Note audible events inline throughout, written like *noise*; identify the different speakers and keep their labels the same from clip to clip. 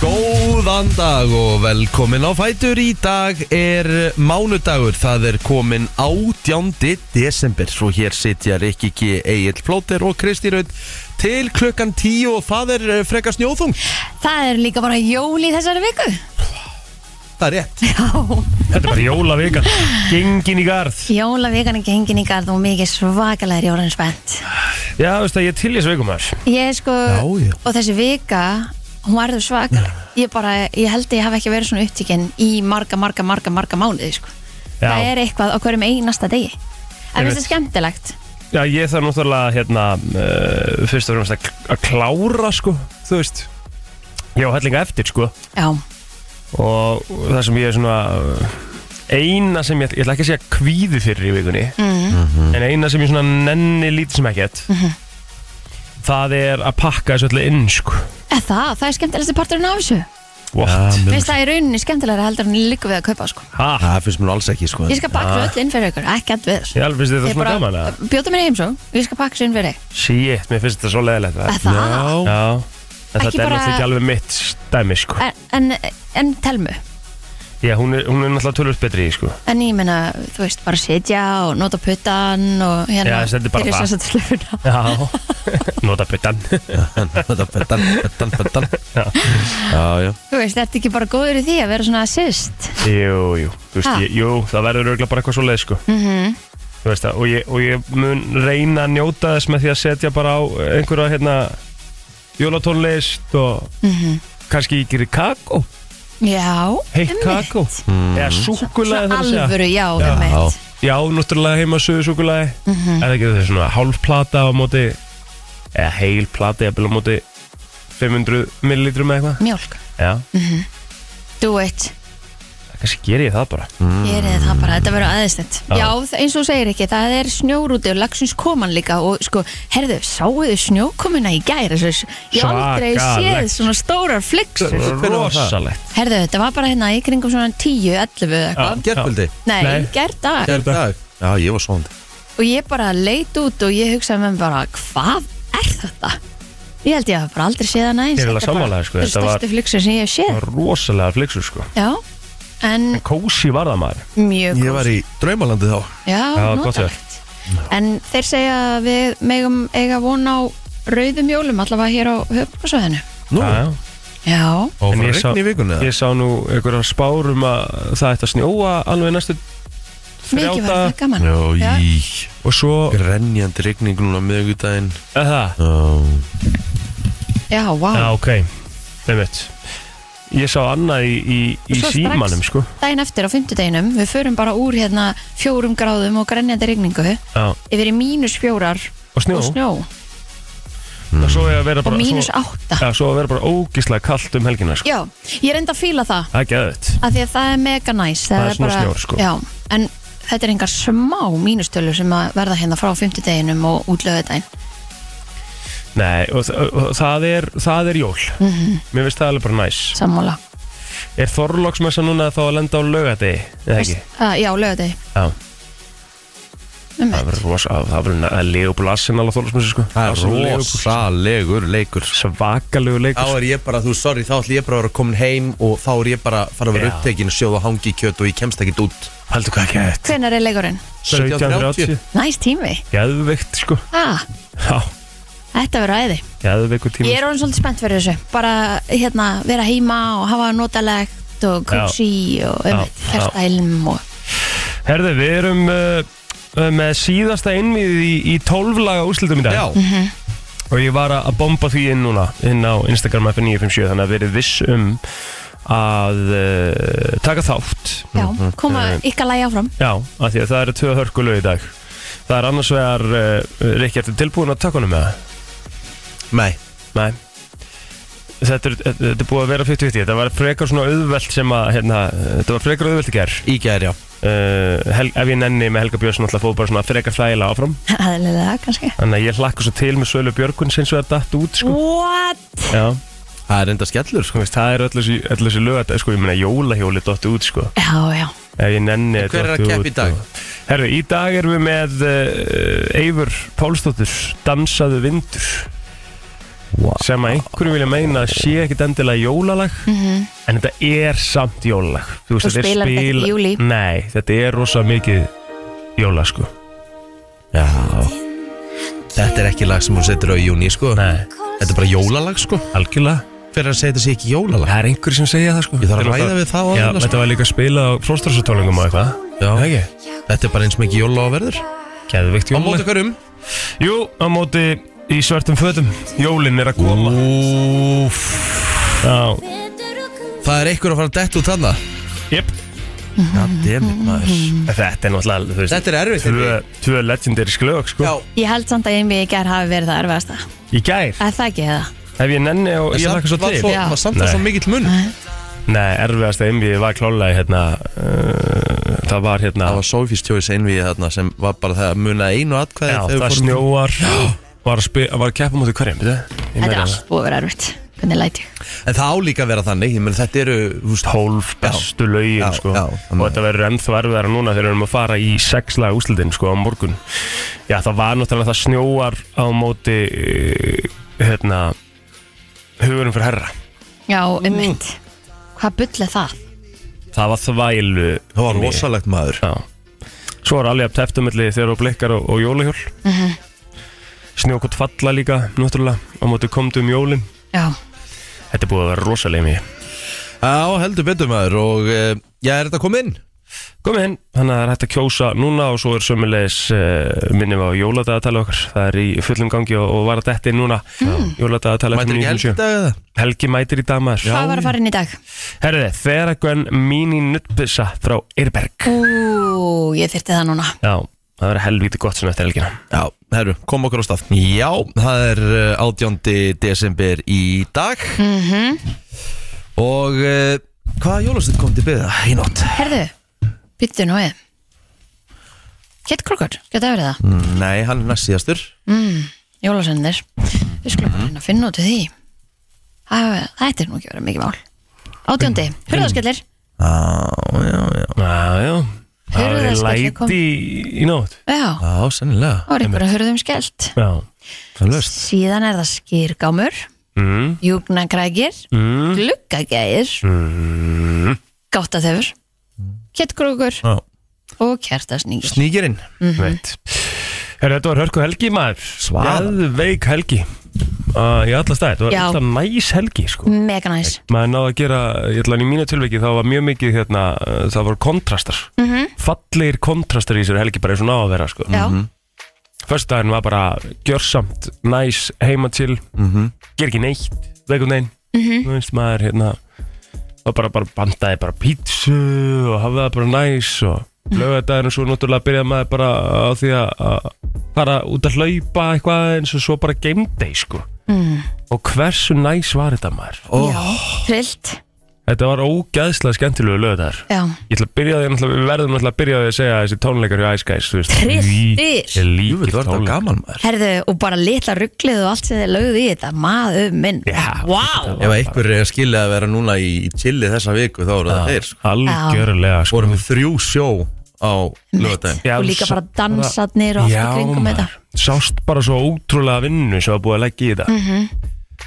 Speaker 1: Góðan dag og velkomin á Fætur Í dag er mánudagur, það er komin 18. desember Svo hér sitja Rikki G. Egil Plóter og Kristi Raut Til klukkan 10 og það er eh, frekar snjóðung
Speaker 2: Það er líka bara jól í þessari viku
Speaker 1: Það er rétt
Speaker 3: Þetta er bara jólavika Gengin í garð
Speaker 2: Jólavikan er gengin í garð og mikið svakalega er jólinn spennt
Speaker 3: Já, þú veist að ég er til í þessu vikum þar
Speaker 2: Ég er sko,
Speaker 1: Já, já.
Speaker 2: og þessi vika hún varður svakalega Ég bara, ég held að ég hafi ekki verið svona upptíkin í marga, marga, marga, marga mánuði sko.
Speaker 3: Já.
Speaker 2: Það er eitthvað á hverjum einasta degi En
Speaker 3: Einmitt.
Speaker 2: finnst það skemmtilegt
Speaker 3: Já, ég þarf náttúrulega hérna uh, Fyrst og fremst að, kl- að klára sko Þú veist Ég á hellinga eftir sko
Speaker 2: Já,
Speaker 3: Og það sem ég er svona uh, Eina sem ég, ég ætla ekki að segja kvíði fyrir í vikunni
Speaker 2: Mhm.
Speaker 3: En eina sem ég svona nenni lítið sem ekkert Það er að pakka þessu öllu inn sko
Speaker 2: eða það, það er skemmtilegasti parturinn af þessu
Speaker 3: What?
Speaker 1: mjög-
Speaker 2: Finnst það í rauninni skemmtilegra heldur en líka við að kaupa sko.
Speaker 3: Ha?
Speaker 1: Það finnst mér nú alls ekki sko
Speaker 2: Ég skal pakka öll inn fyrir ykkur, ekki að við
Speaker 3: Ég alveg finnst þetta
Speaker 2: Ég
Speaker 3: svona gaman
Speaker 2: bara
Speaker 3: að
Speaker 2: bjóta mér heim svo Ég skal pakka sér inn fyrir þig.
Speaker 3: Shit, mér finnst þetta svo leðilegt
Speaker 2: Eða það
Speaker 1: Já,
Speaker 3: Já,
Speaker 2: Ekki
Speaker 3: en þetta er
Speaker 2: bara-
Speaker 3: náttúrulega ekki alveg mitt stæmi sko.
Speaker 2: en, en, en telmu
Speaker 3: Já, hún er, hún er náttúrulega tölvöld betri í sko.
Speaker 2: en ég meina, þú veist, bara sitja og nota puttan og hérna
Speaker 3: Já, þetta er bara það.
Speaker 2: það slöfuna.
Speaker 3: Já, *laughs* nota puttan
Speaker 1: þetta *laughs* fettan, fettan, fettan
Speaker 3: Já.
Speaker 1: Já, já
Speaker 2: þú veist, þetta er ekki bara góður í því að vera svona assist
Speaker 3: Jú, jú, þú veist,
Speaker 2: Ha? Mhm.
Speaker 3: ég, jú, það verður örgulega bara eitthvað svo leið sko. mm -hmm. Þú veist það, og ég, og ég mun reyna að njóta þess með því að setja bara á einhverja hérna jólatónlist og
Speaker 2: Mhm.
Speaker 3: kannski ég gerir kakó,
Speaker 2: já,
Speaker 3: heitt
Speaker 2: einmitt. Mm.
Speaker 3: kakó eða súkulæði
Speaker 2: svona
Speaker 3: þar að segja
Speaker 2: alvöru,
Speaker 1: Já.
Speaker 2: já, einmitt.
Speaker 3: Já, náttúrulega heima söðu súkulæði
Speaker 2: Mhm.
Speaker 3: Er það ekki þau svona hálf plata á móti eða heil plata eða bila á móti 500 millilitrum eða eitthvað
Speaker 2: mjólk,
Speaker 3: Já,
Speaker 2: do it
Speaker 3: kannski ger ég það bara
Speaker 2: Mm. gerið það bara, þetta verður aðeinslegt já. þa- eins og þú segir ekki, það er snjórúti og lagsins koman líka og sko, herðu, sáuðu snjókomuna í gær þessu, ég hef aldrei séð
Speaker 3: Svakalegt.
Speaker 2: svona stórar flyksur
Speaker 3: Rosalegt
Speaker 2: herðu, þetta var bara hérna í kringum svona 10, 11 eitthvað
Speaker 1: Gerkvöldi,
Speaker 2: Nei,
Speaker 3: Nei.
Speaker 2: Nei. gerð dag
Speaker 1: gerkvöldag Já, ég var svondi
Speaker 2: Og ég bara leit út og ég hugsaði með mér bara Hvað er þetta? Ég held ég að bara aldrei séð það næst
Speaker 3: Ég er alveg sammála þér, sko,
Speaker 2: Þetta
Speaker 3: þetta
Speaker 2: er
Speaker 3: var-
Speaker 2: stærsti flyksur sem ég hef séð
Speaker 3: Rosalega flyksur sko
Speaker 2: Já, en
Speaker 3: Kósi var það maður
Speaker 2: mjög
Speaker 1: Ég var í draumalandi þá
Speaker 2: Já,
Speaker 3: Já, gott
Speaker 2: notalegt En þeir segja að við megum eiga von á rauðum jólum allavega hér á höfnkarsvæðinu
Speaker 1: Nú,
Speaker 3: Já, já.
Speaker 2: Já,
Speaker 1: og
Speaker 3: En
Speaker 1: fara
Speaker 3: ég sá-
Speaker 1: regn í vikunni eða?
Speaker 3: Ég sá nú einhverjar spárum að það ætti að snjóa alveg næstu þrjá
Speaker 2: mikið var
Speaker 3: daga.
Speaker 2: það gaman
Speaker 1: Já,
Speaker 2: Já.
Speaker 1: í
Speaker 3: og svo
Speaker 1: Grenjandi regning núna miðugudaginn
Speaker 3: Er Það
Speaker 1: Já
Speaker 2: Já, vá
Speaker 3: Já, ok, nefnt Ég sá annað í, í,
Speaker 2: Og
Speaker 3: í
Speaker 2: svo strax.
Speaker 3: símanum sko
Speaker 2: Dæin eftir á fymtudeginum, við förum bara úr hérna fjórum gráðum og grenjandi rigningu
Speaker 3: Já.
Speaker 2: yfir í mínus fjórar
Speaker 3: Og snjó,
Speaker 2: og snjó
Speaker 3: og svo er að vera
Speaker 2: og
Speaker 3: bara
Speaker 2: mínus
Speaker 3: svo,
Speaker 2: átta
Speaker 3: Já, svo að vera bara ógislega kallt um helgina sko.
Speaker 2: Já, ég reyndi að fíla það
Speaker 3: Það er geðvægt
Speaker 2: af því að það er mega næs
Speaker 3: Það er svona snjór, sko.
Speaker 2: Já, en þetta er engar smá mínustölu sem að verða hérna frá 50 deginum og útlöðudaginn
Speaker 3: Nei, og, þa- og það, er, það er jól
Speaker 2: Mhm.
Speaker 3: Mér finnst það alveg bara næs
Speaker 2: sammála
Speaker 3: Er Þorlóksmessa núna þá að lenda á laugadegi? Eða ekki?
Speaker 2: uh, Já, lögudegi
Speaker 3: Já,
Speaker 2: um
Speaker 3: það verður rosa á- Það verður leobulassin alveg Þorlóksmessa sko
Speaker 1: Það er rosalegur leikur
Speaker 3: Svakalegu leikur
Speaker 1: Þá
Speaker 3: sko.
Speaker 1: er ég bara, þú sorry, þá ætlum ég bara að vera komin heim og þá er ég bara að fara að vera
Speaker 3: Já.
Speaker 1: upptekinn sjóð og hangi í kjöt og ég kemst ekkert út
Speaker 3: Haldur hvað ekki þetta?
Speaker 2: Hvenær er leikurinn?
Speaker 3: 1730
Speaker 2: Næs tími
Speaker 3: Geðveikt sko
Speaker 2: ah,
Speaker 3: Já,
Speaker 2: Þetta verður æði
Speaker 3: geðveikur tími
Speaker 2: Ég er orðin svolítið spennt fyrir þessu bara hérna vera heima og hafa notalegt og kóksi og
Speaker 3: Já,
Speaker 2: um
Speaker 3: já.
Speaker 2: kersta ilm og
Speaker 3: Herðu, við erum uh, uh, með síðasta innviðið í, í 12 laga úrslitum í dag
Speaker 1: Já,
Speaker 3: og ég var að að bomba því inn núna inn á Instagram F957 þannig að verið viss um að uh, taka þátt
Speaker 2: já,
Speaker 3: Mhm,
Speaker 2: koma
Speaker 3: eh.
Speaker 2: ykkar lægi áfram *laughs*
Speaker 3: Já, af því að það eru tvö hörkulög í dag Það er annars vegar uh, Rikki, ertu tilbúin að taka honum með það?
Speaker 1: nei,
Speaker 3: Nei Þetta er, þetta er búið að vera 50-50 Þetta var frekar svona auðvelt sem að hérna, Þetta var frekar auðvelt í ger
Speaker 1: í gæri, já
Speaker 3: uh, Hel- Ef ég nenni með Helga Björnsson alltaf fóð bara svona frekar þægilega áfram
Speaker 2: aðlilega kannski
Speaker 3: Þannig að ég hlakka svo til með Sölu Björguns eins og það datt út sko.
Speaker 2: What?
Speaker 3: Já,
Speaker 1: Það er enda skellur, sko
Speaker 3: þú veist, það er öll þessi, öll þessi lögat sko, ég meina jólahjóli dotti út sko.
Speaker 2: Já, já,
Speaker 3: ef ég nenni
Speaker 1: En hver er að
Speaker 3: dotti
Speaker 1: keppa
Speaker 3: út,
Speaker 1: í dag?
Speaker 3: sko. Herru, í dag erum við eh, með uh, Eivur Pálsdóttur Dansaðu vindur sem að einhverjum vilja meina að sé ekkit endilega jólalag en þetta er samt jólalag Þú
Speaker 2: Þú Mhm.
Speaker 3: þetta er
Speaker 2: spilar þetta ekki í júlí.
Speaker 3: Nei, þetta er rosa mikið jóla sko
Speaker 1: Já Þetta er ekki lag sem hún setur á í júni sko
Speaker 3: Nei,
Speaker 1: Þetta er bara jólalag sko
Speaker 3: algjörlega
Speaker 1: Fyrir að segja þetta sé ekki jólalag
Speaker 3: Það er einhver sem segja það sko
Speaker 1: Ég þarf að
Speaker 3: Þetta er
Speaker 1: ræða
Speaker 3: alltaf-
Speaker 1: við það á
Speaker 3: Já,
Speaker 1: aðeins, sko.
Speaker 3: þetta var líka að spila á flóstarsatónlingum og eitthvað
Speaker 1: Já.
Speaker 3: Er það ekki?
Speaker 1: Þetta er bara eins mikið jólalag verður Á
Speaker 3: Geðvikt jólalag
Speaker 1: móti hverjum
Speaker 3: Jú, á móti í svörtum fötum Jólin er að koma
Speaker 1: Úf
Speaker 3: Já,
Speaker 1: Það er einhver að fara að detta út þarna
Speaker 3: jöp
Speaker 1: Goddammit maður
Speaker 3: Þetta er náttúrulega, þú veist
Speaker 1: Þetta er erfitt,
Speaker 3: Tvö,
Speaker 1: Henrik.
Speaker 3: tvö legendary sklög, sko
Speaker 1: Já
Speaker 2: Ég held samt að einbið í gær hafi verið það erfasta
Speaker 3: Í gær,
Speaker 2: Er það ekki það?
Speaker 3: ef ég nenni og ég
Speaker 1: Samt
Speaker 3: lakka svo
Speaker 1: var
Speaker 3: til
Speaker 1: svo-
Speaker 2: Já.
Speaker 1: var Samt var
Speaker 3: Nei.
Speaker 1: svo mikill mun
Speaker 3: Nei, erfiðast að einvið var klálega hérna uh, Það var hérna
Speaker 1: Það var Sofís Tjóis einvið þarna sem var bara það að muna einu atkvæði
Speaker 3: Já,
Speaker 1: þegar við
Speaker 3: það
Speaker 1: fórum-
Speaker 3: snjóar Var að, spi, var að keppa mútið hverjum, þetta?
Speaker 2: Þetta er allt búið að vera erfitt Hvernig læti ég?
Speaker 1: En það á líka að vera þannig, ég menn þetta eru, þú veist,
Speaker 3: tólf bestu lögin
Speaker 1: Já,
Speaker 3: sko.
Speaker 1: já,
Speaker 3: og þetta verður ennþá erfiðara núna þegar við erum að fara í sexla úslitin sko, á morgun já það var náttúrulega það snjóar á móti eh, hérna hugurum fyrir herra
Speaker 2: Já, um mitt Hvað bull er það?
Speaker 3: það var þvælu
Speaker 1: það var rosalegt maður.
Speaker 3: já. svo var alveg að teftumilli þegar þú blikkar og, og jólahjól mm snjókot falla líka náttúrulega á móti komdu um jólin
Speaker 2: Já,
Speaker 3: þetta er búið að vera rosalega mikið
Speaker 1: Já, heldur betur maður og, eh, já, er þetta komið inn?
Speaker 3: komið inn, þannig að það er hægt að kjósa núna og svo er sömulegis uh, minnum á jóladagatæli okkar, það er í fullum gangi og, og var að detti inn núna mm. jóladagatæli
Speaker 1: Mætir ekki helgdag eða?
Speaker 3: Helgi mætir í damar
Speaker 2: hvað var að fara inn í dag?
Speaker 3: Herðu, Theragun mini nuttbussa frá Eirberg
Speaker 2: Ú, ég þyrti það núna
Speaker 3: Já, það verður helvítið gott svona eftir helgina
Speaker 1: Já, herru, kom okkur á stað. Já, það er eh, 18. desember í dag og uh, hvaða jólastund kom til byggða í nótt?
Speaker 2: Herðu, byttu nú eða Kett krokkur, geta verið það
Speaker 1: Mm, Nei, hann er næst síðastur.
Speaker 2: mm, Jólasendir Við skulum bara reyna að finna út úr því Það þetta er nú ekki verið mikið mál Átjóndi, hurðaskellir
Speaker 1: Já, já, já.
Speaker 3: Já, já Það
Speaker 2: Heyrðu
Speaker 3: verður
Speaker 2: það, skellur kom.
Speaker 3: læti í, í nótt
Speaker 2: Já,
Speaker 1: Já, sennilega.
Speaker 2: það var einhverja hurðum skellt
Speaker 3: Já
Speaker 1: Það löst.
Speaker 2: Síðan er það skýrgámur
Speaker 3: mm,
Speaker 2: Júgnakrækir
Speaker 3: mm,
Speaker 2: Gluggagæðir
Speaker 3: mm.
Speaker 2: Gáttaþefur Kettkrókur
Speaker 1: Já.
Speaker 2: og kertasningir
Speaker 1: Sníkirinn.
Speaker 3: Veit Herðu, þetta var hörku helgi maður
Speaker 1: Svaðan.
Speaker 3: Jæðveik helgi uh, Í alla stæð, þetta var
Speaker 2: Já. Mm.
Speaker 3: alltaf næs helgi sko
Speaker 2: Mega næs
Speaker 3: maður náði að gera, ég ætla að í mínu tilviki þá var mjög mikið hérna, uh, það voru kontrastar -hmm. fallegir kontrastar í sér helgi bara eins og ná að vera sko.
Speaker 2: Mhm. Já,
Speaker 3: Föstudagurinn var bara gjörsamt, næs, heima til
Speaker 1: Mhm.
Speaker 3: ger ekki neitt, vegum neginn -hmm. þú veist maður hérna var bara, bara bandaði bara pítsu og hafði það bara næs og lögadagurinn svo náttúrulega byrjaði maður bara á því að að fara út að hlaupa eitthvað eins og svo bara game day sko
Speaker 2: mm.
Speaker 3: og hversu næs var þetta maður
Speaker 1: Ó,
Speaker 2: já.
Speaker 3: Oh.
Speaker 2: trillt
Speaker 3: Þetta var ógæðslega skemmtilegu lögðar
Speaker 2: Já,
Speaker 3: Ég ætla að byrja á því, náttúrulega- við verðum náttúrulega að byrja á því að segja að þessi tónleikar hjá Ice Guys, þú veist
Speaker 2: Tristir.
Speaker 3: Ég
Speaker 1: jú,
Speaker 3: líkir
Speaker 1: þetta var þetta
Speaker 3: tónleikar
Speaker 1: gaman maður.
Speaker 2: herðu og bara litla rugglið og allt sem þið lögðu í þetta Maður minn
Speaker 3: Já,
Speaker 2: Vá,
Speaker 1: Ef einhver er skilið að vera núna í chilli þessa viku þá eru það þeir sko.
Speaker 3: Algjörlega sko.
Speaker 1: vorum við þrjú sjó á lögadaginn
Speaker 3: Já,
Speaker 2: og líka
Speaker 3: sa-
Speaker 2: bara dansarnir og allt í
Speaker 3: Já,
Speaker 2: kringum
Speaker 3: maður.
Speaker 2: þetta Mhm.
Speaker 3: Sást bara svo ótrúlega vinnu sem var búið að leggja í þetta mm -hmm.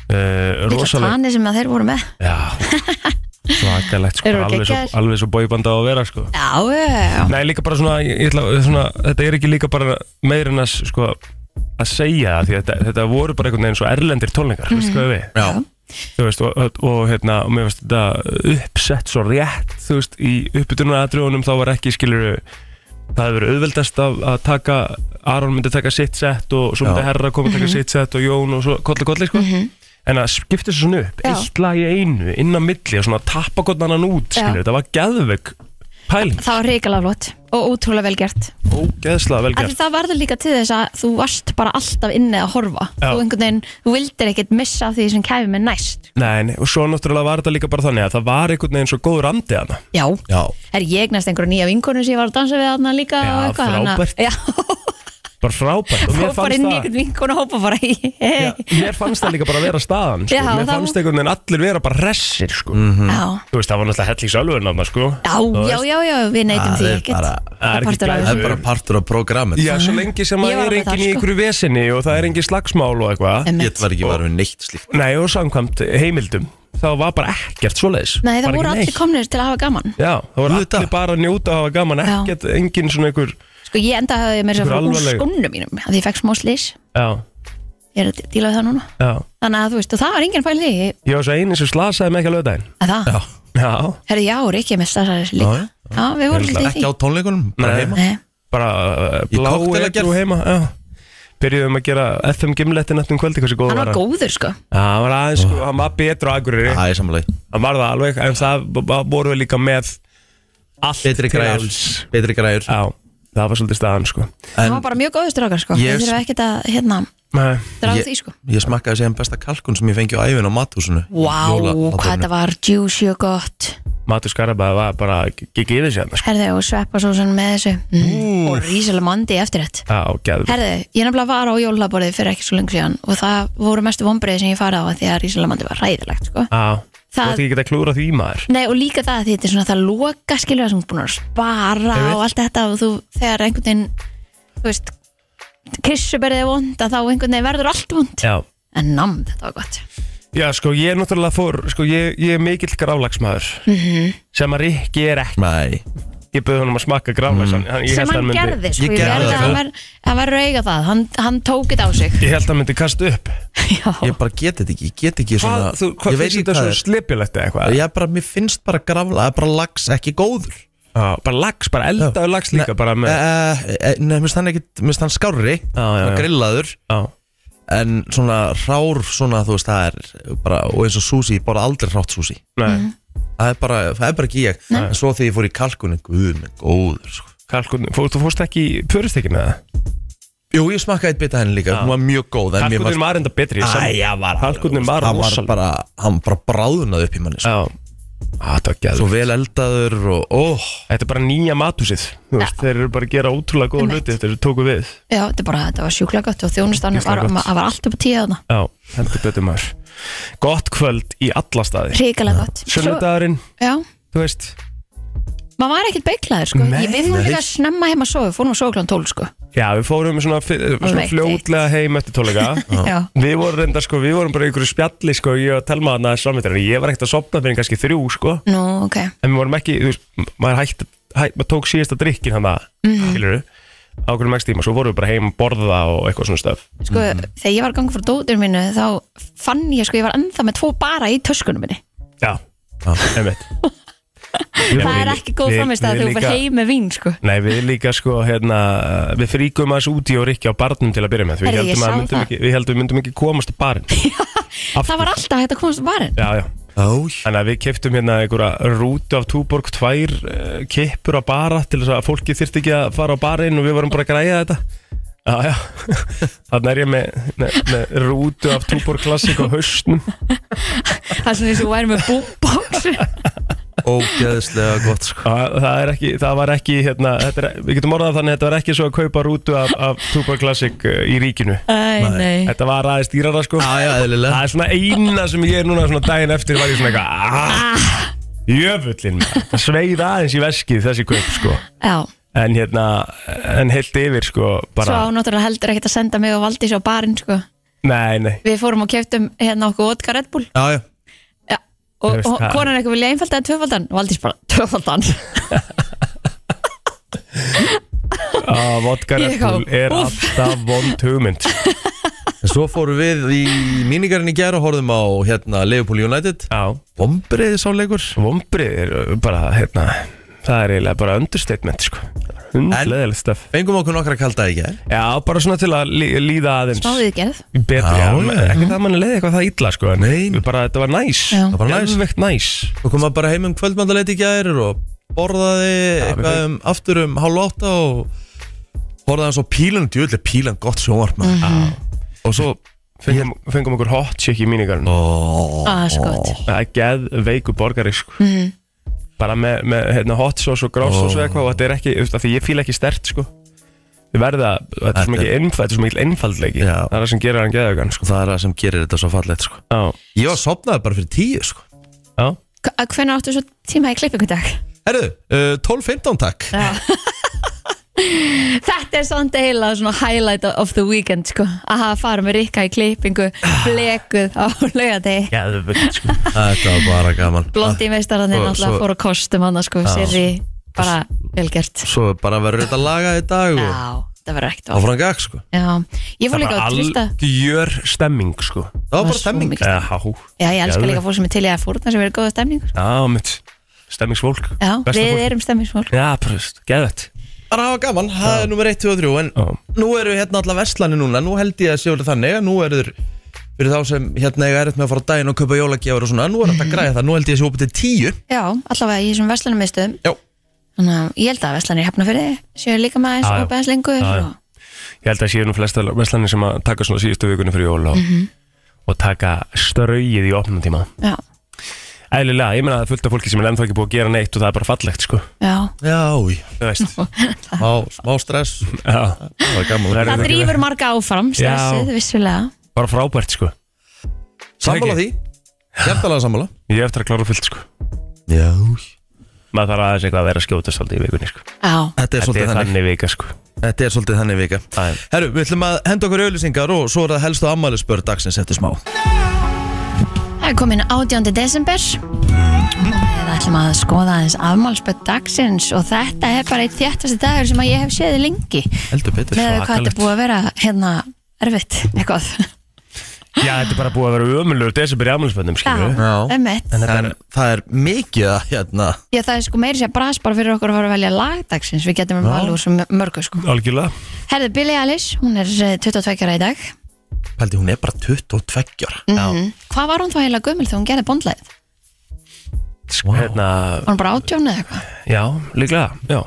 Speaker 3: uh,
Speaker 2: Lilla
Speaker 3: Rosalega
Speaker 2: tani sem að þeir voru með
Speaker 3: Já, svakalegt sko,
Speaker 2: Eru þeir
Speaker 3: alveg svo,
Speaker 2: geggjaðir?
Speaker 3: alveg svo bóibanda á að vera sko.
Speaker 2: Já, já,
Speaker 3: Nei, líka bara svona, ég, ég ætla, svona þetta er ekki líka bara meir en að sko, að segja það, því að þetta, þetta voru bara einhvern veginn svo erlendir tónleikar, mm -hmm.
Speaker 2: Mhm.
Speaker 3: hvað við
Speaker 1: Já,
Speaker 3: þú veist, og, og, og hérna, og mér finnst þetta uppsett svo rétt, þú veist, í uppbytunaratriðunum þá var ekki, skilur það hefur verið auðveldast að, að taka Aron myndi taka sitt sett og svo myndi
Speaker 1: Já.
Speaker 3: Herra koma að
Speaker 2: Mhm.
Speaker 3: taka sitt sett og Jón og svo kolli kolli, sko en að skipta þessu svona upp,
Speaker 2: Já.
Speaker 3: eitt lag í einu inn á milli og svona tappa gotnanan út,
Speaker 2: Já.
Speaker 3: skilur, þetta var geðveg pæling,
Speaker 2: það var reikala flott og ótrúlega vel gert
Speaker 3: ógeðslega vel
Speaker 2: Af
Speaker 3: gert
Speaker 2: því það varður líka til þess að þú varst bara alltaf inni að horfa
Speaker 3: Já.
Speaker 2: Þú einhvern veginn, þú vildir ekkert missa af því sem kæfi með næst
Speaker 3: Nei, nei, og svo náttúrulega var þetta líka bara þannig að það var einhvern veginn svo góður andi hana
Speaker 2: Já,
Speaker 1: já
Speaker 2: er ég næst einhverja nýja vinkonu sem ég var að dansa við þarna líka
Speaker 3: Já,
Speaker 2: og eitthvað, þannig að-
Speaker 3: frábært.
Speaker 2: Já,
Speaker 3: bara frábært og mér
Speaker 2: Fór bara
Speaker 3: fannst
Speaker 2: inn í
Speaker 3: það
Speaker 2: einhvern vinkun og hópa bara í
Speaker 3: Já, mér fannst það líka bara að vera staðan sko.
Speaker 2: Já,
Speaker 3: mér
Speaker 2: það-
Speaker 3: fannst einhvern veginn allir vera bara hressir sko.
Speaker 2: Já,
Speaker 3: þú veist það var náttúrulega helling sölvun sko.
Speaker 2: já, já, já, já, við
Speaker 1: Það
Speaker 2: neytum því
Speaker 1: er
Speaker 2: ekkert
Speaker 1: bara-
Speaker 2: Það
Speaker 3: er
Speaker 2: er
Speaker 3: ekki
Speaker 2: partur
Speaker 1: Það
Speaker 2: af
Speaker 3: glæður.
Speaker 1: er
Speaker 2: þessu
Speaker 1: bara partur af programmet
Speaker 3: Já, svo lengi sem
Speaker 2: Mhm. Ég
Speaker 3: að
Speaker 2: var
Speaker 3: er
Speaker 2: alveg
Speaker 3: enginn
Speaker 2: þar,
Speaker 3: í
Speaker 2: sko.
Speaker 3: einhverju veseni og það er enginn slagsmál og eitthvað
Speaker 1: Ég
Speaker 2: Einmitt.
Speaker 1: var ekki var við neitt slíkt
Speaker 3: Nei, og samkvæmt heimildum þá var bara ekkert svoleiðis
Speaker 2: Nei, það
Speaker 3: Bara
Speaker 2: voru
Speaker 3: ekki
Speaker 2: allir
Speaker 3: neitt.
Speaker 2: komnir til að hafa gaman
Speaker 3: Já, það voru
Speaker 1: Auðvitað.
Speaker 3: allir bara að njóta og hafa gaman
Speaker 2: Já.
Speaker 3: ekkert, enginn svona einhver
Speaker 2: Sko, ég enda hafði mér svo
Speaker 3: Einhver
Speaker 2: úr
Speaker 3: alvarleg-
Speaker 2: skónum mínum að ég fekk smá slís
Speaker 3: Já,
Speaker 2: Ég er að díla við það núna
Speaker 3: já
Speaker 2: Þannig að þú veist, og það var enginn pæl því
Speaker 3: Ég var svo einin sem slasaði með ekki að lögdæðin
Speaker 2: að það
Speaker 1: Já,
Speaker 3: Já,
Speaker 2: Herði, já, Rikki er með staðsæðis líka
Speaker 1: Já,
Speaker 2: Já, við vorum
Speaker 3: Ég ætla
Speaker 2: svolítið í
Speaker 1: ekki á tónleikunum, bara
Speaker 3: Nei.
Speaker 1: heima
Speaker 2: því Nei,
Speaker 3: bara uh,
Speaker 1: Í
Speaker 3: blá
Speaker 1: cocktail
Speaker 3: eitthvað
Speaker 1: aðgerð.
Speaker 3: heima Já Byrjuðum að gera FM gimletti nættum kvöldi um hversu góð
Speaker 2: Hann
Speaker 3: var
Speaker 2: var
Speaker 3: hann
Speaker 2: góður, sko
Speaker 3: Já, hann var aðeins, sko, hann var betur á Akureyri
Speaker 1: Það er samanlega
Speaker 3: Hann var það alveg, en það b- b- voru við líka með allt
Speaker 1: Betri
Speaker 3: til
Speaker 1: græjur
Speaker 3: alls
Speaker 1: Betri græjur
Speaker 3: Já, það var svolítið staðan, sko
Speaker 2: Hann
Speaker 1: En
Speaker 2: var bara mjög góður strákar, sko
Speaker 1: Ég-
Speaker 2: Ég þurfa ekkert að, hérna,
Speaker 3: Nei
Speaker 2: draga
Speaker 1: ég-
Speaker 2: því, sko
Speaker 1: ég smakkaði sér besta kalkun sem ég fengi á æfin á mathúsinu
Speaker 2: Vá,
Speaker 1: Jólahátíðinni.
Speaker 2: hvað þetta var juicy og gott
Speaker 3: Matur Skarabæði var bara ekki gefið sér sko.
Speaker 2: Herðu, og sveppasósan með þessu mm. Og rísalamandi eftir þetta
Speaker 3: Já, gefið
Speaker 2: Herðu, ég nefnilega var á jólaborðið fyrir ekki svo lengi síðan Og það voru mestu vombriði sem ég farið á af Því að rísalamandi var ræðilegt, sko
Speaker 3: Já, þú
Speaker 2: Það-
Speaker 3: ætti ekki að klúra því maður
Speaker 2: Nei, og líka það að því þetta er svona það loka skilur það sem þú ert búin að spara
Speaker 3: Einmitt.
Speaker 2: og allt þetta og þú, þegar einhvern veginn þú veist, krissuberðið er vond að þá einhvern veginn verður allt vond
Speaker 3: Já,
Speaker 2: en namn, þetta var gott
Speaker 3: já sko, ég er náttúrulega fór sko, ég, ég er mikill grálagsmaður
Speaker 2: Mhm.
Speaker 3: -hmm. sem að Rikki er ekki
Speaker 1: Nei,
Speaker 3: ég bauð honum að smakka
Speaker 1: Mhm.
Speaker 3: grálags mm. hann, ég
Speaker 2: sem
Speaker 3: held
Speaker 2: hann
Speaker 3: myndi,
Speaker 2: gerði, sko,
Speaker 1: Ég
Speaker 2: ég
Speaker 1: gerði
Speaker 2: verði
Speaker 1: það,
Speaker 2: að hann
Speaker 1: sko.
Speaker 2: var, hann var rauga það, hann, hann tók þetta á sig
Speaker 3: Ég held að hann myndi kasta upp
Speaker 2: Já,
Speaker 1: ég bara get þetta ekki Ég get ekki
Speaker 3: Hvað,
Speaker 1: svona
Speaker 3: þú, hvað
Speaker 1: Ég veit
Speaker 3: finnst
Speaker 1: ekki
Speaker 3: þetta
Speaker 1: hvað
Speaker 3: svo
Speaker 1: er
Speaker 3: slepjulegt eða eitthvað?
Speaker 1: Ég bara, mér finnst bara grafla Það er bara lags ekki góður
Speaker 3: Já, bara lags, bara eldaðu lags líka bara með
Speaker 1: Eh, eh, Nei, mér finnst hann ekki Mér finnst hann skárri
Speaker 3: Já, já,
Speaker 1: hann
Speaker 3: já.
Speaker 1: grillaður
Speaker 3: Já,
Speaker 1: En svona rár svona, þú veist, það er bara, Og eins og sushi, ég borða aldrei hrátt sushi
Speaker 3: nei,
Speaker 2: Mhm.
Speaker 1: Það er bara, það er bara ekki ég En svo þegar ég fór í kalkunin, guð minn, góður sko.
Speaker 3: kalkun, fór, þú fórst ekki í pöristekkin eða?
Speaker 1: Jú, ég smakkaði eitt bita henni líka, hún var mjög góð en mér
Speaker 3: Kalkunin var enda betri
Speaker 1: Æja, var
Speaker 3: Kalkunin var
Speaker 1: hann var
Speaker 3: rosaleg.
Speaker 1: bara, hann bara bráðunaði upp í manni sko.
Speaker 3: Já, Á, þetta var
Speaker 1: Svo
Speaker 3: gæður
Speaker 1: vel eldaður og, óh
Speaker 3: Þetta er bara nýja mathúsið þú veist, Þeir eru bara að gera ótrúlega góða
Speaker 2: Einmitt.
Speaker 3: hluti Þeir tóku við
Speaker 2: já þetta, bara, þetta var sjúklega gott og þjónustanum
Speaker 3: Gísla
Speaker 2: var,
Speaker 3: gott.
Speaker 2: að var allt upp á tíu þarna
Speaker 3: Já, heldur betur maður Gott kvöld í alla staði
Speaker 2: Ríkilega gott Svo-
Speaker 3: Sunnudagurinn,
Speaker 2: Já,
Speaker 3: þú veist
Speaker 2: maður var ekkert beiklaður, sko
Speaker 3: Nei.
Speaker 2: Ég við fórum líka snemma heim að sofa, fórum að sofa klán 12, sko
Speaker 3: Já, við fórum svona, fi- svona
Speaker 2: Alveg
Speaker 3: fljótlega heim eftir *laughs* tónleika
Speaker 2: Já.
Speaker 3: Við vorum reyndar sko, við vorum bara í einhverju spjalli sko, ég var að telma þarna samvittur Ég var ekkert að sopna fyrir kannski þrjú sko
Speaker 2: Nú, ok,
Speaker 3: En við vorum ekki, þú veist, m- maður hægt hæ, maður tók síðasta drikkin hann að
Speaker 2: Mhm.
Speaker 3: mm. Skilur á hvernig mægst tíma Svo vorum við bara heim að borða og eitthvað svona stöf
Speaker 2: sko, þegar ég var að ganga frá dótur mínu þá fann ég, sko, ég var ennþá með tvo bara í töskunum minni
Speaker 3: Já,
Speaker 1: Já.
Speaker 3: einmitt
Speaker 2: *laughs* það er ekki góð framist að þú fyrir heim með vín, sko
Speaker 3: Nei, við líka sko, hérna, við fríkum aðeins úti og rikki á barnum til að byrja með. Við
Speaker 2: Herri, ég
Speaker 3: heldum, að
Speaker 2: sá
Speaker 3: myndum
Speaker 2: það.
Speaker 3: ekki, við heldum við myndum ekki komast á barn.
Speaker 2: *laughs* það var alltaf hægt að komast á barinn
Speaker 3: Já, já.
Speaker 1: Ó,
Speaker 3: Þannig að við keftum hérna einhverja rútu af túborg, tvær uh, kippur á bara til þess að fólki þyrfti ekki að fara á barinn og við vorum bara að græja þetta. Já, *laughs* já. Þannig er ég með, með, með rútu af túborg klassik á hausnum.
Speaker 2: það er svona eins og væri með
Speaker 3: *laughs*
Speaker 2: búmbóks
Speaker 1: ógeðslega gott sko.
Speaker 3: Já, Það, er ekki, það var ekki, hérna, þetta er, við getum orðað þannig að þetta var ekki svo að kaupa rútu af, af túborg klassik í ríkinu.
Speaker 2: Æ, nei
Speaker 3: Þetta var aðeins dýrara sko
Speaker 1: Já, já, eðlilega.
Speaker 3: Það er svona eina sem ég er núna svona daginn eftir var ég svona eitthvað Jöfullin Það sveið aðeins í veskið þessi kaup sko
Speaker 2: já,
Speaker 3: En hérna, en heilt yfir sko
Speaker 2: svo
Speaker 3: bara,
Speaker 2: ánáttúrulega heldur ekkert að senda mig og Valdís á barinn, sko
Speaker 3: Nei, nei
Speaker 2: við fórum og keftum hérna okkur vodka Red Bull
Speaker 1: Já, já,
Speaker 2: já. og,
Speaker 3: Þú veist
Speaker 2: og
Speaker 3: það.
Speaker 2: konan eitthvað vilja einfaldan eða tvöfaldan og Valdís bara,
Speaker 3: *laughs*
Speaker 2: tvöfaldan
Speaker 3: Á, vodka Red
Speaker 2: Ég á-
Speaker 3: Bull er
Speaker 2: úff.
Speaker 3: alltaf vond hugmynd sko.
Speaker 1: en svo fórum við í míningarinn í gær og horfðum á hérna Liverpool United
Speaker 3: Já,
Speaker 1: Bombriði sá leikur
Speaker 3: vombrið er bara, hérna Það er eiginlega bara understatement sko Hundleðilegt stöf
Speaker 1: Fengum okkur nokkra kalda í gær
Speaker 3: Já, bara svona til að lí- líða aðeins
Speaker 2: smáðið gerð
Speaker 3: betri,
Speaker 1: Já,
Speaker 3: já,
Speaker 1: já.
Speaker 3: ekki það að mann leiði eitthvað það illa sko, en
Speaker 1: Nei.
Speaker 3: bara þetta var næs
Speaker 2: Já.
Speaker 1: Það var bara næs.
Speaker 3: Geðveikt næs
Speaker 1: Svo kom maður bara heim um kvöldmandaleit í gær og borðaði eitthvað um, aftur um hálf átta og borðaði svo pílan, djúðlega pílan gott sjónvarp mm -hmm. og svo
Speaker 3: fengum, fengum okkur hot shake í mínigarinn
Speaker 1: ó,
Speaker 2: Ah, það er svo gott
Speaker 3: það er geð veiku borgari sko. mm.
Speaker 2: Mhm.
Speaker 3: bara með, með hérna, hot sauce og gráss og eitthvað og þetta er ekki, þú veist, af því ég fíla ekki stert sko. Við verða, þetta er svo mikið einf- þetta er svo mikil einfaldleiki
Speaker 1: Já.
Speaker 3: Það er það sem gerir hann geðaugan sko.
Speaker 1: og það er það sem gerir þetta svo fallegt sko.
Speaker 3: Já,
Speaker 1: Ég var sopnaði bara fyrir tíu sko.
Speaker 3: já
Speaker 2: Hvernig áttu svo tíma í klippingudag?
Speaker 1: Herðu, uh, 12.15 takk
Speaker 2: *laughs* Þetta er samt eiginlega svona highlight of the weekend sko að hafa farið með Rikka í klippingu blekuð á laugardegi
Speaker 3: Geðvögt sko
Speaker 1: *laughs* Þetta var bara gaman
Speaker 2: Blondi meistarðanir
Speaker 1: Svo-
Speaker 2: náttúrulega
Speaker 1: svo-
Speaker 2: fór á kostum hann sko, sérri bara velgert
Speaker 1: Svo bara verður þetta lagað í dag og
Speaker 2: Já, það verður ekkert
Speaker 1: áfram
Speaker 2: val
Speaker 1: gag sko.
Speaker 2: Já, ég fór
Speaker 3: Það er
Speaker 2: líka
Speaker 3: bara
Speaker 2: á trista
Speaker 3: algjör stemming sko
Speaker 1: Það var
Speaker 2: Það
Speaker 1: bara
Speaker 2: er svo
Speaker 1: stemming
Speaker 2: mikil-
Speaker 3: Já,
Speaker 2: Já, ég elska
Speaker 3: Geðveikt.
Speaker 2: líka fólk sem er til í að fórna sem verður góða stemningur
Speaker 3: já mitt Stemmingsfólk
Speaker 2: Já,
Speaker 3: Besta
Speaker 2: við
Speaker 3: fólk.
Speaker 2: erum stemmingsmál
Speaker 3: Já, pröst, geðvögt
Speaker 1: Bara hafa gaman, það er nummer 1, 2 og 3 En
Speaker 3: Já.
Speaker 1: nú eru hérna alla verslani núna Nú held ég að séu alveg þannig að Nú eru þeir fyrir þá sem hérna eiga erut með að fara á daginn og kaupa jólagjafur og svona Nú er þetta að græja það, nú held ég að séu opið til 10
Speaker 2: Já, allavega í þessum verslanarmiðstöðum
Speaker 1: Já.
Speaker 2: Þannig að ég held að verslanir hefna fyrir séu líka með
Speaker 3: Já, já.
Speaker 2: aðeins opið aðeins lengur
Speaker 3: Já, já.
Speaker 2: og-
Speaker 3: Ég held að séu nú flesta veslanir sem að taka svona síðustu vikunni fyrir jól og,
Speaker 2: Mhm.
Speaker 3: og taka ströyið í opnum tíma
Speaker 2: Já,
Speaker 3: Æðlilega, ég meina að það er fullt af fólki sem er ennþá ekki búið að gera neitt og það er bara fallegt sko
Speaker 2: já
Speaker 1: Já, í,
Speaker 3: Þú
Speaker 2: *laughs*
Speaker 3: veist
Speaker 1: smá, smá stress
Speaker 3: Já,
Speaker 1: Það var gaman
Speaker 2: Það drýfur marga áfram, stressið, vissulega
Speaker 3: Bara frábært sko
Speaker 1: Sammála því, hjertalega sammála
Speaker 3: Ég hef eftir að klára fullt sko
Speaker 1: Já
Speaker 3: Maður þarf aðeins eitthvað að vera að skjóta svolítið í vikunni sko
Speaker 2: Já,
Speaker 1: Þetta er
Speaker 3: Þetta
Speaker 1: svolítið
Speaker 3: er
Speaker 1: þannig
Speaker 3: þannig vika sko
Speaker 1: Þetta er svolítið þannig vika
Speaker 3: Það er-
Speaker 1: Herru, við ætlum að henda okkur auðlýsingar og svo er það helstu ammælisbörð dagsins eftir smá
Speaker 2: það er komin 18. desember Við ætlum að skoða aðeins afmálspöld dagsins og þetta er bara eitt þjættasti dagur sem að ég hef séð lengi
Speaker 1: Heldur betur
Speaker 2: með hvað þetta er
Speaker 3: svakalegt.
Speaker 2: búið að vera hérna erfitt, *laughs* eitthvað
Speaker 3: Já, þetta er bara búið að vera ömulur desember í afmælisböndum
Speaker 2: Já,
Speaker 3: skilur
Speaker 1: Já.
Speaker 2: ömmett
Speaker 1: Það er, það er mikið að hérna
Speaker 2: Já, það er sko meiri sér bras bara fyrir okkur að fara að velja lagdagsins Við getum um alveg úr sem mörgu sko
Speaker 3: Algjörlega
Speaker 2: Herðu, Billie Eilish, hún er eh, 22 ára í dag
Speaker 1: Paldi, hún er bara 22 ára
Speaker 2: mm. Hvað var hún þá heila gömul þegar hún gerði bondlæð?
Speaker 3: wow. Hérna,
Speaker 2: Var hún bara átjón eða eitthvað?
Speaker 3: já, líklega Já,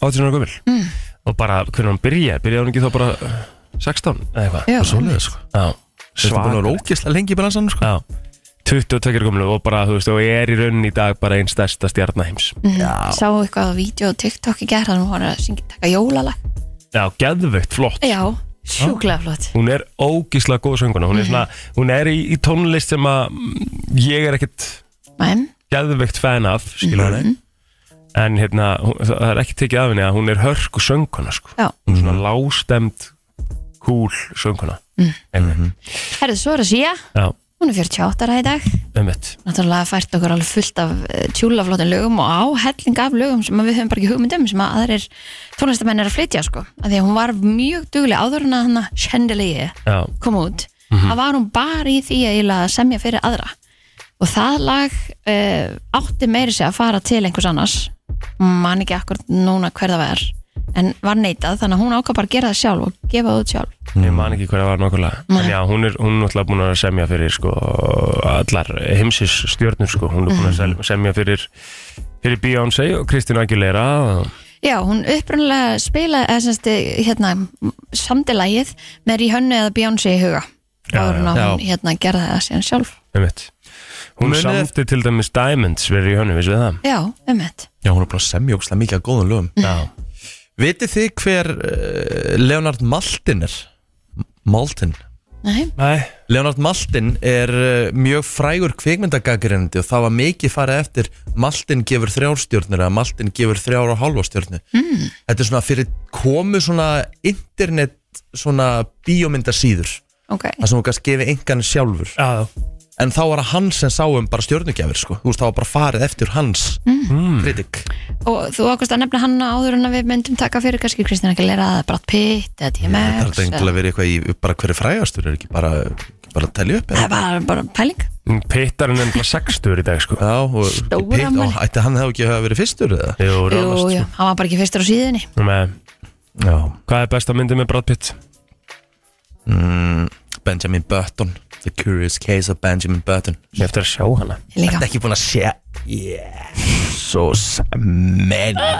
Speaker 3: 18 ára gömul mm. Og bara, hvernig hún byrjaði, byrjaði hún ekki þá bara uh, 16 eða eitthvað
Speaker 2: Já,
Speaker 1: Svoleiðis sko
Speaker 3: Já,
Speaker 1: Þetta er búin að
Speaker 3: svakar.
Speaker 1: vera ógislega lengi í bransanum sko
Speaker 3: Já, 22 ára gömul og bara, þú veist, og er í raunin í dag bara einn stærsta stjarnaheims mm.
Speaker 2: Mhm. sá eitthvað á vídeo og TikTok í gerð þannig hún var að syngja, taka jólalag
Speaker 3: Já, geðveikt, flott
Speaker 2: Já, sjúklega flott
Speaker 3: hún er ógíslega góð sönguna hún er, svona, hún er í, í tónlist sem að mm, ég er ekkert
Speaker 2: Men,
Speaker 3: geðveikt fan af skilur mm en hérna, hún, það það er ekki tekið af henni að hún er hörku sönguna sko.
Speaker 2: já
Speaker 3: hún er svona lástemt cool sönguna mm.
Speaker 2: Herðu, svo er að síja,
Speaker 3: já,
Speaker 2: hún er 48 ára í dag
Speaker 3: ummitt
Speaker 2: Náttúrulega fært okkur alveg fullt af eh, tjúlaflottin lögum og áhelling af lögum sem að við höfum bara ekki hugmyndum sem að aðrir tónlistamenn er að flytja sko að því að hún var mjög dugleg áður en að hana Chandelier
Speaker 3: já,
Speaker 2: kom út
Speaker 1: Mhm.
Speaker 2: það var hún bara í því að eiginlega semja fyrir aðra og það lag uh, átti meiri sig að fara til einhvers annars man ekki akkur núna hver það var en var neitað þannig að hún ákvað bara að gera það sjálf og gefa það út sjálf
Speaker 3: ég man ekki hverja var nákvæmlega en já, hún er, hún er náttúrulega búin að semja fyrir sko, allar heimsis stjörnur sko. hún er búin að sel- semja fyrir fyrir Beyoncé og Kristina Aguilera og
Speaker 2: Já, hún upprunalega spilaði eða semst eh, hérna samtilægið með Rihönnu eða Beyoncé í huga
Speaker 3: Já,
Speaker 2: áður en
Speaker 1: já.
Speaker 2: að hún
Speaker 1: Já.
Speaker 2: hérna gerði það síðan sjálf
Speaker 3: Einmitt. Hún
Speaker 1: Munið-
Speaker 3: samti til dæmis Diamonds verið í hönnu, vissu við það?
Speaker 2: Já, ummitt
Speaker 1: Já, hún er búin að semja ógislega mikið að góðum lögum
Speaker 3: Já.
Speaker 1: Vitið þið hver uh, Leonard Maltin er? M- Maltin
Speaker 2: Nei,
Speaker 3: Nei.
Speaker 1: Leonard Maltin er uh, mjög frægur kvikmyndagagrinandi og það var mikið farið eftir Maltin gefur þrjár stjórnir eða Maltin gefur þrjár og halva stjórnu mm. Þetta er svona fyrir komu svona internet svona bíómyndasíður
Speaker 2: ok
Speaker 1: það sem hún kannski gefið engan sjálfur
Speaker 3: Já.
Speaker 1: en þá var það hann sem sá um bara stjórnugjafir sko. þú veist, þá var bara farið eftir hans mm. kritik
Speaker 2: Og þú ákvæmst að nefna hann áður en að við myndum taka fyrir kannski Kristina Aguilera eða Brad Pitt eða
Speaker 1: Það er
Speaker 2: DMX
Speaker 1: þetta engilega
Speaker 2: eða-
Speaker 1: að vera eitthvað í bara hverju frægastur er ekki bara, ekki bara að telja upp
Speaker 2: Það
Speaker 1: eða?
Speaker 2: er bara, bara pæling
Speaker 3: Pittar er nefnilega sextur í dag, sko.
Speaker 1: Já, og
Speaker 2: Stóra
Speaker 1: Pitt-
Speaker 2: afmæli.
Speaker 1: og ætti hann hefði ekki að hafa verið fyrstur eða?
Speaker 3: Jú,
Speaker 2: Jú,
Speaker 3: ránast.
Speaker 2: já, hann var bara ekki fyrstur á síðunni
Speaker 3: Jú, sko. með,
Speaker 1: Já
Speaker 3: hvað er besta myndið með Brad Pitt?
Speaker 1: mm, Benjamin Button The Curious Case of Benjamin Button
Speaker 3: Ég eftir að sjá hana.
Speaker 2: Ég líka
Speaker 1: Þetta ekki búin að sé Jesus many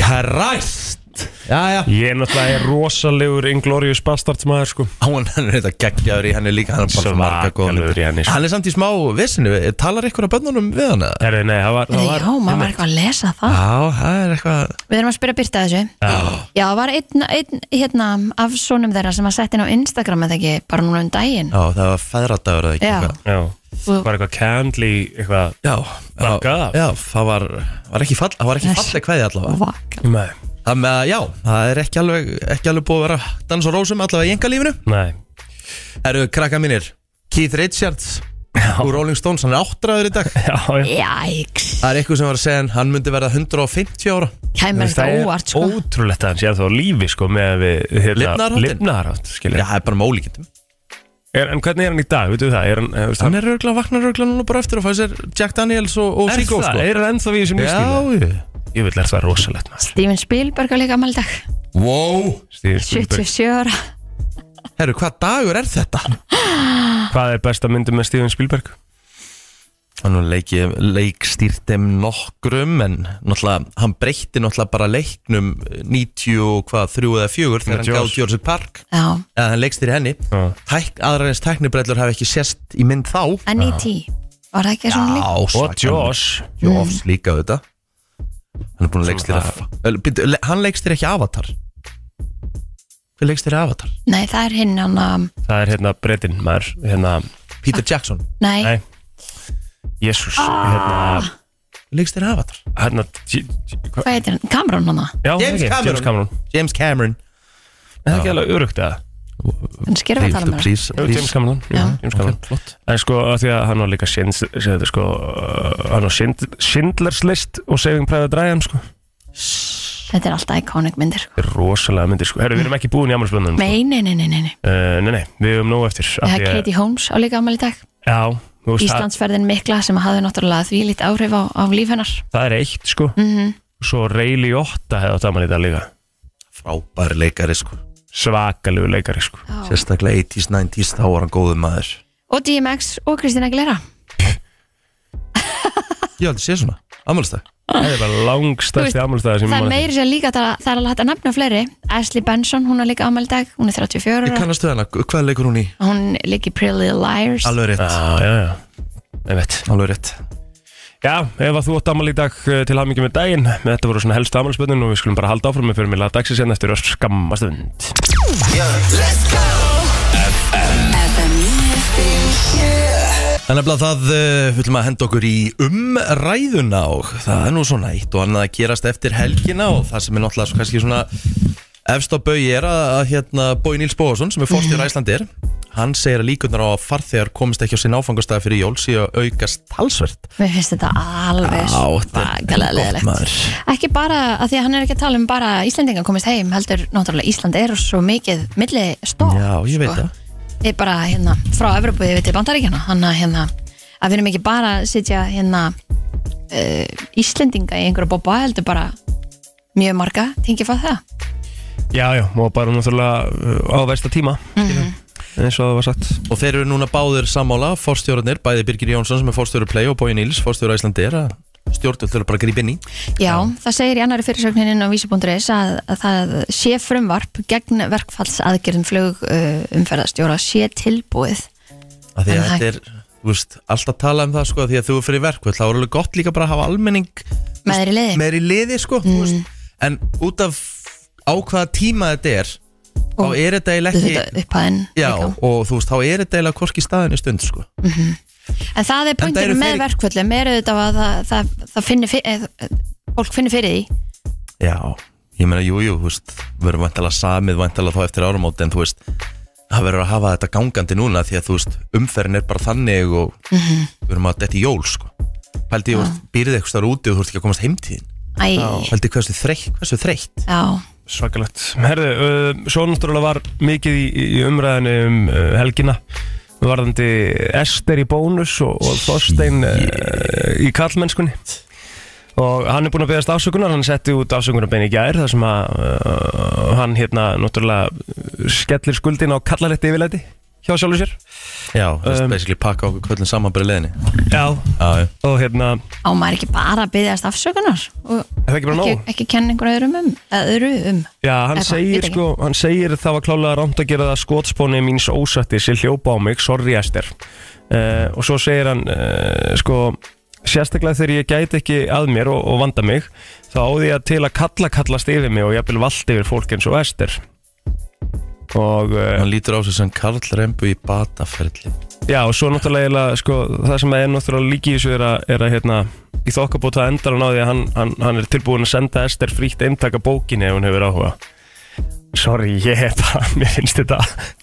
Speaker 1: Christ
Speaker 3: Bastard
Speaker 1: Já, já
Speaker 3: Ég er náttúrulega rosalegur Inglorious Bastard maður sko
Speaker 1: Hún hann er þetta geggjaður í henni líka Hann er bara
Speaker 3: Svakalegur
Speaker 1: marga góðan
Speaker 3: í henni, sko.
Speaker 1: Hann er samt í smá vissinu Talar ykkur af bönnunum við hann? eða?
Speaker 3: Herri, nei, það var, það var
Speaker 2: Já, maður var eitthvað að lesa það
Speaker 1: Já, það er eitthvað
Speaker 2: Við erum að spyrja Birta að þessu
Speaker 3: Já.
Speaker 2: Já, það var einn, einn hérna, af sonum þeirra sem að setja inn á Instagram eða ekki, bara núna um daginn
Speaker 1: Já, það var feðradagur eða ekki Ah,
Speaker 2: Já.
Speaker 1: eitthvað.
Speaker 3: Já,
Speaker 2: Og-
Speaker 3: var eitthvað Candley eitthvað
Speaker 1: Já,
Speaker 3: Bakka
Speaker 1: já,
Speaker 3: af.
Speaker 1: já, það var, var ekki fall, það var ekki
Speaker 2: Yes.
Speaker 1: falleg kveði allavega
Speaker 2: Vaka.
Speaker 3: Nei,
Speaker 1: Það með að, já, það er ekki alveg, ekki alveg búið að vera dans og rósum allavega í enga lífinu
Speaker 3: nei *laughs*
Speaker 1: Eru krakka mínir, Keith Richards úr Rolling Stones, hann er áttræður í dag
Speaker 3: Já, já
Speaker 2: Jæks,
Speaker 1: Það er eitthvað sem var að segja hann, hann myndi verða 150 ára
Speaker 2: kæmur
Speaker 3: Þú veist,
Speaker 2: þetta óvart sko
Speaker 3: ótrúlegt að hann sé að þá á lífi sko með að við
Speaker 1: Lifnaðarháttinn?
Speaker 3: Lipnaðarhátt,
Speaker 1: Já,
Speaker 3: skilja
Speaker 1: það er bara með ólíkindum
Speaker 3: er, En hvernig er hann í dag, veitum við það? Er hann, er, veist,
Speaker 1: Hann er rauglega, vaknar rauglega núna bara eftir að fæða sér Jack Daniels og, og
Speaker 3: er
Speaker 1: Siggo
Speaker 3: það,
Speaker 1: sko
Speaker 3: er hann ennþá við þessum lífstíl?
Speaker 1: Já, ég-
Speaker 3: Ég vil er það rosalegt maður
Speaker 2: Steven Spielberg á líka amaldag
Speaker 1: wow
Speaker 3: Steven Spielberg.
Speaker 2: 77 ára
Speaker 1: Herru, hvað dagur er þetta?
Speaker 3: Hvað er besta myndum með Steven Spielberg?
Speaker 1: Hann leik, leikstýrt þeim nokkrum en náttúrulega, hann breytti náttúrulega bara leiknum 90 og hvað, 3 eða 4 þegar
Speaker 3: Með
Speaker 1: hann gáði
Speaker 3: Jaws.
Speaker 1: Jurassic Park
Speaker 2: Já,
Speaker 1: eða hann leikstýri henni
Speaker 3: Já.
Speaker 1: Tæk, aðrar eins tæknibrellur hafi ekki sést í mynd þá
Speaker 2: N.E.T. E Var það ekki svona líka?
Speaker 3: Og Josh
Speaker 1: Joss líka auðvitað Hann er búin að leikstýra Ö, bíddu, le- Hann leikstýra ekki Avatar Hver leikstýra Avatar?
Speaker 2: Nei, það er hinn hann um, að
Speaker 3: Það er hérna Brettin, maður Hérna,
Speaker 1: Peter Jackson
Speaker 2: Nei, Ah.
Speaker 3: nei Jésús, hérna
Speaker 1: Leikstýra Avatar
Speaker 3: Hérna, J- J- hvað-
Speaker 2: hvað heitir hann? Cameron hann að?
Speaker 3: já,
Speaker 1: James
Speaker 3: ekki,
Speaker 1: Cameron.
Speaker 3: James Cameron
Speaker 1: James Cameron
Speaker 3: Er það ekki alveg örugt eða?
Speaker 2: Hann skýrfa að tala með hann
Speaker 1: please,
Speaker 3: Jú, James Cameron, jú,
Speaker 2: Já.
Speaker 3: James Cameron.
Speaker 1: flott
Speaker 3: En sko, af því að hann var líka Schind- sem þetta, sko, uh, hann var Schind- Schindlers list og Saving Private Ryan sko.
Speaker 2: Þetta er alltaf iconic myndir sko.
Speaker 3: Þetta er rosalega myndir sko. Herru, við erum ekki búin í ámælspöndunum sko.
Speaker 2: Nei, nei, nei, nei, nei, nei.
Speaker 3: uh, Nei, nei, við erum nóg eftir af
Speaker 2: Það
Speaker 3: því
Speaker 2: er
Speaker 3: að-
Speaker 2: Katie Holmes á líka amal í dag
Speaker 3: Já, þú veist, það,
Speaker 2: Íslandsferðin mikla sem hafði náttúrulega því lít áhrif á, á líf hennar
Speaker 3: það er eitt sko.
Speaker 2: Mhm.
Speaker 3: Svo Rayleigh Otta hefði átt afmæli í dag líka
Speaker 1: Frábær leikari sko
Speaker 3: Svakalegu leikari sko.
Speaker 2: Já.
Speaker 1: Sérstaklega 80s, 90s, þá var hann góður maður
Speaker 2: Og DMX og Kristina Aguilera
Speaker 1: Ég aldrei sé svona, ammálstag
Speaker 3: Það er bara langstæsti
Speaker 2: Ah. Þú
Speaker 3: afmælstæði
Speaker 2: Það er
Speaker 3: sem ég man eftir.
Speaker 2: meiri sem líka, það, það er alveg hægt að nefna fleiri Ashley Benson, hún er líka amal í dag Hún er 34
Speaker 1: Ég
Speaker 2: ára
Speaker 1: kannastu hana, hvað leikur hún í?
Speaker 2: Hún er líka í Pretty Little Liars
Speaker 1: Alveg rétt,
Speaker 3: Já, já, já Ég veit
Speaker 1: alveg rétt
Speaker 3: Já, ef að þú átt afmæli í dag uh, til hamingi með daginn Þetta voru svona helstu afmælspöndun og við skulum bara halda áfram með fyrir mig laða dagsins hérna eftir öll skammastund
Speaker 4: FM 957
Speaker 1: En nefnilega það uh, viljum að henda okkur í umræðuna og það er nú svona eitt og annað að gerast eftir helgina og það sem er náttúrulega svo kannski svona efst á bau er að, að hérna Bói Níls Bóðarsson sem er fórstjór Æslandir hann segir að líkunar á að farþegar komist ekki á sinn áfangastæði fyrir jól síðan aukast talsvert
Speaker 2: Mér finnst þetta alveg svakalega leðilegt Ekki bara, að því að hann er ekki að tala um bara Íslendingar komist heim, heldur náttúrulega Ísland er svo mikið sko. milli stóð
Speaker 1: Já, ég veit það
Speaker 2: Ég er bara hérna frá Evropu yfir til Bandaríkjana Þannig að hérna, að við erum ekki bara að sitja hérna uh, Íslendinga í einhverju bópa heldur bara mjög marga, tengi fæð það
Speaker 3: Já, já, og bara náttúrulega uh, á versta tíma
Speaker 2: Mhm.
Speaker 3: eins og það var sagt
Speaker 1: Og þeir eru núna báðir sammála, fórstjórarnir, bæði Birgir Jónsson sem er fórstjóru Play og Bói Níls, fórstjóru Æslandir að stjórnvöld þurfa bara að grípa inn í
Speaker 2: Já, það segir í annari fyrirsögnininn á vísi.is að, að það sé frumvarp gegn verkfallsaðgerðum flug uh, umferðarstjóra sé tilbúið
Speaker 1: að því að
Speaker 2: En það-
Speaker 1: þetta er þú veist, alltaf tala um það sko, að því að þú er fyrir verkvöld þá er alveg gott líka bara að hafa almenning
Speaker 2: með þeirri liði
Speaker 1: meir í liði sko, þú veist,
Speaker 2: Mm.
Speaker 1: en út af á hvaða tíma þetta er þá
Speaker 2: Og
Speaker 1: er þetta eiginlega
Speaker 2: auðvitað
Speaker 1: ekki
Speaker 2: upphæðin
Speaker 1: já,
Speaker 2: líka.
Speaker 1: og þú veist, þá er þetta eiginlega hvorki staðinu stund sko.
Speaker 2: en það er
Speaker 1: Enda eru
Speaker 2: pointur með
Speaker 1: þeir-
Speaker 2: verkvöldum er auðvitað að það, það, það finnir fyrir, fólk finnir fyrir því
Speaker 1: já, ég meina, jú, jú, þú veist verðum vantalega samið, vantalega þá eftir áramót en þú veist, það verður að hafa þetta gangandi núna því að þú veist, umferðin er bara þannig og við verðum að þetta í jól sko. Pældi, ég, þú veist, býrði eitthvað starf úti og þú veist ekki að komast heimtíðin
Speaker 2: Æ,
Speaker 1: Pældi, hversu þreytt, hversu þreytt
Speaker 2: já,
Speaker 3: Svakalegt Herðu, uh, svo náttúrulega var mikið í, í umræðinu um uh, helgina varðandi Ester í bónus og, og Þorstein uh, í kallmennskunni og hann er búinn að beðast afsökunar hann setti út afsökunarbein í gær þar sem að uh, hann hérna náttúrulega uh, skellir skuldin á kallarétti yfirleiti hjá sjálfur sér
Speaker 1: Já, þú veist,
Speaker 3: Um,
Speaker 1: basically pakka okkur kvöldin saman bara í leðinni
Speaker 3: Já
Speaker 1: Já, já
Speaker 3: Og hérna,
Speaker 2: á maður ekki bara að byggjast afsökunar og
Speaker 3: er það ekki bara nóg?
Speaker 2: ekki, ekki kenna einhverju öðrum um, eða öðru um
Speaker 3: Já, hann
Speaker 2: Eða hvað,
Speaker 3: segir
Speaker 2: veit ekki.
Speaker 3: sko, hann segir það var klálega rámt að gera það skotspóni míns ósætti sem hljópa á mig, sorry Ester uh, og svo segir hann uh, sko, sérstaklega þegar ég gæti ekki að mér og, og vanda mig þá áði ég til að kalla kallast yfir mig og jafnvel valdi yfir fólk eins og Ester og uh,
Speaker 1: Hann lítur á sig sem Karl Rembu í bataferli
Speaker 3: Já, og svo náttúrulega eiginlega, sko, það sem er náttúrulega líki í þessu er að, er að hérna, í þokkabót það endar hann á því að hann, hann, hann er tilbúin að senda Ester frítt eintaka bókinni ef hún hefur áhuga Sorry, ég er bara, *laughs* mér finnst þetta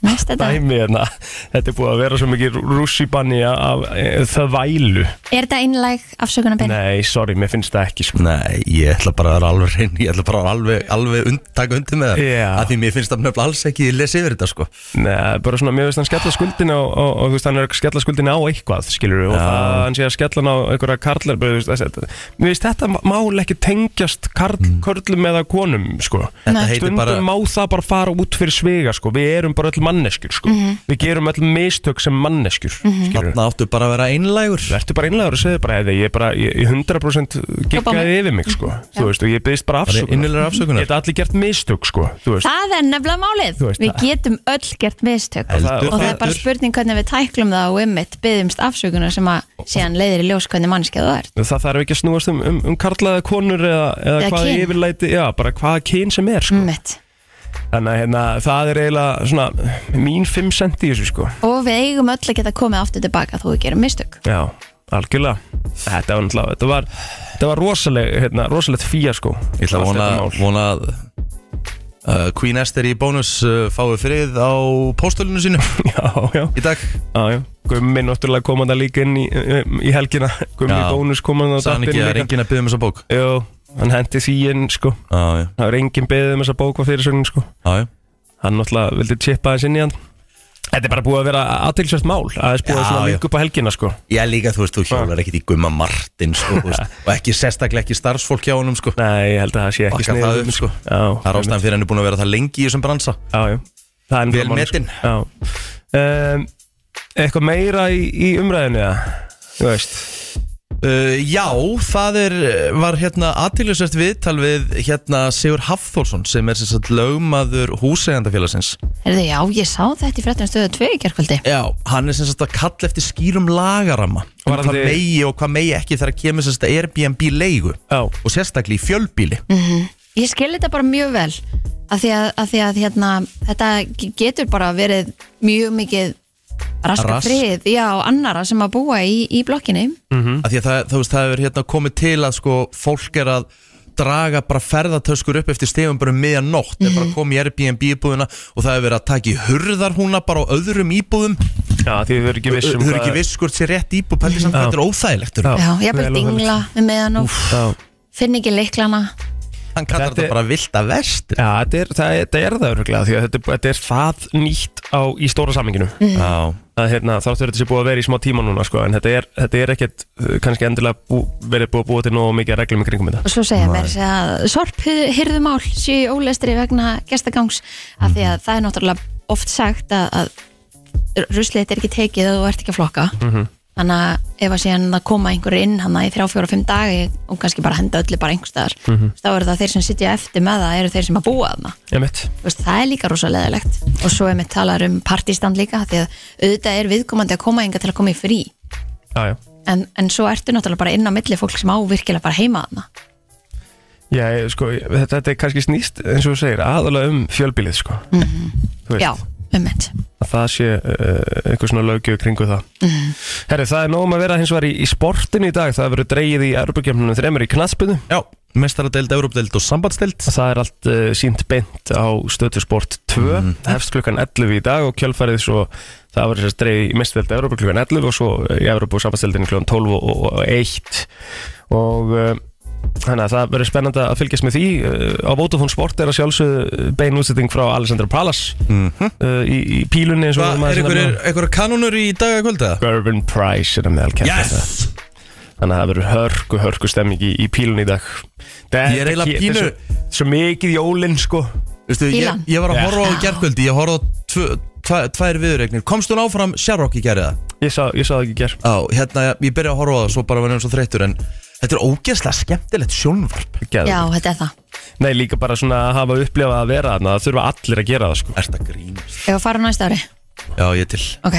Speaker 2: mest þetta,
Speaker 3: dæmi hérna Þetta er búið að vera svo mikið rússibanni af e, það vælu
Speaker 2: er þetta einlæg afsökunarbein?
Speaker 3: Nei, sorry, mér finnst það ekki sko.
Speaker 1: Nei, ég ætla bara að vera alveg reyn Ég ætla bara að alveg, alveg und, taka undir með það
Speaker 3: Já.
Speaker 1: Af Því mér finnst það nefnilega alls ekki lesa yfir þetta sko
Speaker 3: Nei, bara svona, mér finnst hann skella skuldin og, og, og þú veist, hann er að skella skuldin á eitthvað, skilur og
Speaker 1: Já.
Speaker 3: það að hann sé að skella hann á einhverja karlar bara, þú veist, þessi- mér finnst þetta mál ekki tengjast karl, körlum eða konum, sko
Speaker 1: Mm. Þetta
Speaker 2: Nei.
Speaker 1: heitir
Speaker 3: stundum
Speaker 1: bara
Speaker 3: má það bara fara út fyrir svega sko. við erum bara öll manneskjur sko. við gerum öll mistök sem manneskjur mm
Speaker 1: Þarna áttu bara að vera einlægur
Speaker 3: verður bara einlegaður og segir bara, "Heyrðu, ég, er bara ég, ég 100% giggaði yfir mig sko. þú veist, og ég byrðist bara
Speaker 1: Bara
Speaker 3: afsökunar
Speaker 1: innilegar afsökunar
Speaker 3: geta allir gert mistök sko. þú veist
Speaker 2: Það er nefnilega málið,
Speaker 3: Þú veist
Speaker 2: við
Speaker 3: það.
Speaker 2: getum öll gert mistök
Speaker 1: Heldur
Speaker 2: og það er bara
Speaker 1: betur.
Speaker 2: spurning hvernig við tæklum það og ummitt byggðumst afsökunar sem að síðan leiðir í ljós hvernig mannskið þú ert
Speaker 3: Það þarf ekki að snúast um, um, um karlaða konur eða, eða
Speaker 2: Eða
Speaker 3: hvað
Speaker 2: kyn.
Speaker 3: yfirleiti, já, bara hvað kyn sem er, sko.
Speaker 2: ummitt
Speaker 3: Þannig að hérna, það er eiginlega svona mín 5 cent í þessu, sko.
Speaker 2: og við eigum öll að geta komið aftur tilbaka þó við gerum mistök
Speaker 3: Já, algjörlega Þetta var náttúrulega, þetta var, þetta var rosaleg, hérna, rosalegt fíja sko
Speaker 1: Ég ætla að vona, vona að uh, Queen Esther í bónus uh, fái frið á póstulinu *laughs* sínu
Speaker 3: *laughs* Já, já,
Speaker 1: í dag
Speaker 3: já, já Gummi náttúrulega kom hann líka inn í, um, í helgina Gummi
Speaker 1: Já.
Speaker 3: bónus kom hann á
Speaker 1: Sann ekki að reyngin að byggja um þessa bók
Speaker 3: Jú, hann hendi því inn sko
Speaker 1: Já, já,
Speaker 3: Það var engin beðið um þessa bók á fyrirsögnin sko
Speaker 1: já, já
Speaker 3: Hann náttúrulega vildi tippa hans inn í hann Þetta er bara búið að vera aðtilsvært mál Aðeins búið
Speaker 1: Já,
Speaker 3: að svona
Speaker 1: já.
Speaker 3: mink upp á helgina sko
Speaker 1: Já líka, þú veist, þú hjólar ekkit í Gumma Martin sko, *laughs* þú veist, og ekki sérstaklega ekki starfsfólk hjá honum sko.
Speaker 3: Nei, ég held að það sé ekki
Speaker 1: Bakka
Speaker 3: sniðugt.
Speaker 1: það upp sko.
Speaker 3: Já,
Speaker 1: Það er ástæðan fyrir henni búin að vera það lengi í þessum bransa
Speaker 3: Já, já. Það er ennþá
Speaker 1: Vel
Speaker 3: málið,
Speaker 1: metin.
Speaker 3: sko. Já. Um, eitthvað meira í, í umræðinu eða? Þú veist.
Speaker 1: uh, Já, það er, var hérna aðtilisvært viðtal við hérna Sigur Hafþórsson sem er sem sagt lögmaður húsegandafélagsins
Speaker 2: Herðu, já, ég sá þetta í fréttum stöðu 2 í gerkvöldi
Speaker 1: Já, hann er sem sagt að kalla eftir skýrum lagarama um
Speaker 3: Varðandi-
Speaker 1: hvað megi og hvað megi ekki þegar kemur sem sagt að Airbnb leigu
Speaker 3: Já.
Speaker 1: og sérstaklega í fjölbíli
Speaker 2: Ég skil þetta bara mjög vel að því að, að, því að hérna, þetta getur bara verið mjög mikið raska
Speaker 1: Rask.
Speaker 2: frið já, og annara sem að búa í, í blokkinni
Speaker 1: mm. að því að það, þú veist, það er hérna komið til að sko fólk er að draga bara ferðartöskur upp eftir stegum bara um miðan nótt, mm bara komið í Airbnb íbúðuna og það hefur verið að taka í hurðarhúna bara á öðrum íbúðum
Speaker 3: Já, því þau eru ekki
Speaker 1: þau
Speaker 3: vissum
Speaker 1: eru ekki viss um hvort sér rétt íbúð pældi samt þetta er óþægilegt þú veist.
Speaker 2: Já, ég er bara dingla með meðan og
Speaker 3: Já,
Speaker 2: finn ekki leiklana
Speaker 1: hann kallar
Speaker 3: Þetta
Speaker 1: þetta,
Speaker 3: er-
Speaker 1: bara vilda vest
Speaker 3: já þetta, er, það, er- þetta er það öruglega því að þetta, er- þetta er það nýtt á, í stóra samminginu
Speaker 1: Mm. Já,
Speaker 3: að hérna, þáttur þetta sé búið að vera í smá tíma núna sko, en þetta er, þetta er ekkert uh, kannski endilega bú, verið búið að búið til nógu mikið reglum í kringum þetta
Speaker 2: og svo segja mér að sorp hirðumál séu í ólestri vegna gestagangs af því
Speaker 3: Mhm.
Speaker 2: að það er náttúrulega oft sagt að, að ruslið er ekki tekið og þú ert ekki að flokka
Speaker 3: Mhm.
Speaker 2: þannig að ef að síðan það koma einhverju inn hann í þrjá, fjóra, fimm dagi og kannski bara henda öllu bara einhverstaðar mm
Speaker 3: Mhm.
Speaker 2: þá eru það þeir sem sitja eftir með það eru þeir sem að búa þarna
Speaker 3: Emitt.
Speaker 2: Þú veist, það er líka rosa leðilegt og svo er með talar um partístand líka af því að auðvitað er viðkomandi að koma enga til að koma í frí
Speaker 3: Já, já.
Speaker 2: en, en svo ertu náttúrulega bara inn á milli fólk sem á virkilega bara heima þarna
Speaker 3: Já, ég- sko, ég- þetta, þetta er kannski snýst eins og þú segir, aðalega um fjölbílið sko. Þú veist.
Speaker 2: já, ummitt
Speaker 3: að það sé uh, eitthvað svona lögjöf kringu það Herri, það er nógum að vera hins vegar í, í sportinu í dag það verður dreigið í Europakemnunum þremur í knaspinu
Speaker 1: já mestaradeild, európdeild og sambandsdeild
Speaker 3: það er allt uh, sínt beint á stötu sport 2
Speaker 1: Mhm.
Speaker 3: hefst klukkan 11 í dag og kjölfarið svo það verður sérst dreigið í mestvelda Europa klukkan 11 og svo í Europa og sambandsdeildinu klukkan 12 og, og, og 1 og uh, Þannig að það verður spennandi að fylgjast með því Uh, á Vodafone Sport er að sjálfsögðu bein útsetting frá Alessandra Palace uh, í, í pílunni eins og
Speaker 1: Hvað,
Speaker 3: maður
Speaker 1: Mhm. er
Speaker 3: sem nefnir.
Speaker 1: einhverjir einhverjir kanónur í dag að kvölda?
Speaker 3: Bourbon Prize er að meðal kemta Þannig að það verður hörku, hörku stemming í, í pílun í dag það,
Speaker 1: Ég er eiginlega
Speaker 3: Svo, svo mikið jólinn sko
Speaker 1: Vistu, ég,
Speaker 2: Fílan.
Speaker 1: ég var að
Speaker 3: Já.
Speaker 1: horfa á gerkvöldi, ég horfa á tvö- tva- tvær viðregnir Komst hún áfram Sjarokk í gerði það?
Speaker 3: Ég sá, ég sá það ekki ger
Speaker 1: Já, hérna, ég byrja að horfa á það Svo bara var ég svo þreyttur En þetta er ógeðslega skemmtilegt sjónvarp
Speaker 2: Já, þetta er það
Speaker 3: Nei, líka bara svona að hafa upplifað að vera þarna Það þurfa allir að gera það sko
Speaker 1: Er þetta grínast?
Speaker 2: Ef að fara á næsta ári
Speaker 1: Já, ég til
Speaker 2: Ok,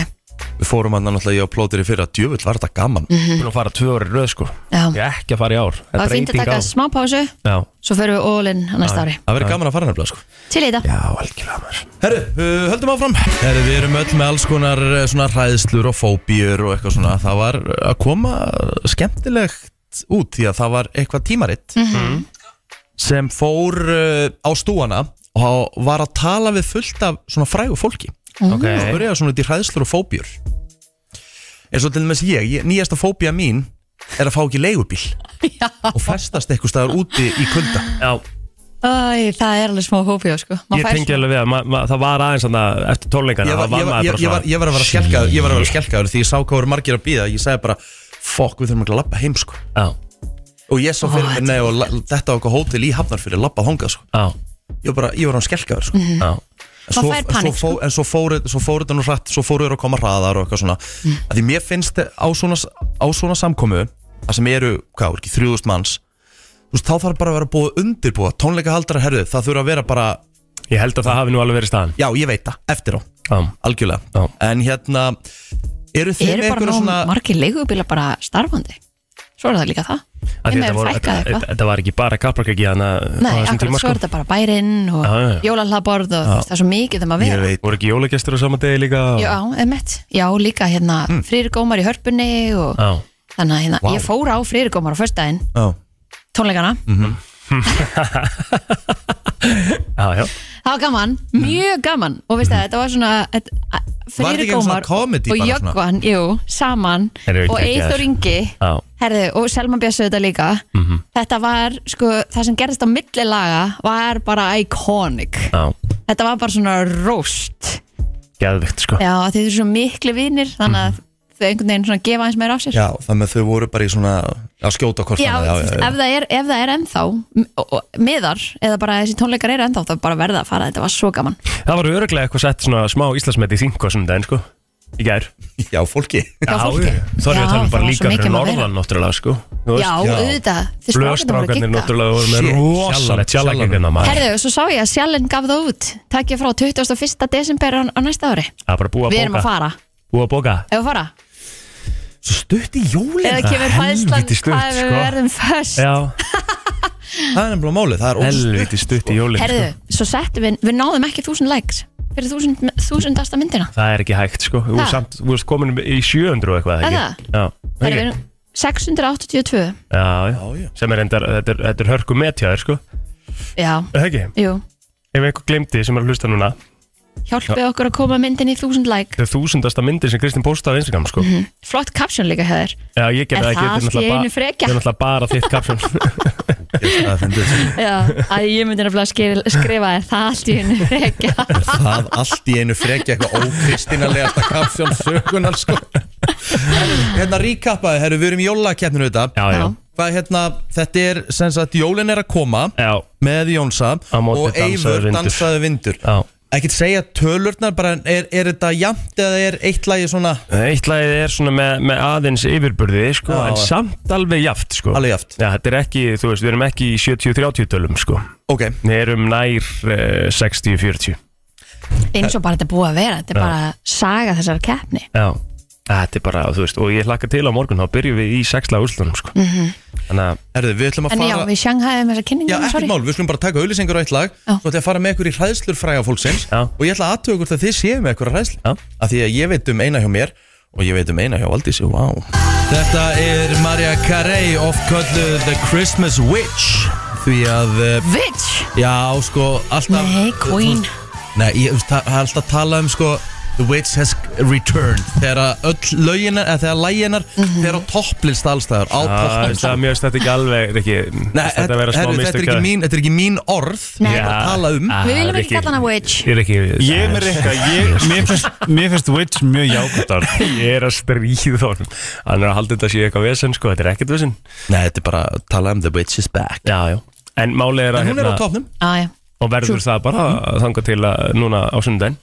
Speaker 1: Við fórum hann náttúrulega ég á plótir í fyrra Djöfull var þetta gaman
Speaker 3: Búin að fara tvö ári röð sko
Speaker 2: Mhm. já
Speaker 3: Ég er ekki að fara í ár
Speaker 2: Það
Speaker 3: er
Speaker 2: er fínt að
Speaker 3: breyting
Speaker 2: taka
Speaker 3: á.
Speaker 2: smá pásu
Speaker 3: Já,
Speaker 2: Svo förum við all in á næsta ári
Speaker 1: Það verið gaman að fara nefnilega sko
Speaker 2: Til í þetta
Speaker 3: já algjörlega maður
Speaker 1: Herru, uh, höldum áfram Herru, við erum öll með alls konar eh, svona hræðslur og fóbíur og eitthvað svona Það var eh, að koma skemmtilegt út því að það var eitthvað tímaritt sem fór uh, á stúana og var að tala við fullt af svona frægu fólki
Speaker 2: Mhm.
Speaker 3: Ok,
Speaker 1: Það byrjaði svona út í hræðslur og fóbíur eins og til dæmis ég, ég nýjasta fóbía mín er að fá ekki leigubíl
Speaker 2: Já.
Speaker 1: og festast eitthvað staðar úti í kulda
Speaker 3: já
Speaker 2: Æ, það er alveg smá hópjó sko Má
Speaker 3: Ég tengi alveg við að ma, ma, það var aðeins þarna eftir tólningana
Speaker 1: ég var,
Speaker 3: það
Speaker 1: ég, var,
Speaker 3: maður
Speaker 1: ég,
Speaker 3: bara
Speaker 1: ég, var,
Speaker 3: svona-
Speaker 1: ég var að vera skelkaður Ég var að vera skelkaður því ég sá hvað voru margir að býða Ég sagði bara, fokk, við þurfum ekki að labba heim sko
Speaker 3: Já,
Speaker 1: Og ég sá fyrir
Speaker 2: Ó,
Speaker 1: mér, nei, og la, þetta á eitthvað hótel í Hafnar fyrir Labbað hongað sko
Speaker 3: já,
Speaker 1: Ég var bara, ég var að skelkaður sko
Speaker 2: Mhm.
Speaker 3: já
Speaker 1: En
Speaker 2: Maður Mm. fær panik,
Speaker 1: svo,
Speaker 2: sko?
Speaker 1: fó, En svo fóru, svo fóru þetta nú hratt Svo fóru þeir að koma hraðar og eitthvað svona mm. Því mér finnst á svona, á svona samkomu Það sem eru, hvað, voru ekki, þrjúðust manns Þú veist, þá þarf bara að vera búið að undirbúa Tónleika haldara herðu, það þurfa að vera bara
Speaker 3: Ég held að það hafi nú alveg verið staðan
Speaker 1: Já, ég veit það, eftir á,
Speaker 3: Já,
Speaker 1: algjörlega
Speaker 3: Já.
Speaker 1: En hérna, eru þið með
Speaker 2: Eru bara
Speaker 1: einhverja
Speaker 2: nóg
Speaker 1: svona
Speaker 2: margir leigubíla bara starfandi Svo er það líka það
Speaker 3: Af því
Speaker 2: Þeim
Speaker 3: þetta
Speaker 2: hefur
Speaker 3: voru-
Speaker 2: fækkað
Speaker 3: þetta-
Speaker 2: eitthvað.
Speaker 3: þetta- Þetta var ekki bara kaplakrækki hana
Speaker 2: Nei,
Speaker 3: á þessum
Speaker 2: akkurat
Speaker 3: tíma
Speaker 2: svo
Speaker 3: sko Ah,
Speaker 2: er þetta bara bærinn og
Speaker 3: Já, já, já.
Speaker 2: jólahlaðborð og þú veist, það er svo mikið þeim að
Speaker 1: Ég
Speaker 2: vera
Speaker 1: veit
Speaker 3: Voru ekki jólagestur á sama degi líka og-
Speaker 2: Já, emitt, já líka hérna
Speaker 3: Hmm.
Speaker 2: frýri gómar í hörpunni og
Speaker 3: Já,
Speaker 2: þannig að hérna,
Speaker 1: Vá.
Speaker 2: ég fór á frýri gómar á föstudaginn,
Speaker 1: Já,
Speaker 2: tónleikana
Speaker 3: já, já
Speaker 2: það var gaman, mjög gaman og veist það, þetta var svona
Speaker 1: Var þetta
Speaker 2: frýri
Speaker 1: ekki svona
Speaker 2: gómar
Speaker 1: comedy
Speaker 2: og
Speaker 1: bara svona?
Speaker 2: Jökvan, jú, saman
Speaker 3: Heyrðu,
Speaker 2: og
Speaker 3: geggjaður.
Speaker 2: Eithor Ingi
Speaker 3: Já,
Speaker 2: herðu, og Selma Bjössu þetta líka þetta var, sko, það sem gerðist á milli laga var bara iconic
Speaker 3: já,
Speaker 2: þetta var bara svona roast
Speaker 3: geðvikt sko
Speaker 2: já, af því þau eru svo miklu vinir þannig að þau einhvern veginn svona gefa eins meira af sér
Speaker 1: já þannig að þau voru bara í svona að skjóta hvort
Speaker 2: Já,
Speaker 1: annað,
Speaker 2: þú veist, Ef, það er, ef það er ennþá m- og- og- miðar, eða bara þessi tónleikar eru ennþá þá bara verða að fara, þetta var svo gaman
Speaker 3: Það var öruglega eitthvað sett svona smá Íslandsmet í þingu á sundaginn sko Í gær
Speaker 1: já, já, fólki
Speaker 2: Já, fólki.
Speaker 3: Þá er ég
Speaker 2: Já,
Speaker 3: að tala um
Speaker 2: það var
Speaker 3: bara
Speaker 2: svo
Speaker 3: líka
Speaker 2: mikið
Speaker 3: fyrir
Speaker 2: um að vera.
Speaker 3: norðan náttúrulega sko Þú
Speaker 2: Já,
Speaker 1: já.
Speaker 2: auðvitað, þið
Speaker 3: Blöðstrákarnir
Speaker 2: strákarnir voru að gigga
Speaker 3: náttúrulega voru með
Speaker 1: Shit,
Speaker 3: rosalegt
Speaker 1: sjallan-
Speaker 3: sjálfengina maður
Speaker 2: Herðu, svo sá ég að sjálfinn gaf það út Takk ég frá 21. desember á, á næsta ári
Speaker 3: Það er bara búið
Speaker 2: Við erum að
Speaker 3: að bóka
Speaker 2: fara,
Speaker 3: Búið að bóka
Speaker 2: ef við fara
Speaker 1: Svo stutt í jólin
Speaker 2: Eða
Speaker 3: það
Speaker 2: kemur
Speaker 3: er
Speaker 2: fæðslan,
Speaker 3: helvítið stutt,
Speaker 2: hvað ef við
Speaker 3: sko.
Speaker 2: verðum föst
Speaker 3: Já,
Speaker 1: Það er nefnilega málið, það er
Speaker 3: helviti stutt í jólinn sko
Speaker 2: Herðu, svo settum við, við náðum ekki 1000 likes Fyrir 1000 þúsundasta myndina
Speaker 3: Það er ekki hægt sko Þú
Speaker 2: Ha?
Speaker 3: samt, þú veist komin í 700 og eitthvað
Speaker 2: Er
Speaker 3: ekki? Já,
Speaker 2: Herðu, við
Speaker 3: ekki?
Speaker 2: erum 682
Speaker 3: Já, já
Speaker 1: Já, já.
Speaker 3: Sem er endar, þetta er, þetta er hörku metjaður sko
Speaker 2: Já,
Speaker 3: Það ekki,
Speaker 2: jú,
Speaker 3: ef einhver glemdi sem er að hlusta núna
Speaker 2: hjálpið okkur að koma myndin í 1000 like
Speaker 3: Þetta er þúsundasta myndin sem Kristinn postaði á Instagram sko
Speaker 2: Mhm. flott caption líka hefur
Speaker 3: Já, ég
Speaker 2: Er
Speaker 3: gerði það ekki
Speaker 2: það
Speaker 3: þetta
Speaker 2: allt í
Speaker 3: náttúrulega
Speaker 2: einu
Speaker 3: ba-
Speaker 2: frekja?
Speaker 3: þetta er náttúrulega bara þitt
Speaker 2: *laughs*
Speaker 3: kapsjón
Speaker 1: óstutt
Speaker 2: Já, að ég myndi nefnilega skrifa, skrifa er það allt í *laughs* hennu frekja
Speaker 1: Það allt í einu frekja eitthvað ókristinalegasta kapsjón sögunar sko Herru, Hérna ríkappaði, herru, við erum í jólakeppninu þetta
Speaker 3: Já, já,
Speaker 1: Hvað hérna, þetta er sem sagt jólin er að koma
Speaker 3: já,
Speaker 1: með Jónsa
Speaker 3: Á móti
Speaker 1: og
Speaker 3: dansaði
Speaker 1: Eivur
Speaker 3: vindur.
Speaker 1: dansaði vindur
Speaker 3: já
Speaker 1: Ekkert segja tölurnar, bara er, er þetta jafnt eða er eitt lagi svona
Speaker 3: Eitt lagið er svona með, með aðeins yfirburði sko,
Speaker 1: Já,
Speaker 3: en
Speaker 1: já.
Speaker 3: samt alveg jaft sko.
Speaker 1: Alveg jaft.
Speaker 3: Já, þetta er ekki, þú veist, við erum ekki í 70-30 tölum sko.
Speaker 1: Ok,
Speaker 3: Við erum nær uh, 60-40 Já,
Speaker 2: eins og bara þetta er búið að vera þetta er bara saga þessar keppni
Speaker 3: þetta er bara, þú veist, og ég hlakka til á morgun þá byrjum við í sexla úrslunum sko.
Speaker 2: Mhm.
Speaker 3: -hmm. Þannig að,
Speaker 1: herru, við ætlum að
Speaker 2: en
Speaker 1: fara
Speaker 2: já, við sjanghæðum þessa
Speaker 1: Já,
Speaker 2: kynningum,
Speaker 1: ekkert
Speaker 2: um sorry
Speaker 1: mál, við skulum bara taka auðlýsingur á eitt lag
Speaker 2: Já.
Speaker 1: Svo ætla ég að fara með ykkur í hræðslur fræga fólksins
Speaker 3: Já.
Speaker 1: Og ég ætla að aðtöku hvort að þið séu með ykkur hræðslu
Speaker 3: Já.
Speaker 1: Af því að ég veit um eina hjá mér Og ég veit um eina hjá Aldísi, wow Þetta er Maria Carey ofkölluð The Christmas Witch Því að, eh,
Speaker 2: Vitch,
Speaker 1: já, sko, alltaf
Speaker 2: Nei, Queen.
Speaker 1: Nei, ég veist, það það er alltaf að tala um, sko The Witch has returned Þegar að öll löginar, eða þegar læginar
Speaker 2: Mhm.
Speaker 1: Þegar á topplist allstæðar Á
Speaker 3: að
Speaker 1: topplist
Speaker 3: það mjög þetta ekki alveg ekki,
Speaker 1: Nei,
Speaker 3: þetta vera smá
Speaker 1: herru, þetta er
Speaker 3: mistök
Speaker 1: ekki
Speaker 3: að-
Speaker 1: mín- þetta er ekki mín orð
Speaker 2: Nei.
Speaker 1: Ég er bara að tala um
Speaker 3: Ah,
Speaker 2: við viljum ekki
Speaker 3: Rikki.
Speaker 2: kalla hana Witch
Speaker 3: Ég er ekki
Speaker 5: Ég er með Rikka, ég- mér finnst- mér finnst Witch mjög jákvæmtar
Speaker 3: Ég er að stríða honum Hann er að halda þetta sé eitthvað vesen sko, þetta er ekkert vesen
Speaker 1: Nei, þetta er bara að tala um The Witch is back
Speaker 3: Já, já En málið er að
Speaker 1: hérna- En
Speaker 3: hérna,
Speaker 1: hún er á topnum
Speaker 2: ah,
Speaker 3: og verður það bara að þanga til að núna á sundaginn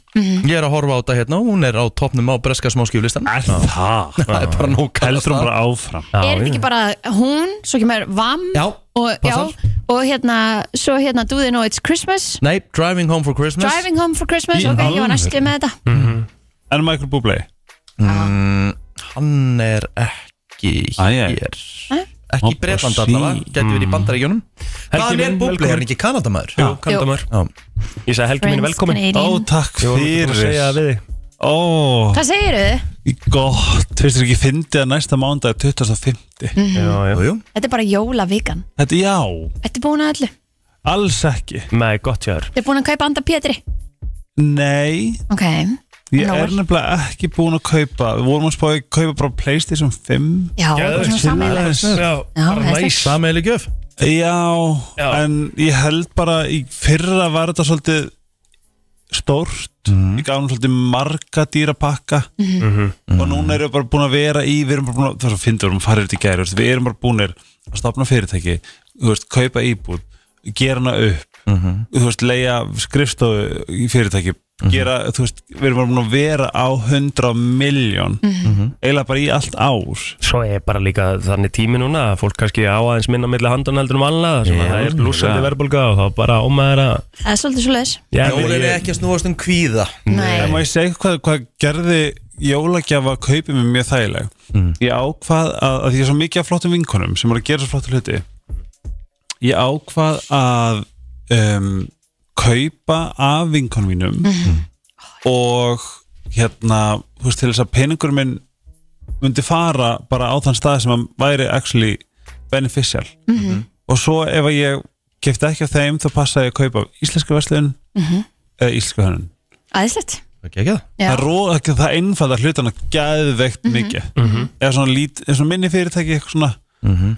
Speaker 1: Ég er að horfa á þetta hérna, hún er á topnum á breska smáskjúlistan
Speaker 5: Það
Speaker 1: Það er bara nóg kallast
Speaker 5: heldur hún
Speaker 1: það.
Speaker 5: bara áfram
Speaker 2: er þetta ekki bara hún, svo kemur Vam
Speaker 1: Já,
Speaker 2: og, já,
Speaker 1: passar.
Speaker 2: og hérna, svo hérna Do They Know It's Christmas
Speaker 1: Nei, Driving Home for Christmas
Speaker 2: Driving Home for Christmas,
Speaker 5: Í
Speaker 2: ok, ég var næstu
Speaker 5: alvöru?
Speaker 2: með þetta
Speaker 5: En Michael Bublé
Speaker 1: Hann er ekki
Speaker 5: Æ, æ.
Speaker 1: hér
Speaker 2: Nei.
Speaker 1: Ekki í Breitland allavega, getur verið í bandaríkjunum Hvaðan er
Speaker 3: minn,
Speaker 1: Búbli,
Speaker 3: velkomin.
Speaker 1: er hann ekki Kanadamaður?
Speaker 3: Jú, Kanadamaður.
Speaker 1: Já.
Speaker 3: Ég sagði Helgi mín
Speaker 2: Friends
Speaker 3: velkomin
Speaker 5: Ó,
Speaker 2: Canadian.
Speaker 5: takk
Speaker 3: Ég var ekki búin að segja það
Speaker 5: fyrir
Speaker 3: við þig.
Speaker 5: Ó,
Speaker 2: Hvað segir þau?
Speaker 5: gott Tvistur ekki fyndi að næsta mándag er
Speaker 2: Mhm.
Speaker 5: 2050
Speaker 3: Já, já.
Speaker 1: Jú, jú,
Speaker 2: Þetta er bara jólavíkan
Speaker 5: Þetta já,
Speaker 2: Þetta er búin að öllu Þetta
Speaker 5: alls ekki
Speaker 3: Nei, gott hjá þér
Speaker 2: er búin að kaupa handa Pétri
Speaker 5: Nei,
Speaker 2: Ok,
Speaker 5: ég
Speaker 2: Nóel.
Speaker 5: er nefnilega ekki búin að kaupa Við vorum að spáði að kaupa bara Playstation 5
Speaker 2: já,
Speaker 3: Geðveikt.
Speaker 2: það er svona sammeðlega
Speaker 5: Yes.
Speaker 2: Já,
Speaker 3: Já, bara
Speaker 2: það er
Speaker 3: næs.
Speaker 1: sameiginleg gjöf
Speaker 5: Já,
Speaker 3: Já.
Speaker 5: en ég held bara í fyrra var þetta svolítið stórt ég gaf hann svolítið marga dýrapakka og núna erum við bara búin að vera í við erum bara búin að, það er svo fyndið, við erum farið þetta í gæri við erum bara búinir að stopna fyrirtæki þú veist, kaupa íbúð, gera hana upp þú veist, leia skrifstofu í fyrirtæki gera, þú veist, við erum bara búin að vera á 100 miljón eiginlega bara í allt ár
Speaker 3: Svo er bara líka þannig tími núna að fólk kannski á aðeins minna milli handan heldur um alla sem
Speaker 1: Já,
Speaker 3: að það er blúsandi
Speaker 5: já.
Speaker 3: verðbólga og þá bara ómaður að
Speaker 2: Það er svolítið svoleiðis
Speaker 3: Já,
Speaker 1: Jólin
Speaker 3: ég-
Speaker 1: er ekki að snúast um kvíða
Speaker 5: En
Speaker 2: Nei,
Speaker 5: má ég segja hvað, hvað gerði jólagjafa kaupið mér mjög þægileg Ég ákvað að, að því ég er svo mikið af flottum vinkonum sem eru að gera svo flottu hluti Ég ákvað að um, kaupa af vinkonum mínum og hérna, þú veist, til þess að peningur minn myndi fara bara á þann stað sem hann væri actually beneficial og svo ef að ég kefti ekki af þeim þá passaði ég að kaupa af íslenska verslun eða íslenska hönnun
Speaker 2: aðeinslegt
Speaker 1: Ekki ekki það
Speaker 2: Já,
Speaker 5: það er róð, það, það einfalda hlutana gæðveikt mikið eða svona, lít, eða svona minni fyrirtæki eitthvað svona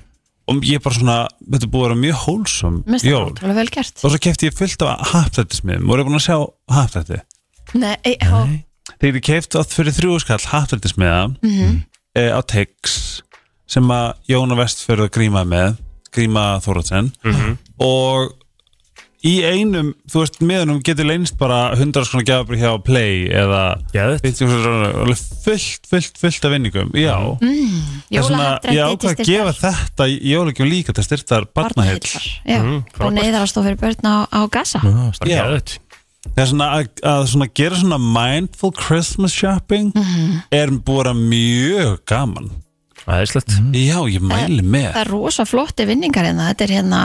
Speaker 5: og ég er bara svona, þetta er búið að vera mjög hólsum
Speaker 2: mér finnst það
Speaker 5: jól
Speaker 2: ótrúlega vel gert
Speaker 5: og svo kefti ég fullt af haptættismiðum og er búin að sjá haptætti
Speaker 2: Nei, e- ó,
Speaker 5: þegar ég kefti átt fyrir þrjú skall haptættismiða e, á Tex sem að Jóna Vestfjörð grímaði með gríma Þóratsen og í einum, þú veist, meðanum getur leynst bara 100 skona gjafabri hjá Play eða
Speaker 3: Geðveikt.
Speaker 5: 50 krónur, alveg fullt, fullt, fullt af vinningum já, þess vegna
Speaker 2: jólahandrætti
Speaker 5: ég ákvað að
Speaker 2: til
Speaker 5: gefa
Speaker 2: styrktar
Speaker 5: þetta jólagjöf líka til styrtar barnaheill
Speaker 2: barnaheillar. Já,
Speaker 3: Mm,
Speaker 2: og
Speaker 3: frábært.
Speaker 2: neyðarastóð fyrir börn á, á Gaza
Speaker 5: Mm.
Speaker 3: bara
Speaker 5: Já.
Speaker 3: geðut
Speaker 5: það er svona að, að svona gera svona mindful Christmas shopping
Speaker 2: Mhm.
Speaker 5: er búið að vera mjög gaman
Speaker 3: Það er slett
Speaker 5: já, ég mæli með
Speaker 2: Eh, Það er rosa flotti vinningar hérna Þetta er hérna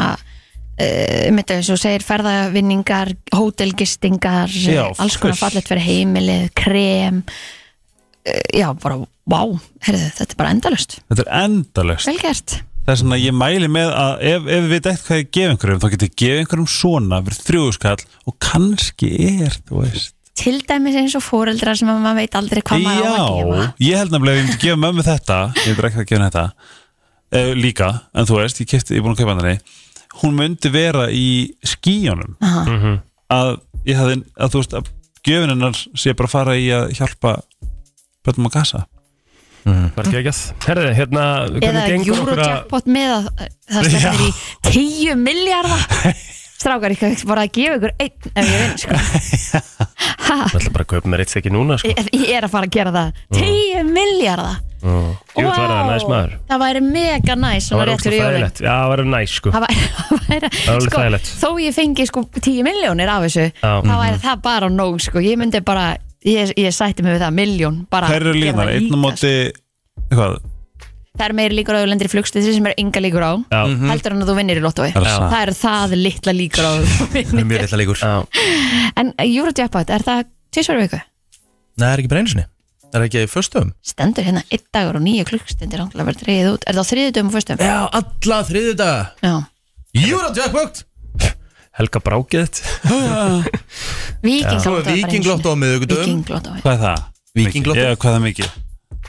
Speaker 2: Uh, mitt eins og þú segir ferðavinningar hótelgistingar
Speaker 5: Já,
Speaker 2: eh, alls konar
Speaker 5: fullt.
Speaker 2: fallet fyrir heimilið krem uh, já bara, wow, heyrðu, þetta er bara endalust
Speaker 5: þetta er endalust
Speaker 2: vel gert
Speaker 5: það er svona að ég mæli með að ef, ef við veit eitthvað ég gef einhverjum þá getur ég gefið einhverjum svona fyrir þrjú skall og kannski er, þú veist
Speaker 2: til dæmis eins og fóreldrar sem að maður veit aldrei hvað maður á að gefa
Speaker 5: Já, ég held nefnilega að ég myndi gefa mömmu þetta Ég myndi ekki að gefa henni þetta uh, Líka, en þú veist, ég, kefti, ég er búin að kaupa henni Hún myndi vera í skíjónum
Speaker 2: Aha.
Speaker 5: Að ég hafði, að þú veist, að gjöfin hennar sé bara að fara í að hjálpa Böndum að gasa
Speaker 3: Bara geggjað Herði, hérna
Speaker 2: eða
Speaker 3: hvernig gengur okkur að-
Speaker 2: Eurojackpot með að það
Speaker 3: *laughs*
Speaker 2: stefnir í 10 miljardar strákar, ég kann bara að gefa ykkur einn ef ég vinn sko.
Speaker 3: *laughs* Ég ætla bara að kaupa mér eitt stekki núna sko.
Speaker 2: ég, ég er að fara að gera það
Speaker 3: Mm.
Speaker 2: 10 miljardar
Speaker 3: Jú, það er það, næs maður
Speaker 2: það væri mega næs
Speaker 3: Það
Speaker 2: svona
Speaker 3: var
Speaker 2: rétt fyrir
Speaker 3: ógeðslega
Speaker 2: jólin.
Speaker 3: þægilegt. Já, það var næs sko
Speaker 2: það væri, *laughs* það væri,
Speaker 3: Það væri
Speaker 2: sko,
Speaker 3: þægilegt.
Speaker 2: þó ég fengi sko 10 miljónir af þessu
Speaker 3: Já. Mhm.
Speaker 2: þá væri það bara nóg sko. ég myndi bara, ég, ég sætti mig við það miljón bara
Speaker 5: Hver eru
Speaker 2: gera það
Speaker 5: línar, einn á
Speaker 2: líka, sko.
Speaker 5: móti Eitthvað,
Speaker 2: það er meiri líkur á auðlendir flugstisri sem er ynga líkur á
Speaker 3: Já.
Speaker 2: heldur hann að þú vinnir í lottói
Speaker 5: það Mhm. er
Speaker 3: Já.
Speaker 5: sann
Speaker 2: það eru það litla líkur á að þú
Speaker 5: *laughs*
Speaker 1: Það er
Speaker 2: vinnir.
Speaker 1: mjög litla leikur Nei,
Speaker 3: Já.
Speaker 2: en eh, Eurojackpot, er það tvisvar í viku?
Speaker 1: það er ekki bara einu sinni Það er ekki í föstum
Speaker 2: stendur hérna, einn dagur og nýja klukkstundir hann verður dreigð út, er það á þriðutum og fyrstum?
Speaker 1: Já, alla þriðjudaga
Speaker 2: Já.
Speaker 1: Eurojackpot
Speaker 3: Helga brákið þitt
Speaker 2: Viking
Speaker 1: Svo
Speaker 2: lottó
Speaker 1: er Vikinglott á miðugudum
Speaker 2: Viking lottó
Speaker 5: Hvað er það?
Speaker 1: Víkinglotto.
Speaker 5: Mikið? Já, hvað er það mikið?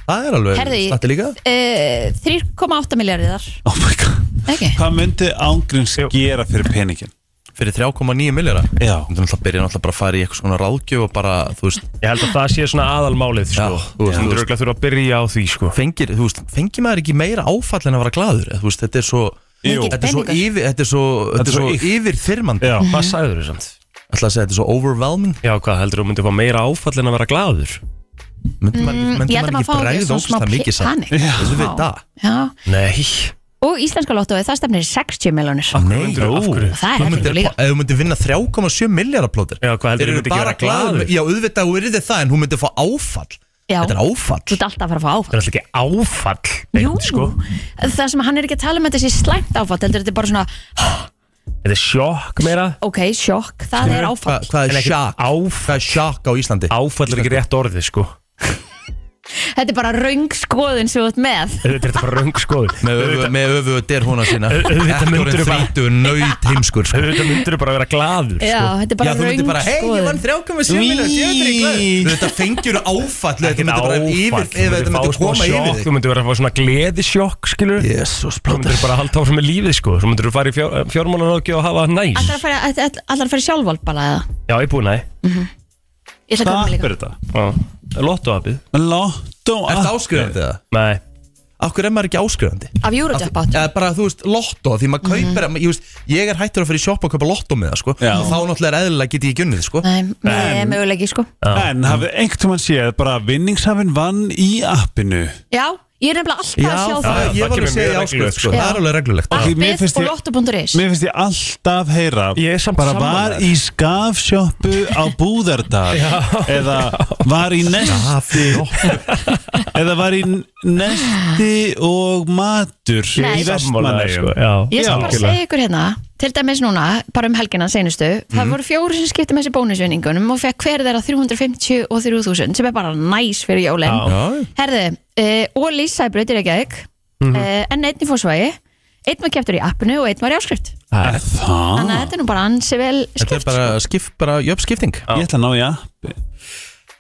Speaker 1: Það er alveg
Speaker 2: Herðu, ég-
Speaker 1: slatti líka
Speaker 2: Eh, 3,8 miljardar
Speaker 5: Oh my god
Speaker 2: ekki?
Speaker 5: Hvað myndi ángrins
Speaker 3: Jú.
Speaker 5: gera fyrir peningin?
Speaker 1: Fyrir 3,9 miljara
Speaker 5: Já
Speaker 1: Það er náttúrulega byrja náttúrulega bara að fara í eitthvað svona ráðgjöf og bara, þú veist,
Speaker 3: Ég held að það sé svona aðalmálið sko.
Speaker 1: Já, já.
Speaker 3: Þú veist, þú veist, þú þurfa að byrja á því sko.
Speaker 1: fengir, þú veist, fengir maður ekki meira áfall en að vera gladur, þú veist, þetta er svo
Speaker 5: Jú.
Speaker 1: Þetta er svo
Speaker 2: Peningur.
Speaker 1: yfir, þetta er svo, þetta er svo
Speaker 5: svo ýkt.
Speaker 1: yfir þyrmandi
Speaker 5: Já,
Speaker 3: Hvað sagður þú samt?
Speaker 1: ætla að segja þetta er svo overwhelming
Speaker 3: Mm-hmm. Já, hvað heldur þú myndi fá meira áfall en að vera glaður?
Speaker 1: myndi maður ekki- myndi
Speaker 2: Mm, Ég held að
Speaker 1: maður ekki
Speaker 2: maður fá
Speaker 1: bregða
Speaker 2: svona smá
Speaker 1: ógst það mikið samt
Speaker 2: panik
Speaker 1: þessu við það
Speaker 2: Já,
Speaker 3: Nei
Speaker 2: og íslenska lottóið, það stefnir í 60 miljonir
Speaker 1: Nei,
Speaker 3: Myndirðu- af hverju?
Speaker 2: Það er
Speaker 1: Þú
Speaker 2: heldur
Speaker 1: myndir,
Speaker 2: líka.
Speaker 1: ef þú myndir vinna 3,7 miljardar plótir
Speaker 3: Já, hvað heldur þú myndi ekki vera glaður?
Speaker 1: Já, auðvitað, hún yrði það en hún myndi fá áfall
Speaker 2: Já.
Speaker 1: Þetta er
Speaker 2: Þú
Speaker 1: áfall
Speaker 2: ert alltaf að fara að fá áfall
Speaker 3: Það er alltaf ekki áfall
Speaker 2: Jú,
Speaker 3: beint, sko.
Speaker 2: það sem hann er ekki að tala um þetta sé slæmt áfall heldur þetta er bara svona,
Speaker 3: Þetta er sjokk meira
Speaker 2: ok, sjokk, það er áfall
Speaker 1: Hvað- Hvað
Speaker 3: En
Speaker 1: er
Speaker 3: ekkert
Speaker 1: sjakk?
Speaker 3: áfall.
Speaker 1: Hvað er sjakk á Íslandi?
Speaker 3: Áfall er ekki rétt orðið sko
Speaker 2: Þetta er bara röng skoðun sem þú ert með
Speaker 3: Þetta er bara röng skoður
Speaker 1: Með öfu- Með öfu derhúna sína
Speaker 3: Auðvitað
Speaker 1: Ekki
Speaker 3: myndirðu
Speaker 1: orðin
Speaker 3: bara-
Speaker 1: þrítu, nöyt heimskur sko.
Speaker 3: Þetta myndur bara að vera glaður
Speaker 2: Já,
Speaker 3: sko.
Speaker 2: þetta er
Speaker 1: Já,
Speaker 2: bara
Speaker 1: þú
Speaker 2: röng
Speaker 1: myndir bara, hei, ég vann
Speaker 2: skoðun
Speaker 1: 3,7 miljardar Þetta er glaður Þetta fengjur áfall Þetta
Speaker 3: Ekkert
Speaker 1: myndir bara yfir
Speaker 3: áfall,
Speaker 1: ef Þetta myndir
Speaker 3: fá smá
Speaker 1: koma
Speaker 3: sjokk,
Speaker 1: yfir
Speaker 3: Þú
Speaker 1: þig
Speaker 3: myndur vera að fá svona gleðisjokk skilur
Speaker 1: Jésús
Speaker 3: Þú myndur bara að halda áfram með lífið sko Þú myndur þú fara í fjár, fjármálaráki og hafa það næs
Speaker 2: Allar að fara- ætlar- ætlar- ætlar að fara í sjálfvald bara eða
Speaker 3: Já, ég er búin að
Speaker 2: Ég ætla að koma
Speaker 5: Hvað
Speaker 2: líka
Speaker 5: er þetta?
Speaker 3: því Lottoapið
Speaker 5: Lotto
Speaker 1: Ertu áskrifandi það?
Speaker 3: Nei
Speaker 1: Akkur er maður ekki áskrifandi?
Speaker 2: Af Eurojackpot
Speaker 1: Já, bara þú veist, lotto, því maður kaupir mm ég, veist, ég er hættur að fyrir sjoppa og kaupa lotto með það sko.
Speaker 5: Já.
Speaker 1: og þá náttúrulega er eðlilega get ég ekki unnið sko.
Speaker 2: Nei, með mögulegi sko
Speaker 5: En hafið einhvern tímann séð bara vinningshafinn vann í appinu
Speaker 2: Já, ég er nefnilega alltaf að sjá
Speaker 1: það,
Speaker 2: það
Speaker 3: já,
Speaker 1: ég
Speaker 3: það
Speaker 1: var alveg
Speaker 3: kemur
Speaker 1: að segja
Speaker 3: mjög
Speaker 1: í áskrifandi
Speaker 3: reglulegt,
Speaker 1: sko.
Speaker 2: sko.
Speaker 1: það er alveg reglulegt
Speaker 5: Því mér
Speaker 2: Appið
Speaker 5: finnst
Speaker 2: og
Speaker 5: ég-
Speaker 2: lotto.is
Speaker 5: Mér finnst ég alltaf heyra
Speaker 3: Ég er samt
Speaker 5: bara
Speaker 3: sammála
Speaker 5: var
Speaker 3: þér.
Speaker 5: í skafsjöppu *laughs* á Búðardal eða var í nesti eða var í nesti og matur
Speaker 2: Nei.
Speaker 5: í vestmanni
Speaker 3: sko.
Speaker 5: sko.
Speaker 3: Já,
Speaker 2: Ég skal bara
Speaker 3: algjörlega.
Speaker 2: segja ykkur hérna, til dæmis núna, bara um helgina senustu,
Speaker 3: Mhm.
Speaker 2: það voru fjóri sem skipti með þessi bónusvinningunum og fekk hver þeirra 350 og 3000 sem er bara næs fyrir jólinn.
Speaker 3: Já. Mhm.
Speaker 2: Herðu, uh, og Lísæbraut í Reykjavík, mm en einn í fósvægi, einn var keftur í appinu og einn var í áskrift.
Speaker 5: Er Það?
Speaker 2: Þannig
Speaker 3: Ah.
Speaker 2: að þetta er nú bara ansi vel
Speaker 1: þetta er
Speaker 2: skipt.
Speaker 1: bara, skip, bara jöfn skipting
Speaker 5: Ég ætla að ná í appi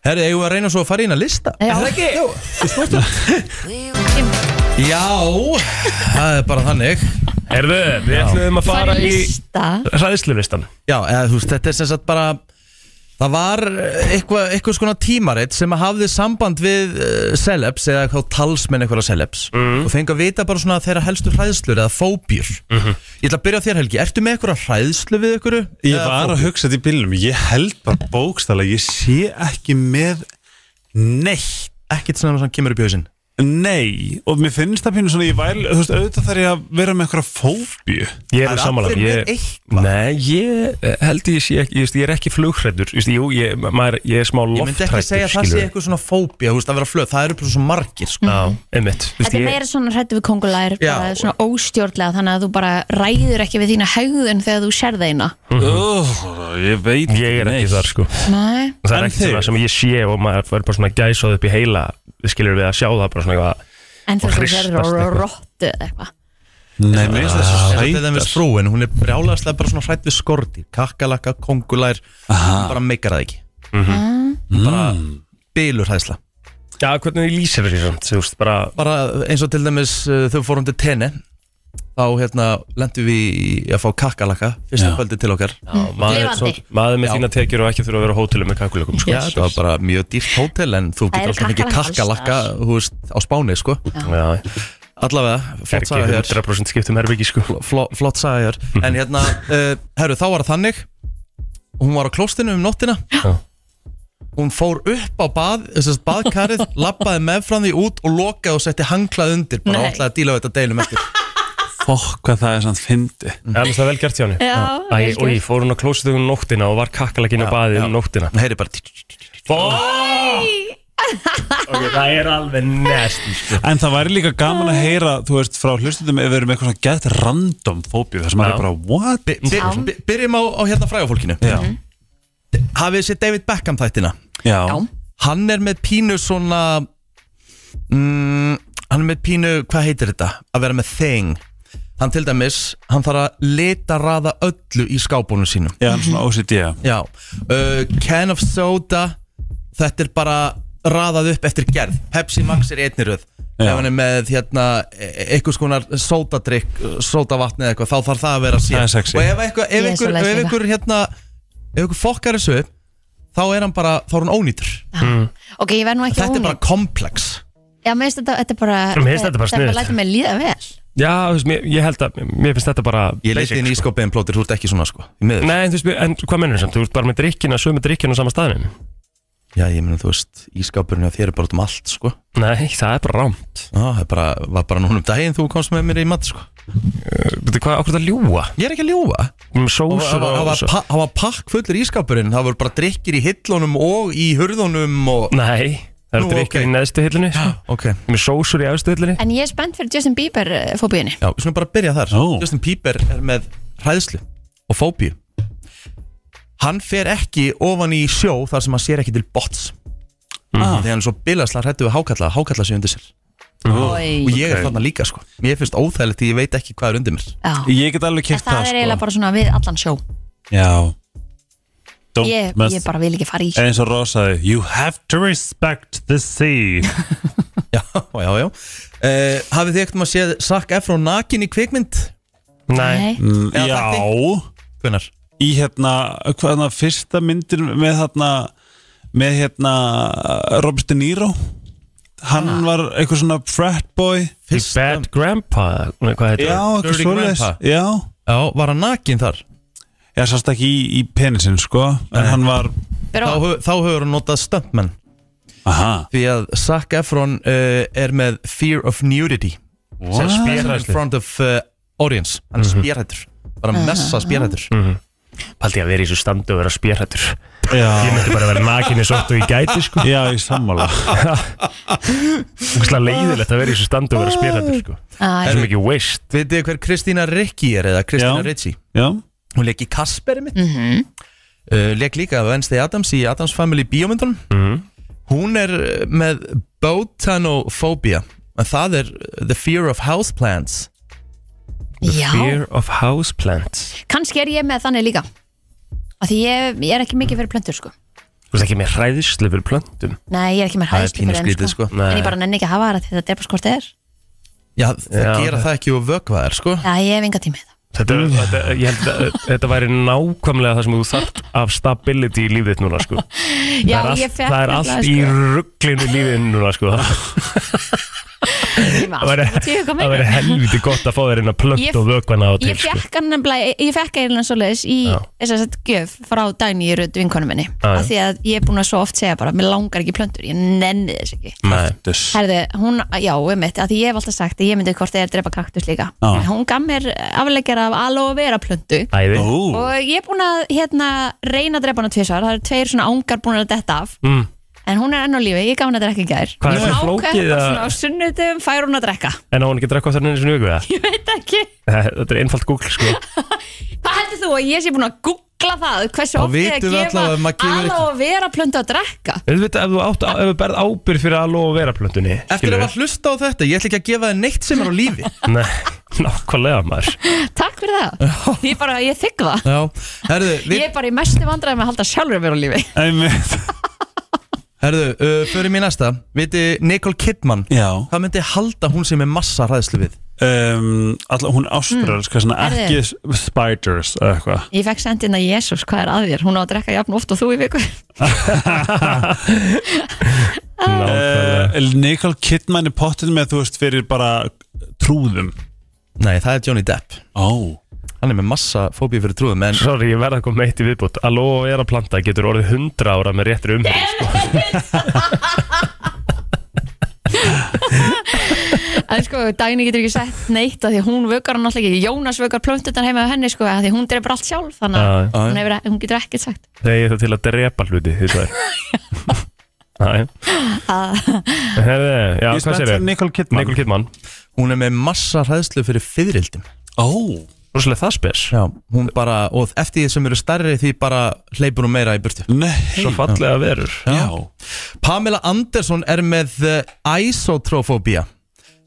Speaker 1: herri, eigum við að reyna svo að fara inn að lista
Speaker 2: Já.
Speaker 1: Er það ekki? Jú, þú spórst það? já, það er bara þannig
Speaker 3: Herðu, við ætlum að
Speaker 2: Bara
Speaker 3: fara í
Speaker 2: lista.
Speaker 3: Ræðsluvistan
Speaker 1: já, eða, þú veist, þetta er sem sagt bara Það var eitthvað, eitthvað skona tímarit sem að hafði samband við uh, celebs eða hvað talsmenn einhverja celebs og fengi að vita bara svona þeirra helstu hræðslur eða fóbjur. Ég ætla að byrja á þér Helgi, ertu með einhverja hræðslu við einhverju?
Speaker 5: Ég var að hugsa þetta í bílnum Ég held bara bókstala Ég sé ekki með neitt
Speaker 1: Ekkert sem hann kemur upp í hausinn.
Speaker 5: Nei, og mér finnst það pínu svona ég væl, þú veist, auðvitað þarf ég að vera með einhverja fóbíu
Speaker 3: Ég
Speaker 1: Það
Speaker 3: er
Speaker 1: er
Speaker 3: sammála
Speaker 1: allir með
Speaker 3: ég,
Speaker 1: eitthvað.
Speaker 3: Nei, ég eh, held ég sé ekki Ég, veist, ég er ekki flugrættur Jú, ég, maður, ég er smá
Speaker 1: Ég myndi ekki
Speaker 3: loftrættur
Speaker 1: segja að það sé eitthvað svona fóbja, þú veist, að vera flöð, það eru bara svo margir, sko.
Speaker 3: Já, einmitt Þú veist,
Speaker 2: Þetta er
Speaker 3: ég-
Speaker 2: meira svona hrættu við kongulær,
Speaker 1: Já.
Speaker 2: bara svona óstjórnlega, þannig að þú bara ræður ekki við þína hegðun þegar þú sér þeina.
Speaker 5: oh, Ég veit
Speaker 3: Mhm. Ég er ekki þar sko Það
Speaker 2: Nei,
Speaker 3: er
Speaker 5: En
Speaker 3: ekkert svona
Speaker 5: þið?
Speaker 3: sem ég sé og maður fyrir bara svona gæsað upp í heila við skiljum við að sjá það bara svona eitthvað
Speaker 2: en þú
Speaker 3: Og
Speaker 2: sér
Speaker 3: hristast eitthvað.
Speaker 2: rottu eða eitthvað.
Speaker 5: Nei, mér finnst það
Speaker 1: Það
Speaker 5: svo
Speaker 1: er þetta með
Speaker 5: sætast
Speaker 1: frúin, hún er brjálaðslega bara svona hrætt við skorti, kakkalakka, kongulær, hún bara meikar það ekki.
Speaker 2: Mhm.
Speaker 1: Hún Bara bylur hræðsla.
Speaker 3: Já, hvernig þú lýsir þessi samt, þú veist, bara
Speaker 1: bara eins og til dæmis uh, þau fórum til tenni þá hérna lendum við í að fá kakkalaka fyrsta
Speaker 5: Já.
Speaker 1: kvöldi til okkar
Speaker 3: já, maður, er
Speaker 2: Lifandi.
Speaker 3: svona- maður með
Speaker 1: Já.
Speaker 3: þína tekjur og ekki þurfa að vera á hótelum með kakulökum sko.
Speaker 1: Já, það var bara mjög dýrt hótel en þú
Speaker 2: Það
Speaker 1: getur
Speaker 2: eru
Speaker 1: alltaf mikið
Speaker 2: kakkalakar
Speaker 1: kakkalakka
Speaker 2: alls
Speaker 1: þú veist, á Spáni sko
Speaker 3: Já,
Speaker 1: allavega,
Speaker 3: er
Speaker 1: flott
Speaker 3: ekki
Speaker 1: saga hér
Speaker 3: 100% skipt um herbyggi sko
Speaker 1: Flo- flott saga hér *laughs* en hérna, uh, herru, þá var það þannig hún var á klóstinu um nóttina
Speaker 3: Já.
Speaker 1: hún fór upp á bað þessast *laughs* baðkarið, labbaði með frá því út og lokaði og setti hanglað undir bara
Speaker 2: Nei.
Speaker 1: alltaf að díla við þetta deilum eftir
Speaker 5: Fokk hvað það er samt fyndi
Speaker 2: Mm.
Speaker 3: Það er það vel gert hjá henni
Speaker 2: Já,
Speaker 3: Æ,
Speaker 2: vel
Speaker 3: og
Speaker 2: gert.
Speaker 3: ég fór hún á klósið um nóttina og var kakkalakinn á baði um nóttina
Speaker 1: *laughs* hún heyri bara tí- tí- tí- tí- tí-
Speaker 3: Ok, það er alveg nasty sko.
Speaker 5: En það væri líka gaman að heyra, þú veist, frá hlustundum ef við erum eitthvað svona gett random fóbíu þar sem maður
Speaker 3: Já.
Speaker 5: er bara, what?
Speaker 1: By- by-
Speaker 2: Já.
Speaker 1: by- Byrjum á, á hérna frægafólkinu
Speaker 5: Já,
Speaker 2: Mhm.
Speaker 1: Hafið sér David Beckham þættina
Speaker 5: já,
Speaker 2: Já.
Speaker 1: Hann er með pínu svona mm, Hann er með pínu Hvað heitir þetta? Að vera með thing Hann til dæmis, hann þarf að lita raða öllu í skápunum sínum
Speaker 5: já, hann er
Speaker 2: Mhm.
Speaker 5: svona OCD já.
Speaker 1: Já, uh, can of soda Þetta er bara raðað upp eftir gerð Pepsi Max er í einni röð
Speaker 5: Já.
Speaker 1: Ef hann er með hérna e- einhvers konar sódadrykk, sódavatni eða eitthvað þá þarf það að vera
Speaker 5: Það
Speaker 1: sér
Speaker 5: er sexy.
Speaker 1: Og ef eitthvað,
Speaker 2: Ég
Speaker 1: ef
Speaker 2: er
Speaker 1: einhver,
Speaker 2: svoleiðis
Speaker 1: ef
Speaker 2: líka.
Speaker 1: einhver hérna ef einhver fokkar þessu upp, þá er hann bara, þá er hann ónýtur
Speaker 2: Ok, ég verð nú ekki
Speaker 1: Þetta er
Speaker 2: ónýtt.
Speaker 1: bara komplex
Speaker 2: Já, mér finnst þetta, þetta er bara
Speaker 3: Mér finnst þetta bara sniðugt.
Speaker 2: Þetta lætur mig líða vel
Speaker 3: Já, þú veist, mér, ég held að Mér finnst þetta bara sko.
Speaker 1: Ég liti inn í skopin plótir, þú ert ekki svona sko Í miður
Speaker 3: Nei, en þú veist, en hvað mennur samt? Þú ert bara með drikkina, sömu drikkina á sama staðinu
Speaker 1: Já, ég meina, þú veist, ískapurinn á þér er bara út um allt sko
Speaker 3: Nei, það er bara rámt
Speaker 1: Já, það er bara, var bara núna um daginn þú komst með mér í mat sko
Speaker 3: Þú hvað, okkur það ljúa
Speaker 1: Ég er ekki að ljúa
Speaker 3: Með sósur
Speaker 1: Það var- það var
Speaker 3: og
Speaker 1: pa- það var pakk fullur ískapurinn Það voru bara drikkir í hillunum og í hurðunum og
Speaker 3: Nei, það
Speaker 1: Nú,
Speaker 3: eru drikkir
Speaker 1: ok.
Speaker 3: í neðstu hillinu sko.
Speaker 1: Ok
Speaker 3: Með sósur í efstu hillinu
Speaker 2: En ég er spennt fyrir Justin Bieber eh, fóbíunni
Speaker 1: Já, við skulum bara byrja þar
Speaker 5: Ó.
Speaker 1: Justin Bieber er með hræðslu og fóbíu Hann fer ekki ofan í sjó þar sem hann sér ekki til bots
Speaker 5: Mhm.
Speaker 1: ah. Þegar hann er svo bilasla hrættu við hákalla Hákalla sér undir sér Og
Speaker 2: Oj.
Speaker 1: ég er þarna líka sko Mér finnst óþægilegt því ég veit ekki hvað er undir mér *laughs*
Speaker 2: Já.
Speaker 5: Ég get alveg
Speaker 2: En
Speaker 5: kæft
Speaker 1: sko.
Speaker 2: það er eiginlega bara svona við allan sjó
Speaker 5: Já Don't
Speaker 2: Ég,
Speaker 5: mess-
Speaker 2: ég bara vil ekki
Speaker 1: Eh,
Speaker 2: fara í
Speaker 5: En eins og rosaði You have to respect the
Speaker 2: *laughs*
Speaker 5: sea
Speaker 1: Já, já, já uh, Hafið þið ekkert maður séð Zac Efron nakin í kvikmynd?
Speaker 3: Nei,
Speaker 1: eh,
Speaker 2: Nei,
Speaker 5: Mm,
Speaker 1: Eða
Speaker 5: Já
Speaker 1: Hvenær?
Speaker 5: Í hérna, hvað er það fyrsta myndir með hérna með hérna Robert De Niro Hann var eitthvað svona frat boy
Speaker 3: The Bad Grandpa Nei, Hvað heitir
Speaker 5: Já,
Speaker 3: það?
Speaker 5: eitthvað
Speaker 1: Dirty
Speaker 5: svoleiðis
Speaker 1: Grandpa.
Speaker 5: Já,
Speaker 1: Já, var hann nakin þar?
Speaker 5: ég sást ekki í, í penisinn sko En hann var
Speaker 1: Þá,
Speaker 2: byrja á
Speaker 1: hö- þá hefur hann notað stuntmenn
Speaker 5: Aha
Speaker 1: Því að Zac Efron uh, er með Fear of Nudity sem spjæra in
Speaker 3: Spjærhræðslu.
Speaker 1: front of uh, audience hann er spjærhættur bara messa spjærhættur
Speaker 3: Paldi að vera í þessu standu og vera spjærhættur Ég
Speaker 5: Já,
Speaker 3: myndi bara vera nakinni sótt og í gæti sko
Speaker 5: já í sammála
Speaker 3: Úkslega leiðilegt að vera í þessu standu og vera spjærhættur sko Það
Speaker 2: Æ,
Speaker 3: er svo mikið waste
Speaker 1: Vitið þið hver Kristína Ricci er eða Kristína
Speaker 5: Já.
Speaker 1: Ricci
Speaker 5: Já,
Speaker 1: hún leik í Kasperið mitt mm leik líka Wednesday Adams í Adams Family bíómyndunum hún er uh, með botanofobia en það er uh, the fear of houseplants
Speaker 2: já,
Speaker 3: Fear of houseplants
Speaker 2: kannski er ég með þannig líka Af Því ég, ég er ekki mikið fyrir plöntur sko
Speaker 3: Þú veist ekki með hræðislu fyrir plöntum
Speaker 2: Nei, ég er ekki með
Speaker 1: það er
Speaker 2: hæðslu
Speaker 1: pínu
Speaker 2: fyrir þeim
Speaker 1: skrítið
Speaker 2: sko.
Speaker 1: sko
Speaker 3: Nei.
Speaker 2: En ég bara nenni ekki að hafa það því þetta er bara skort eða er
Speaker 1: já, það
Speaker 3: Já,
Speaker 1: gera
Speaker 3: það-
Speaker 1: það ekki og vökva þær sko
Speaker 2: Já, ég hef enga tími í það
Speaker 3: Þetta, þetta, ég held að þetta væri nákvæmlega það sem þú þart af stability í lífið þitt núna sko.
Speaker 2: Já,
Speaker 3: það er
Speaker 2: ég sko.
Speaker 3: allt,
Speaker 2: fekk
Speaker 3: það er allt í rugglinu lífið þínu núna
Speaker 2: *laughs*
Speaker 3: sko. það væri, það væri
Speaker 2: rugg
Speaker 3: helviti gott að fá þér inn að
Speaker 2: Ég-
Speaker 3: plögt og vökvana á til sko.
Speaker 2: Ég fekk hann nefnilega, ég fekk eiginlega svoleiðis í
Speaker 3: Já.
Speaker 2: þess að þetta gjöf frá Dagný Rödd vinkonu minni
Speaker 3: Já, já.
Speaker 2: af því að ég er búin að svo oft segja bara mér langar ekki plöntur, ég nenni þess ekki
Speaker 3: Nei.
Speaker 5: þess
Speaker 2: Herði, hún, já, um mitt, að því ég hef alltaf sagt að ég myndi hvort eða drepa kaktus líka
Speaker 5: Já.
Speaker 2: En hún gaf mér afleggjar af aloe vera plöntu
Speaker 3: Æði
Speaker 5: Ó,
Speaker 2: og ég er búin að hérna, reyna að drepa hana tvisvar, það eru tveir svona ángar búin að detta af
Speaker 3: mm.
Speaker 2: en hún er enn á lífi, ég gaf hún að drekka í gær
Speaker 3: Hvað er
Speaker 2: Ég
Speaker 3: það
Speaker 2: ákvað
Speaker 3: flókið
Speaker 2: bara
Speaker 3: að-
Speaker 2: svona á sunnudum fær hún að drekka *laughs*
Speaker 3: En á hann ekki að drekka á þarna einu sinni í viku eða?
Speaker 2: ég veit ekki,
Speaker 3: Þetta er einfalt Google sko.
Speaker 2: hvað heldur þú að ég sé búin að googla það, hversu
Speaker 1: Þá
Speaker 2: oft ég
Speaker 1: vitum við allavega að maður
Speaker 2: gefa
Speaker 1: gefur-
Speaker 2: aloe vera plöntu að drekka
Speaker 3: Auðvitað, Ef þú átt, ef þú berð ábyrð fyrir að lofa vera plöntunni
Speaker 1: Eftir að maður hlusta á þetta, ég ætla ekki að gefa þið neitt sem er á lífi
Speaker 3: Nei, *laughs* nákvæmlega maður
Speaker 2: takk fyrir það, ég bara, ég þykk það
Speaker 1: *laughs* Já, herðu, við,
Speaker 2: ég er bara í mestu vandræðum að halda sjálfur mér á lífi
Speaker 5: einmitt
Speaker 1: herðu uh, förum í næsta Viti, Nicole Kidman
Speaker 5: Já
Speaker 1: Hvað myndi halda hún sem er massa hræðslu við?
Speaker 5: um, alla, hún ástralska svona
Speaker 2: Herðu.
Speaker 5: ekki s- spiders eða eitthvað
Speaker 2: Ég fekk sendin að Jésús, hvað er að þér? Hún á að drekka jafn oft og þú í viku *laughs*
Speaker 3: Nákvæmlega
Speaker 5: uh, Nicole Kidman er pottinn með þú veist fyrir bara trúðum
Speaker 1: Nei, það er Johnny Depp
Speaker 5: ó
Speaker 1: Hann er með massa fóbíu fyrir trúðum En
Speaker 3: Sorry, ég verða að koma eitt í viðbútt Að lofa vera planta getur orðið 100 ára með réttri umhverf
Speaker 2: En sko, Dagni getur ekki sett neitt að því að hún vökar hann alltaf ekki Jónas vökar plöntutan heima af henni sko, að því að hún drefur allt sjálf þannig
Speaker 3: Já,
Speaker 2: að
Speaker 3: já.
Speaker 2: hún, hefur, e- hún getur ekkert sagt
Speaker 3: Þegar það til að drepa hluti því
Speaker 2: *laughs*
Speaker 3: það er Herði,
Speaker 5: ég
Speaker 3: já,
Speaker 5: er spennt
Speaker 3: hvað sér
Speaker 5: fyrir
Speaker 3: ég? hérna
Speaker 5: Nicole Kidman
Speaker 3: Nikol Kidman
Speaker 1: hún er með massa hræðslu fyrir fyririldum
Speaker 5: ó
Speaker 3: Róslega það spes
Speaker 1: Já, hún bara, og eftir því sem eru stærri Því bara hleypur hún meira í burtu
Speaker 5: nei
Speaker 3: Svo fallega verur
Speaker 5: já
Speaker 1: Pamela Anderson er með uh, isotrofóbía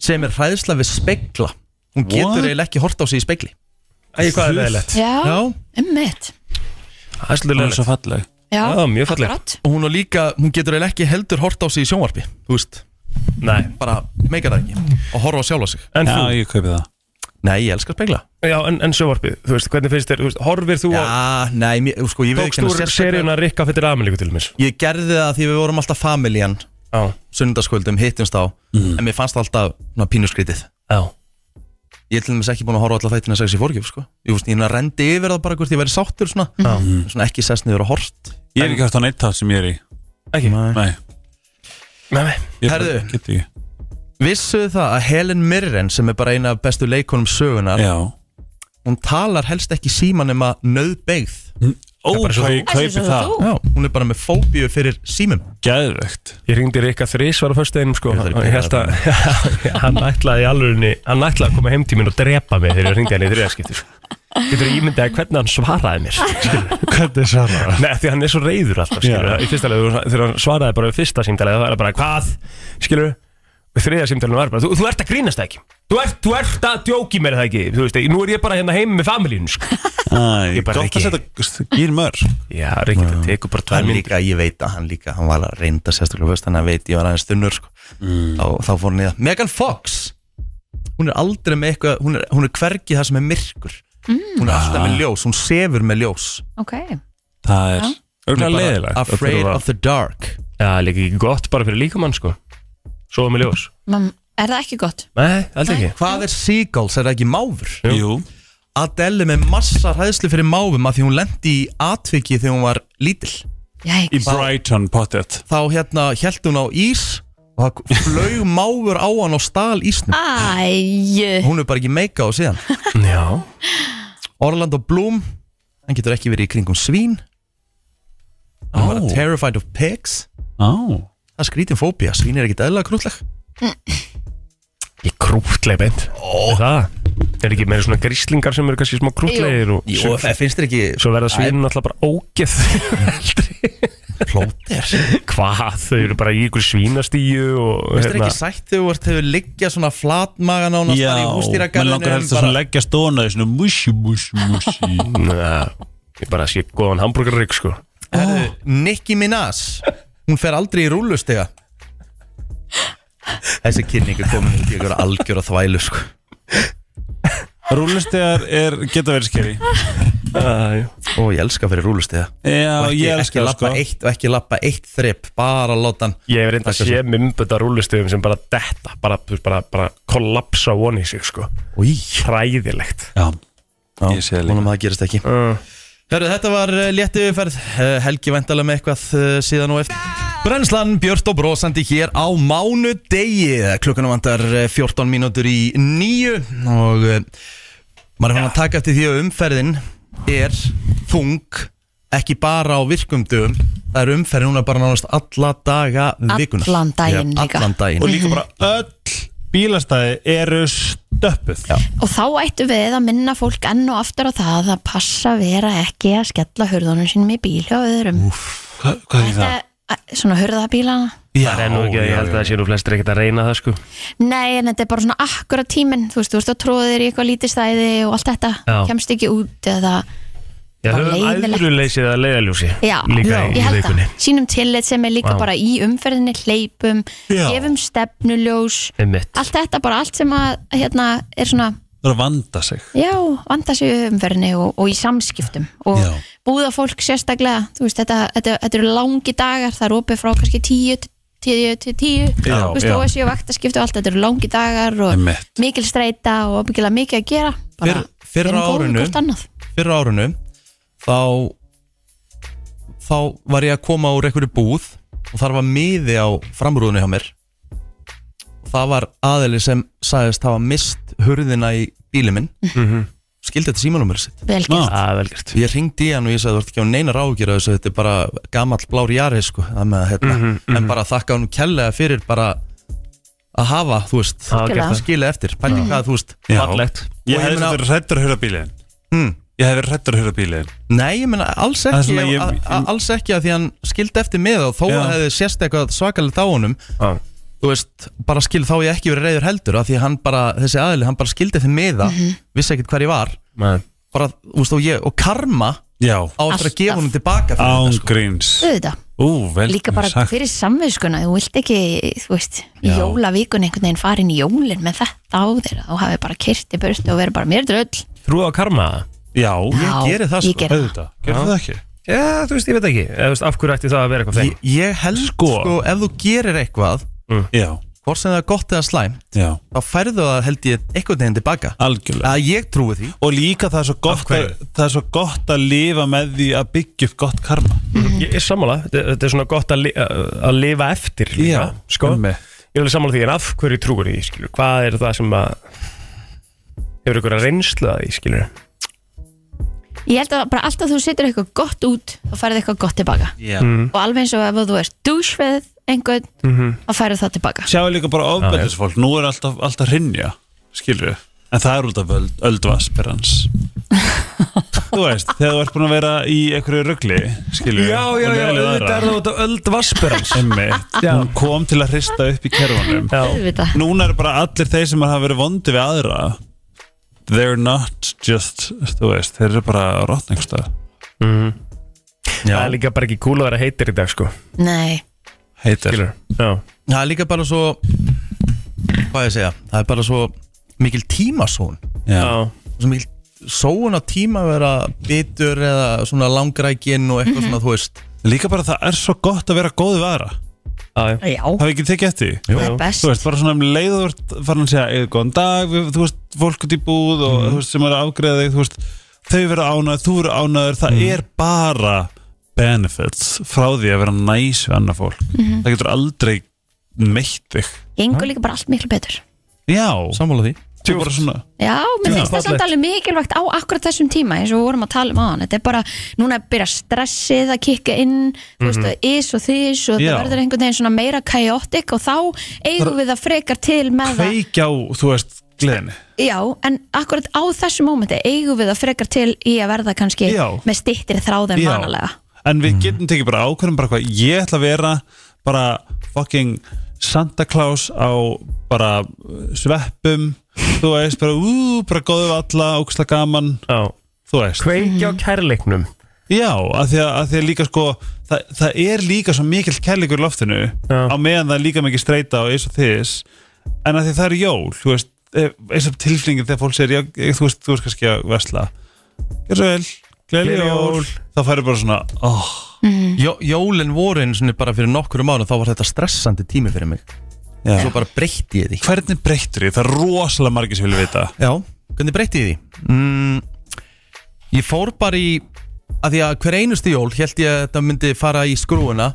Speaker 1: Sem er hræðsla við spegla Hún
Speaker 5: What?
Speaker 1: getur eiginlega ekki hort á sig í spegli
Speaker 3: Æ, hvað er leðilegt?
Speaker 2: Já, ummitt
Speaker 5: hún
Speaker 3: Það er svolítið
Speaker 5: er svo
Speaker 3: leðilegt
Speaker 5: falleg
Speaker 2: Já,
Speaker 3: Já, mjög fallegt.
Speaker 2: akkurat.
Speaker 1: Og hún, á líka, hún getur eiginlega ekki heldur hort á sig í sjónvarpi Þú veist
Speaker 3: Nei,
Speaker 1: bara meikar það ekki og horfa á sjálfa sig
Speaker 3: en
Speaker 5: já
Speaker 3: þú,
Speaker 5: ég kaupi það
Speaker 1: Nei, ég elskar spegla
Speaker 3: já, en, en sjóvarpið Þú veist, hvernig finnst þér, þú veist, horfir þú á
Speaker 1: Já, nei, mér, sko, ég veit
Speaker 3: Tókst
Speaker 1: ekki
Speaker 3: úr seríuna Rikka fyrir Amelíku til mér
Speaker 1: Ég gerði það því við vorum alltaf familjan
Speaker 3: Já,
Speaker 5: Mm.
Speaker 1: sundarskvöldum, hittumst á en mér fannst það alltaf svona, pínuskrítið
Speaker 3: já
Speaker 1: Ég er til dæmis ekki búin að horfa alla þættina sex í fórgjöf sko. Ég veist, ég rendi yfir það bara hvort ég væri sáttur svona, Mm. svona ekki sest niður og horft
Speaker 5: Ég er ekki hægt á neitt það sem ég er í
Speaker 3: Ekki
Speaker 5: Nei,
Speaker 3: Nei, nei.
Speaker 5: ég
Speaker 1: Herðu.
Speaker 5: get ekki
Speaker 1: Vissuð það að Helen Mirren sem er bara eina af bestu leikunum sögunar
Speaker 5: Já
Speaker 1: hún talar helst ekki síma nema nöðbeigð
Speaker 5: Ó,
Speaker 3: bara
Speaker 5: hvað
Speaker 3: svo þú-
Speaker 5: ég kaupi það
Speaker 1: Já, sko. hún er bara með fóbíu fyrir símum
Speaker 5: Geðvegt
Speaker 3: Ég ringdi Rikka þrísvar á föstudeginum sko
Speaker 1: Ég þarf
Speaker 3: og
Speaker 1: ekki
Speaker 3: ég held að *laughs* hann ætlaði í alvörunni hann ætlaði að koma heim til mín og drepa mig þegar ég ringdi hann í þriðaskipti sko. Getur þú ímyndaði hvernig hann svaraði mér
Speaker 5: Hvernig svarar
Speaker 3: Nei, því hann er svo reyður alltaf skilur
Speaker 5: Já.
Speaker 3: Í fyrsta leið, þegar hann svaraði bara við fyrsta símtalið það var bara hvað, skilur og þriðja símtalið var bara, þú, þú ert að grínast það ekki þú ert, þú ert að djóki mér það ekki þú veist, nú er ég bara hérna heim með familíun sko.
Speaker 5: Æ,
Speaker 3: Ég bara
Speaker 5: gott að setja gýr mörg
Speaker 3: Já, Rikki, það tekur bara tvær
Speaker 1: hann
Speaker 3: minn
Speaker 1: líka, ég veit að hann líka hann var að reynda sérstaklega veist, þannig að veit ég var aðeins þunnur sko. þá, þá fór hann í það Megan Fox hún er aldrei með eitthvað hún er, hún er hvergi það sem er myrkur hún er alltaf með ljós, hún sefur með ljós
Speaker 2: ok,
Speaker 5: Það er
Speaker 2: Já.
Speaker 5: auðvitað
Speaker 1: hún er
Speaker 5: leiðilegt að
Speaker 1: afraid
Speaker 5: þurfa-
Speaker 1: of the dark
Speaker 3: Já, líka ekki gott bara fyrir líkamann sko. Svo með ljós
Speaker 2: Man, er það ekki gott?
Speaker 3: Nei, aldrei ekki
Speaker 1: hvað er Seagulls, er það ekki máfur?
Speaker 5: Jú,
Speaker 1: Adele er með massa hræðslu fyrir máfum að því hún lendi í atviki þegar hún var lítil
Speaker 5: í
Speaker 2: Jæks,
Speaker 5: Brighton pottet
Speaker 1: þá hérna held hún á ís og það flög máfur á hann á stal ísnum
Speaker 2: æj
Speaker 1: hún er bara ekki meika á síðan
Speaker 3: Já,
Speaker 1: Orlando Bloom hann getur ekki verið í kringum svín hann var
Speaker 5: Ó.
Speaker 1: terrified of pigs
Speaker 5: Á
Speaker 1: það er skrítin fóbía, svín er ekkit eðla krútleg
Speaker 3: ég krútlega beint
Speaker 1: Ó.
Speaker 3: Er Það er ekki meira svona gríslingar sem eru kannski smá krútlegir og
Speaker 1: Jú, það finnst þér ekki
Speaker 3: Svo verða svínin alltaf bara ógeð
Speaker 1: plóter finnst
Speaker 3: Hvað, þau eru bara í ykkur svínastíu og hérna.
Speaker 1: þér ekki sætt þegar þú ert hefur liggja svona flatmagan á
Speaker 5: hérna- Já,
Speaker 1: náttúrulega í
Speaker 5: mann langar helst að svona
Speaker 1: hústýragarðinu
Speaker 5: leggja stóna í svona mushi, mushi, mushi
Speaker 3: Næ, ég bara sé góðan hambúrgarrygg sko
Speaker 1: Nicki Minaj hún fer aldrei í rúllustega þessi kynningu komin út í ykkur algjör að þvælu sko
Speaker 5: Rúlistegar er, geta verið skeri
Speaker 3: Æ,
Speaker 1: Ó, ég elska fyrir rúlustega
Speaker 5: Já,
Speaker 1: og ekki,
Speaker 5: ég
Speaker 1: ekki
Speaker 5: elskar það sko
Speaker 1: lappa eitt og ekki lappa eitt þrepp bara láta hann
Speaker 3: Ég hef reynda að
Speaker 1: Takk
Speaker 3: sé mymböta rúlustöðum sem bara detta bara, þú veist, bara, bara kollapsa von í sig sko
Speaker 1: Í,
Speaker 3: Hræðilegt
Speaker 5: Já,
Speaker 1: já,
Speaker 5: Ég sé það líka.
Speaker 1: vonum að það gerist ekki
Speaker 3: uh,
Speaker 1: Hörru, þetta var léttu yfirferð Eh, Helgi væntalega með eitthvað eh, síðan og eftir Brennslan Björn og brosandi hér á mánu degi Klukkanum vantar eh, 14 mínútur í nýju Og eh, maður er fann að taka eftir því að umferðin er þung Ekki bara á virkumdöfum Það er umferðin núna bara nánast alla daga vikunar
Speaker 2: Allan daginn
Speaker 1: Já,
Speaker 2: líka.
Speaker 1: Allan daginn
Speaker 5: Og líka bara öll bílastæði eru stöppuð Já,
Speaker 2: og þá ættu við að minna fólk enn og aftur á það að passa vera ekki að skella hurðunum sínum í bíli og öðrum
Speaker 5: Hva, hvað er það?
Speaker 2: Þetta- að- svona hurðabílana
Speaker 5: Já,
Speaker 3: Það er nú ekki, ég held að það sé nú flestir ekkert að reyna það sko
Speaker 2: nei en þetta er bara svona akkurat tíminn þú veist, þú veist að tróða þér í eitthvað lítið stæði og allt þetta,
Speaker 3: Já.
Speaker 2: kemst ekki út eða,
Speaker 3: Já,
Speaker 2: Bara
Speaker 3: höfum
Speaker 2: leiðilegt.
Speaker 3: æðruleysið að leiðaljósi
Speaker 2: já,
Speaker 3: Líka
Speaker 2: ég
Speaker 3: í
Speaker 2: held
Speaker 3: vikunni
Speaker 2: það sínum tillit sem er líka
Speaker 3: Vá.
Speaker 2: bara í umferðinni hleypum,
Speaker 5: Já.
Speaker 2: gefum stefnuljós
Speaker 3: Einmitt.
Speaker 2: allt þetta, bara allt sem að hérna, er svona
Speaker 5: Það er að vanda sig
Speaker 2: Já, vanda sig í umferðinni og, og í samskiptum og
Speaker 5: Já.
Speaker 2: búða fólk sérstaklega þú veist, þetta, þetta, þetta eru langi dagar það er opið frá kannski 10 til 10 til 10,
Speaker 5: Já,
Speaker 2: þú veist,
Speaker 5: já.
Speaker 2: óessi og vaktaskipti og allt, þetta eru langi dagar og
Speaker 5: Einmitt.
Speaker 2: mikil streita og ábyggilega mikið að gera bara,
Speaker 1: Fyrr- fyrr á
Speaker 2: erum góð við
Speaker 1: árinu-
Speaker 2: hvort annað.
Speaker 1: fyrir árunu þá þá var ég að koma úr einhverju búð og þar var miði á framrúðinu hjá mér og það var aðili sem sagðist hafa mist hurðina í bíli minn skildi þetta símanúmer sitt
Speaker 2: Vel
Speaker 5: Ah.
Speaker 2: gert,
Speaker 3: Það er velgjört
Speaker 1: ég ringdi í hann og ég sagði þú ert ekki á neinar ágjur þessu, þetta er bara gamall blár jari sko, það með, að, hérna, en bara þakka hann kellega fyrir bara að hafa, þú veist
Speaker 3: Það var gert það
Speaker 1: skilja eftir, pæli hvað, þú veist
Speaker 5: Já.
Speaker 3: Fallegt
Speaker 5: Ég
Speaker 1: Og
Speaker 5: hef
Speaker 1: ég meina-
Speaker 5: verið hrættur að höra bílinn
Speaker 1: Hmm.
Speaker 5: Ég hef verið hrættur að höra bílinn
Speaker 1: Nei, ég meina alls
Speaker 5: Það er
Speaker 1: ekki
Speaker 5: svona, ég-
Speaker 1: a- a- alls ekki að því hann skildi eftir með og þó
Speaker 5: Já.
Speaker 1: að hefði sérst eitthvað svakalegt á honum
Speaker 3: Já.
Speaker 1: þú veist, bara skil þá ég ekki verið reyður heldur að því hann bara, þessi aðili, hann bara skildi eftir meða, vissi ekkert hver ég var
Speaker 3: Nei.
Speaker 1: bara, þú veist, og ég, og karma
Speaker 5: Já,
Speaker 1: á eftir að
Speaker 2: Alltaf.
Speaker 1: gefa honum tilbaka fyrir þetta, sko.
Speaker 5: ángríns
Speaker 2: auðvitað
Speaker 5: Ú, vel
Speaker 2: líka bara
Speaker 5: sagt.
Speaker 2: fyrir samviskuna, þú vilt ekki þú veist, í
Speaker 5: Já.
Speaker 2: jólavíkun einhvern veginn farin í jólin með þetta á þér þú hafi bara kyrti burtu og verið bara mér dröll
Speaker 3: Trú á karma
Speaker 5: Já,
Speaker 1: Ég
Speaker 2: Já,
Speaker 1: geri það,
Speaker 2: ég
Speaker 1: sko.
Speaker 2: geri það.
Speaker 5: auðvitað Gerðu það ekki?
Speaker 3: Já, þú veist, ég veit ekki Eða, þú veist, Af hverju ætti það að vera eitthvað
Speaker 1: sko. ég,
Speaker 3: þeim
Speaker 1: ég held, sko.
Speaker 5: Sko.
Speaker 1: ef þú gerir eitthvað
Speaker 5: Já
Speaker 1: hvort sem það er gott eða slæm
Speaker 5: já,
Speaker 1: þá færðu það held ég einhvern veginn tilbaka
Speaker 5: algjörlega
Speaker 1: að ég trúi því
Speaker 5: og líka það er svo
Speaker 1: Af
Speaker 5: gott að,
Speaker 1: hverju?
Speaker 5: það er svo gott að lifa með því að byggja upp gott karma
Speaker 3: Ég er sammála, þetta þetta er svona gott að, li að lifa eftir líka,
Speaker 5: Já,
Speaker 3: sko
Speaker 1: einmitt.
Speaker 3: Ég er alveg sammála því, en af hverju trúir því, skilur Hvað er það sem að Hefur ykkur að reynslu að því, skilur
Speaker 2: Ég held að bara alltaf þú setur eitthvað gott út þá færðu eitthvað gott tilbaka
Speaker 1: yeah. mm.
Speaker 5: Mhm.
Speaker 2: og alveg eins og ef þú ert douche við einhvern þá færðu það tilbaka
Speaker 5: sjáu líka bara ofbeldisfólk, nú er alltaf, alltaf hrinja, skilur við en það er út af öld, *laughs* öldvasperans þú veist, þegar þú ert búin að vera í einhverju rugli, skilur við
Speaker 3: út af öld vasperans
Speaker 5: Einmitt,
Speaker 3: Já.
Speaker 5: hún kom til að hrista upp í kerfunum
Speaker 3: Já,
Speaker 2: Auðvitað.
Speaker 5: núna er bara allir þeir sem hafa verið vondi við aðra they're not just þú veist, þeir eru bara rottningstað
Speaker 3: það er líka bara ekki cool að vera heitir í dag, sko
Speaker 2: Nei,
Speaker 5: heitir
Speaker 3: Skilur Já,
Speaker 1: það er líka bara svo hvað ég að segja, það er bara svo mikil tímasón
Speaker 5: Já.
Speaker 3: já,
Speaker 1: svo mikil sóun á tíma að vera bitur eða svona langrækin og eitthvað svona þú veist
Speaker 5: líka bara það er svo gott að vera góð við aðra
Speaker 3: já, já.
Speaker 2: já,
Speaker 5: hafa ekki tekið eftir því?
Speaker 2: það er best
Speaker 5: þú veist, bara svona um leið og þú ert farin að segja eða góðan dag, við, þú veist, fólk út í búð og þú veist, sem er að afgreða þig, þú veist þau vera ánæður, þú vera ánæður, það er bara benefits frá því að vera næs við annað fólk það getur aldrei meitt þig
Speaker 2: gengur líka bara allt miklu betur
Speaker 5: já,
Speaker 1: sammála því
Speaker 5: þú bara svona
Speaker 2: Já, mér finnst það samt
Speaker 3: Fallegt.
Speaker 2: alveg mikilvægt á akkurat þessum tíma eins og við vorum að tala um á hann þetta er bara, núna er byrja stressið að kikka inn þú veist, það er is og þis og
Speaker 5: Mhm. Já.
Speaker 2: það verður einhvern veginn svona meira chaotic og þá eigum við það frekar til með það
Speaker 5: kveikja á, þú veist, gleðinni
Speaker 2: Já, en akkurat á þessu mómenti eigum við að frekar til í að verða kannski
Speaker 5: Já.
Speaker 2: með stittir þráð en
Speaker 5: Já.
Speaker 2: vanalega
Speaker 5: en
Speaker 3: Mhm.
Speaker 5: við getum tekið bara ákvörðum bara hvað ég ætla að vera bara fucking Santa Claus á bara uh, sveppum þú veist, bara ú, bara góðu við alla óksla gaman, þú veist
Speaker 3: Kveikja á kærleiknum
Speaker 5: já, af því að, að því að líka sko það, það er líka svo mikill kærleikur í loftinu
Speaker 3: Já.
Speaker 5: á meðan það er líka mikið streita og eins og þess en að því það er jól, þú veist eh, eins og tilflingin þegar fólk segir já, eh, þú veist, þú veist kannski að vesla gerðu vel, gleðli
Speaker 3: Gleðileg jól.
Speaker 5: jól þá færi bara svona, óh
Speaker 1: Jó, Jólin voru einu sinni bara fyrir nokkur um ára þá var þetta stressandi tími fyrir mig
Speaker 5: Já.
Speaker 1: svo bara breytti ég því
Speaker 5: hvernig breyttur því? Það er rosalega margir sem vilja vita
Speaker 1: Já, hvernig breytti ég því? Mm, ég fór bara í að því að hver einustu jól held ég að þetta myndi fara í skrúuna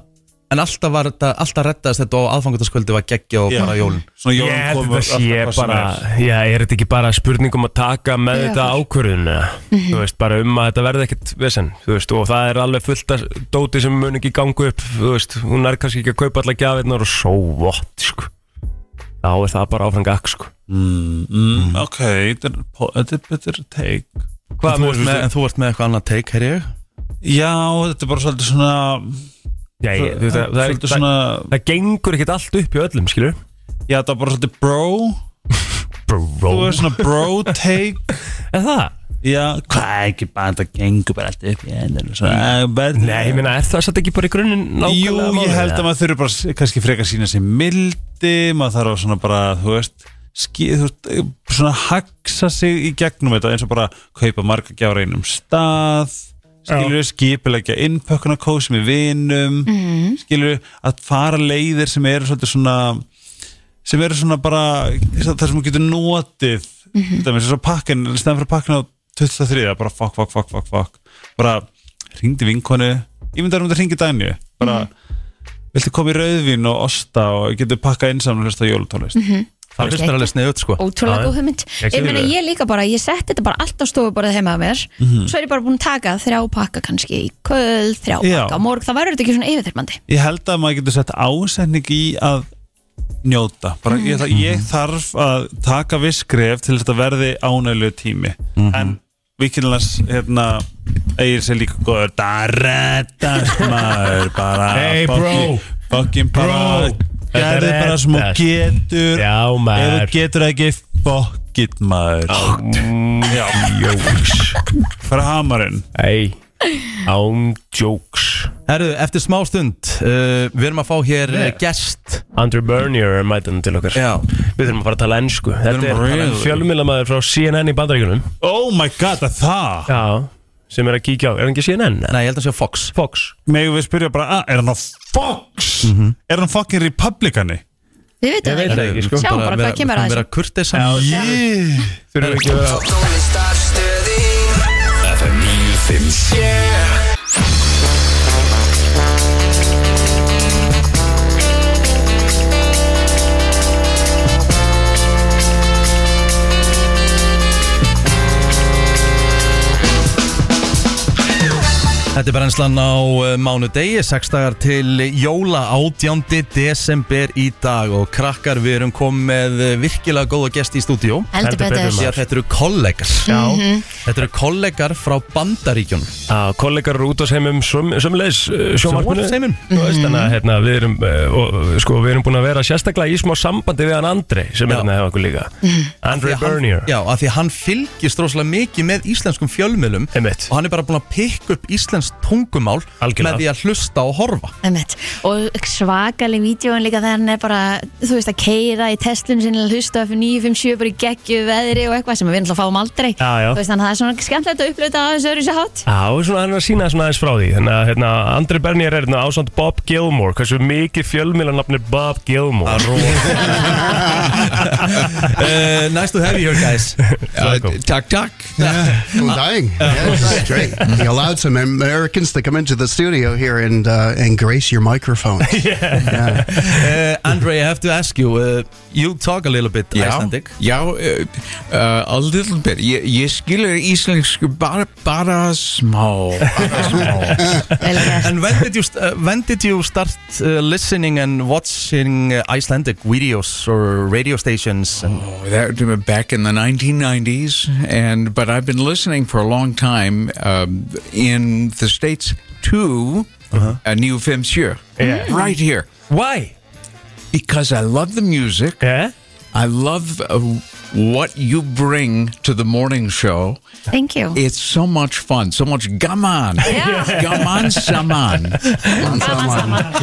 Speaker 1: en alltaf var þetta, alltaf rettaðist þetta og aðfangataskvöldi var geggja og bara jólin
Speaker 5: Svona
Speaker 3: Ég
Speaker 5: jólum
Speaker 3: held
Speaker 5: komum
Speaker 3: að sé bara Já, er þetta ekki bara spurningum að taka með
Speaker 2: Já.
Speaker 3: þetta ákvörðun eða? Þú veist, bara um að þetta verði ekkert vesen Þú veist, og það er alveg fullt að dóti sem mun ekki gangu upp Þú veist, hún er kannski ekki að kaupa allar gjafirnar og so what, sko Þá er það bara áfram gakk, sko
Speaker 5: mm, Ok, þetta er po- þetta er betur take
Speaker 1: en, þú
Speaker 3: með-
Speaker 1: ert með, en þú ert með eitthvað annað teik, herri ég
Speaker 5: Já, þetta er bara svolítið svona
Speaker 3: Já, ég, þú veist, það, það,
Speaker 5: Svolítið
Speaker 3: það, það,
Speaker 5: svona
Speaker 3: það gengur ekkert allt upp í öllum, skilur
Speaker 5: Já, það er bara svolítið bro
Speaker 3: Bró
Speaker 5: Þú er svona bro take
Speaker 3: Er það?
Speaker 5: Já, hvað ekki bara þetta gengur bara alltaf upp í endinu Svona,
Speaker 3: Nei, ég meina, er það satt ekki bara í grunninn nákvæmlega
Speaker 5: Jú, ég
Speaker 3: málið,
Speaker 5: held að
Speaker 3: eða?
Speaker 5: maður þurfi bara s- kannski frekar sína sér mildi maður þarf að svona bara, þú veist ski, þú veist, eh, svona haksa sig í gegnum þetta eins og bara kaupa marga gjár einum stað skilur við skipilegja innpökkuna kósi með vinum mm. skilur við að fara leiðir sem eru svolítið svona sem eru svona bara þar sem þú getur notið mm -hmm. það með svo pakkin, stæðan fyrir pakkin á 23, bara fuck, fuck, fuck, fuck, fuck bara ringdi vinkonu ég myndi að hún myndi að ringi Danju bara, viltu koma í rauðvin og osta og getur pakkað einsam og hlusta á jólutónlist
Speaker 3: Mhm.
Speaker 1: Það finnst mér alveg sniðut sko
Speaker 2: Ótrúlega
Speaker 3: Já,
Speaker 2: góð hugmynd Ég meina ég líka bara, ég sett þetta bara allt á stofuborðið heima að mér
Speaker 3: Mhm.
Speaker 2: Svo er ég bara búin að taka þrjá pakka kannski í köld, þrjá
Speaker 5: Já.
Speaker 2: pakka á morg Það verður þetta ekki svona yfirþyrmandi
Speaker 5: ég held að maður getur sett ásetning í að njóta bara, ég, ætla- ég
Speaker 3: Mhm.
Speaker 5: þarf að taka viss skref til þetta verði ánæglu tími
Speaker 3: Mhm.
Speaker 5: en vikilans hérna eigir sér líka góður það reddast maður bara
Speaker 3: Hey, bro.
Speaker 5: fucking- fucking bara
Speaker 3: Bro, þetta
Speaker 5: gerði bara sem þú
Speaker 3: reddast.
Speaker 5: getur
Speaker 3: Já,
Speaker 5: ef þú
Speaker 3: maður
Speaker 5: getur ekki fuck it maður
Speaker 3: Oh. Mm,
Speaker 5: já,
Speaker 3: Jóks
Speaker 5: fara hamarinn
Speaker 3: Ei, án jokes
Speaker 1: Herru, eftir smá stund uh, við erum að fá hér yeah. gest
Speaker 3: Andrew Bernier er mætan til okkar
Speaker 1: Já.
Speaker 3: Við þurfum að fara að tala ennsku Þetta
Speaker 1: erum
Speaker 3: er
Speaker 1: að tala
Speaker 3: really?
Speaker 1: ensku.
Speaker 3: fjölmiðlamaður frá CNN í bandaríkunum
Speaker 5: oh my god, að það
Speaker 3: Já Sem er að kíkja á, er hann ekki CNN?
Speaker 1: Nei, ég held að sé Fox
Speaker 3: Fox
Speaker 5: "Ah, megum við spyrja bara, að, er hann á Fox? Er hann fucking republikani?
Speaker 2: Við veitum
Speaker 3: Ég
Speaker 2: það
Speaker 3: veit
Speaker 2: ekki
Speaker 3: ekki, sko.
Speaker 2: Sjáum bara hvað kemur að
Speaker 1: þessu Við vera
Speaker 2: þessu.
Speaker 1: kurtesa
Speaker 5: yeah.
Speaker 3: Þurfum við ekki að vera
Speaker 4: Tónlistarstöðin
Speaker 6: FM 957
Speaker 1: Þetta er brennslan á uh, mánudegi, 6 dagar til jóla 18. desember í dag og krakkar við erum komið með eh, virkilega góða gest í stúdíó
Speaker 2: Heldur
Speaker 3: Heldur betur,
Speaker 2: betur
Speaker 1: því að þetta eru kollegar
Speaker 3: Já,
Speaker 2: Mhm.
Speaker 1: Þetta eru kollegar frá bandaríkjunum
Speaker 3: að kollegar eru út á seimum sömulegis sjómarkminu
Speaker 1: Sjónvarpsheimum.
Speaker 3: uh, Þú veist, þannig að hérna, við erum eh, og, eh, sko, við erum búin að vera sérstaklega í smá sambandi við hann Andrei sem
Speaker 1: Já.
Speaker 3: er hérna hjá okkur
Speaker 1: *laughs*
Speaker 3: líka
Speaker 1: Því að
Speaker 3: Andrei
Speaker 1: hann-
Speaker 3: Bernier
Speaker 1: Já, af því að hann fylgist rosalega mikið með íslenskum fjölmjölum
Speaker 3: Einmitt.
Speaker 1: og hann er bara búin að pikka upp íslensk tungumál
Speaker 3: Algjörlega.
Speaker 1: með því að hlusta og horfa *laughs*
Speaker 2: Einmitt. Og svakaleg vídjóin líka þegar hann er bara, þú veist, að keira í testlum sinni að hlusta fyrir 957 bara í geggju veðri og eitthvað sem við náttúrulega fáum aldrei
Speaker 3: Já, já.
Speaker 2: Þú veist, þannig að það er svona skemmtilegt að upplöta á þessu öðru sér hátt
Speaker 3: *laughs* Já, og svona hann er að sína svona aðeins frá því Þannig að hérna, Andri Bernier er hérna ásand Bob Gilmore Hversu mikið fjölmiðlanafni Bob Gilmore
Speaker 1: uh, Nice to have you here
Speaker 3: *laughs*
Speaker 1: guys Eh,
Speaker 7: Uh,
Speaker 3: Welcome.
Speaker 7: tuck tuck.
Speaker 8: I'm dying. Yeah, this is great. He allowed some Americans to come into the studio here and uh, and grace your microphone.
Speaker 1: uh, Andre, I have to ask you uh, You talk a little bit Icelandic
Speaker 6: já uh, uh, a little bit Ég, ég skilur íslensku bara, bara smá Bara smá
Speaker 2: Vel gert.
Speaker 1: And when did you st- uh, when did you start uh, listening and watching uh, Icelandic videos or radio stations? And
Speaker 6: Oh, that was back in the 1990s, and but I've been listening for a long time um, in the states to a new film here, right here,
Speaker 3: Why?
Speaker 6: because I love the music.
Speaker 3: Yeah?
Speaker 6: I love uh, what you bring to the morning show.
Speaker 2: Thank you
Speaker 6: It's so much fun, so much gaman, gaman saman.
Speaker 2: Gaman saman.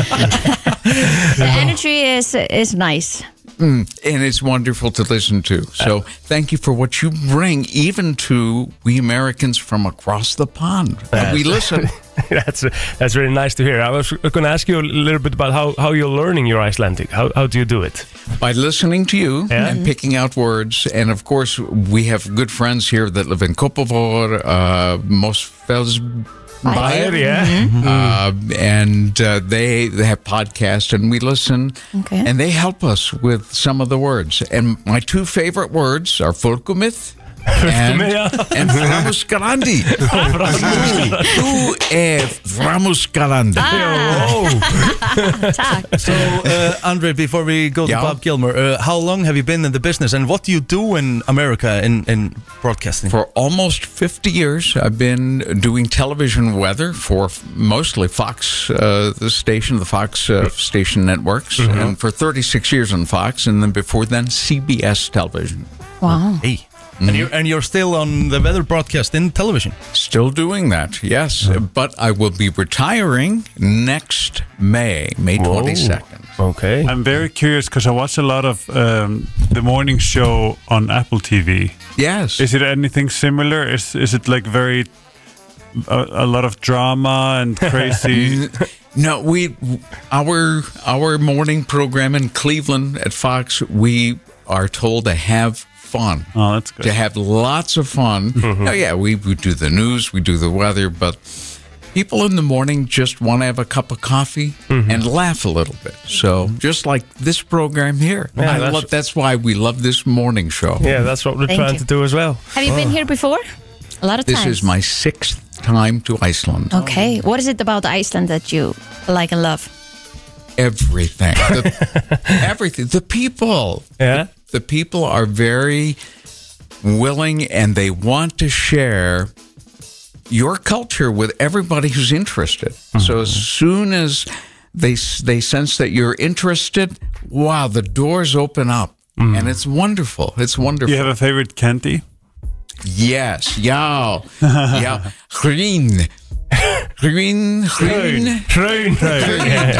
Speaker 2: *laughs*
Speaker 3: *laughs*
Speaker 2: The energy is, is nice
Speaker 6: and it's wonderful to listen to. So thank you for what you bring, even to we Americans from across the pond. And
Speaker 3: *laughs*
Speaker 6: we listen.
Speaker 3: that's, that's really nice to hear I was going to ask you a little bit about how, how you're learning your Icelandic How, how do you do it?
Speaker 6: by listening to you
Speaker 3: Yeah.
Speaker 6: and picking out words. And of course, we have good friends here that live in Kopovor, uh,
Speaker 2: Bayer,
Speaker 6: Mosfellsbayer,
Speaker 3: yeah.
Speaker 6: uh, and uh, they they have podcasts, and we listen,
Speaker 2: Okay.
Speaker 6: and they help us with some of the words. And my two favorite words are folkumith. And,
Speaker 3: yeah.
Speaker 6: and Framuskalandi. Þú er Framuskalandi.
Speaker 2: Takk
Speaker 1: so, uh, Andre, before we go to
Speaker 6: Yeah.
Speaker 1: Bob Gilmer, uh, how long have you been in the business, and what do you do in America in in broadcasting?
Speaker 6: For almost 50 years, I've been doing television weather for f- mostly Fox, uh, the station, the Fox uh, station networks, and for 36 years on Fox, and then before then, CBS television.
Speaker 2: wow.
Speaker 1: hey. And you and you're still on the weather broadcast in television.
Speaker 6: Still doing that, yes, but I will be retiring next May, May 22nd.
Speaker 3: Okay
Speaker 5: I'm very curious because I watch a lot of um, the morning show on Apple TV
Speaker 6: Yes.
Speaker 5: Is it anything similar? Is is it like very a, a lot of drama and crazy?
Speaker 6: No, we our our morning program in Cleveland at Fox, we are told to have fun.
Speaker 5: oh, that's
Speaker 6: to
Speaker 5: good.
Speaker 6: have lots of fun.
Speaker 3: Mm-hmm.
Speaker 6: Oh yeah, we, we do the news, we do the weather, but people in the morning just want to have a cup of coffee
Speaker 3: Mm-hmm.
Speaker 6: and laugh a little bit. So just like this program here, I
Speaker 3: that's-
Speaker 6: love, that's why we love this morning show.
Speaker 3: Yeah, that's what we're
Speaker 2: Thank
Speaker 3: trying
Speaker 2: you.
Speaker 3: to do as well
Speaker 2: Have you been here before? A lot of
Speaker 6: This
Speaker 2: times
Speaker 6: is my sixth time to Iceland.
Speaker 2: Okay, what is it about Iceland that you like and love? *laughs*
Speaker 6: Everything, the, everything, the people.
Speaker 3: Yeah?
Speaker 6: the people are very willing and they want to share your culture with everybody who's interested. So as
Speaker 2: Mm-hmm.
Speaker 6: soon as they they sense that you're interested, wow, the doors open up.
Speaker 2: Mm.
Speaker 6: And it's wonderful. It's
Speaker 5: Do
Speaker 6: wonderful.
Speaker 5: you have a favorite candy?
Speaker 2: *laughs*
Speaker 6: Yes. Yeah. yeah. Green. Green, green,
Speaker 3: Hraun
Speaker 6: green.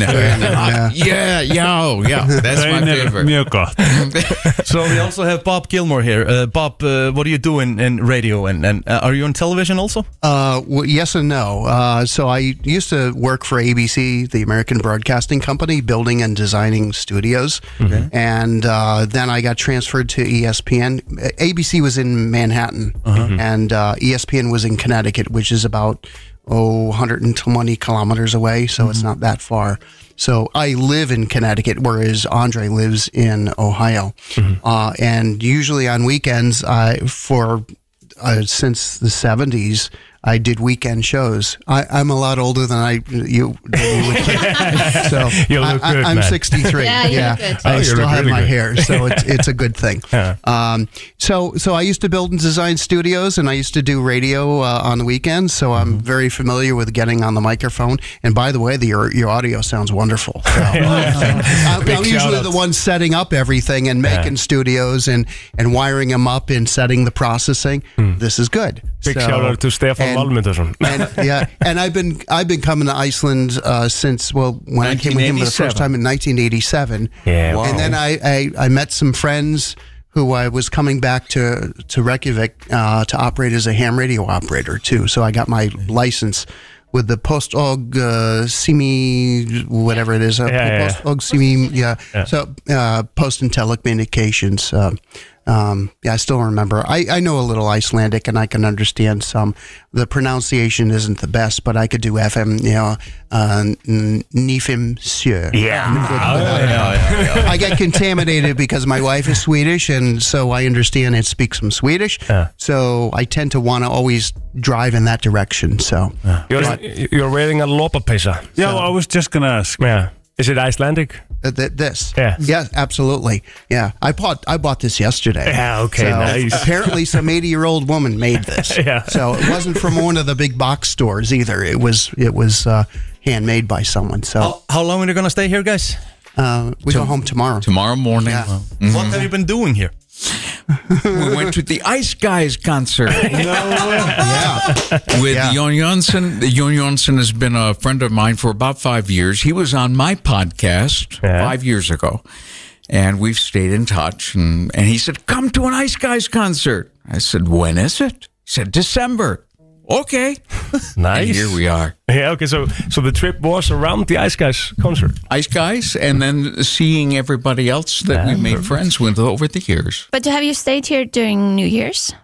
Speaker 8: yeah.
Speaker 6: Yeah, yeah, yeah. That's my
Speaker 5: Hraun er
Speaker 6: favorite.
Speaker 5: mjög gott
Speaker 1: So we also have Bob Gilmore here. Uh, Bob, uh, what do you do in, in radio and, and uh, are you on television also?
Speaker 8: Uh, w- yes and no. Uh, so I used to work for ABC, the American Broadcasting Company, building and designing studios, and uh, then I got transferred to ESPN. Uh, ABC was in Manhattan, and uh, ESPN was in Connecticut, which is about oh 120 kilometers away, so it's not that far. So I live in Connecticut, whereas Andre lives in Ohio, uh, and usually on weekends, I for uh, since the 70s I did weekend shows. I, I'm a lot older than I you. Than you would
Speaker 3: *laughs*
Speaker 8: think. so
Speaker 3: You look
Speaker 8: I,
Speaker 3: good,
Speaker 8: I, am
Speaker 3: man.
Speaker 8: 63.
Speaker 2: Yeah, you look good.
Speaker 3: Oh,
Speaker 8: I
Speaker 3: you
Speaker 8: still
Speaker 3: look
Speaker 8: have
Speaker 3: really
Speaker 8: my
Speaker 3: good.
Speaker 8: hair, so it's, it's a
Speaker 3: *laughs*
Speaker 8: good thing. Um, so so I used to build and design studios, and I used to do radio uh, on the weekends. So
Speaker 3: Mm-hmm.
Speaker 8: I'm very familiar with getting on the microphone. And by the way, the, your your audio
Speaker 3: *laughs*
Speaker 8: sounds wonderful. So, um, I'm,
Speaker 3: Big
Speaker 8: I'm usually
Speaker 3: shout-outs.
Speaker 8: the one setting up everything and making studios and and wiring them up and setting the processing. This is good.
Speaker 3: Hmm. Big
Speaker 8: So-
Speaker 3: shout out to Stefan
Speaker 8: and-
Speaker 3: Malmundarsson *laughs*
Speaker 8: and yeah, and I've been I've been coming to Iceland uh, since well when I came with him for the
Speaker 6: 1987.
Speaker 8: first time in 1987.
Speaker 3: Yeah, wow.
Speaker 8: and then I, I I met some friends who I was coming back to to Reykjavik uh, to operate as a ham radio operator too. So I got my license with the Postog uh, Simi whatever it is. Uh,
Speaker 3: Yeah, yeah, yeah.
Speaker 8: Postog Simi, yeah. So uh, Post and Telecommunications. Uh, um, yeah, I still remember. I, I know a little Icelandic and I can understand some. The pronunciation isn't the best, but I could do FM, you know, uh, n- Nifim Sjö.
Speaker 3: Yeah
Speaker 8: I get contaminated because my wife is Swedish, and so I understand and speak some Swedish. So I tend to want to always drive in that direction. So
Speaker 3: You're, you're wearing a lopapesa
Speaker 5: yeah, well, I was just gonna ask
Speaker 3: Yeah Is it Icelandic?
Speaker 8: uh, th- this,
Speaker 3: Yeah.
Speaker 8: yes, absolutely, yeah. I bought I bought this yesterday.
Speaker 3: Yeah, okay,
Speaker 8: So
Speaker 3: nice. *laughs*
Speaker 8: Apparently, some eighty year old woman made this.
Speaker 3: Yeah.
Speaker 8: So it wasn't from one of the big box stores either. It was it was uh, handmade by someone. So
Speaker 1: How, how long are you going to stay here, guys?
Speaker 8: uh, we go home tomorrow.
Speaker 6: *laughs* Tomorrow morning,
Speaker 8: Yeah.
Speaker 1: What have you been doing here?
Speaker 6: we went to the Ice Guys concert
Speaker 8: Yeah.
Speaker 6: with
Speaker 8: Yeah.
Speaker 6: Jon Jonsson. Jon Jonsson has been a friend of mine for about five years. He was on my podcast
Speaker 3: Yeah.
Speaker 6: five years ago, and we've stayed in touch. And, and he said, Come to an Ice Guys concert. I said, When is it? He said, December. Okay. And
Speaker 3: Nice
Speaker 6: here we are.
Speaker 3: Yeah, okay, so, so the trip was around the Ice Guys concert
Speaker 6: Ice Guys, and then seeing everybody else that we made friends with over the years.
Speaker 2: But have you stayed here during New Year's?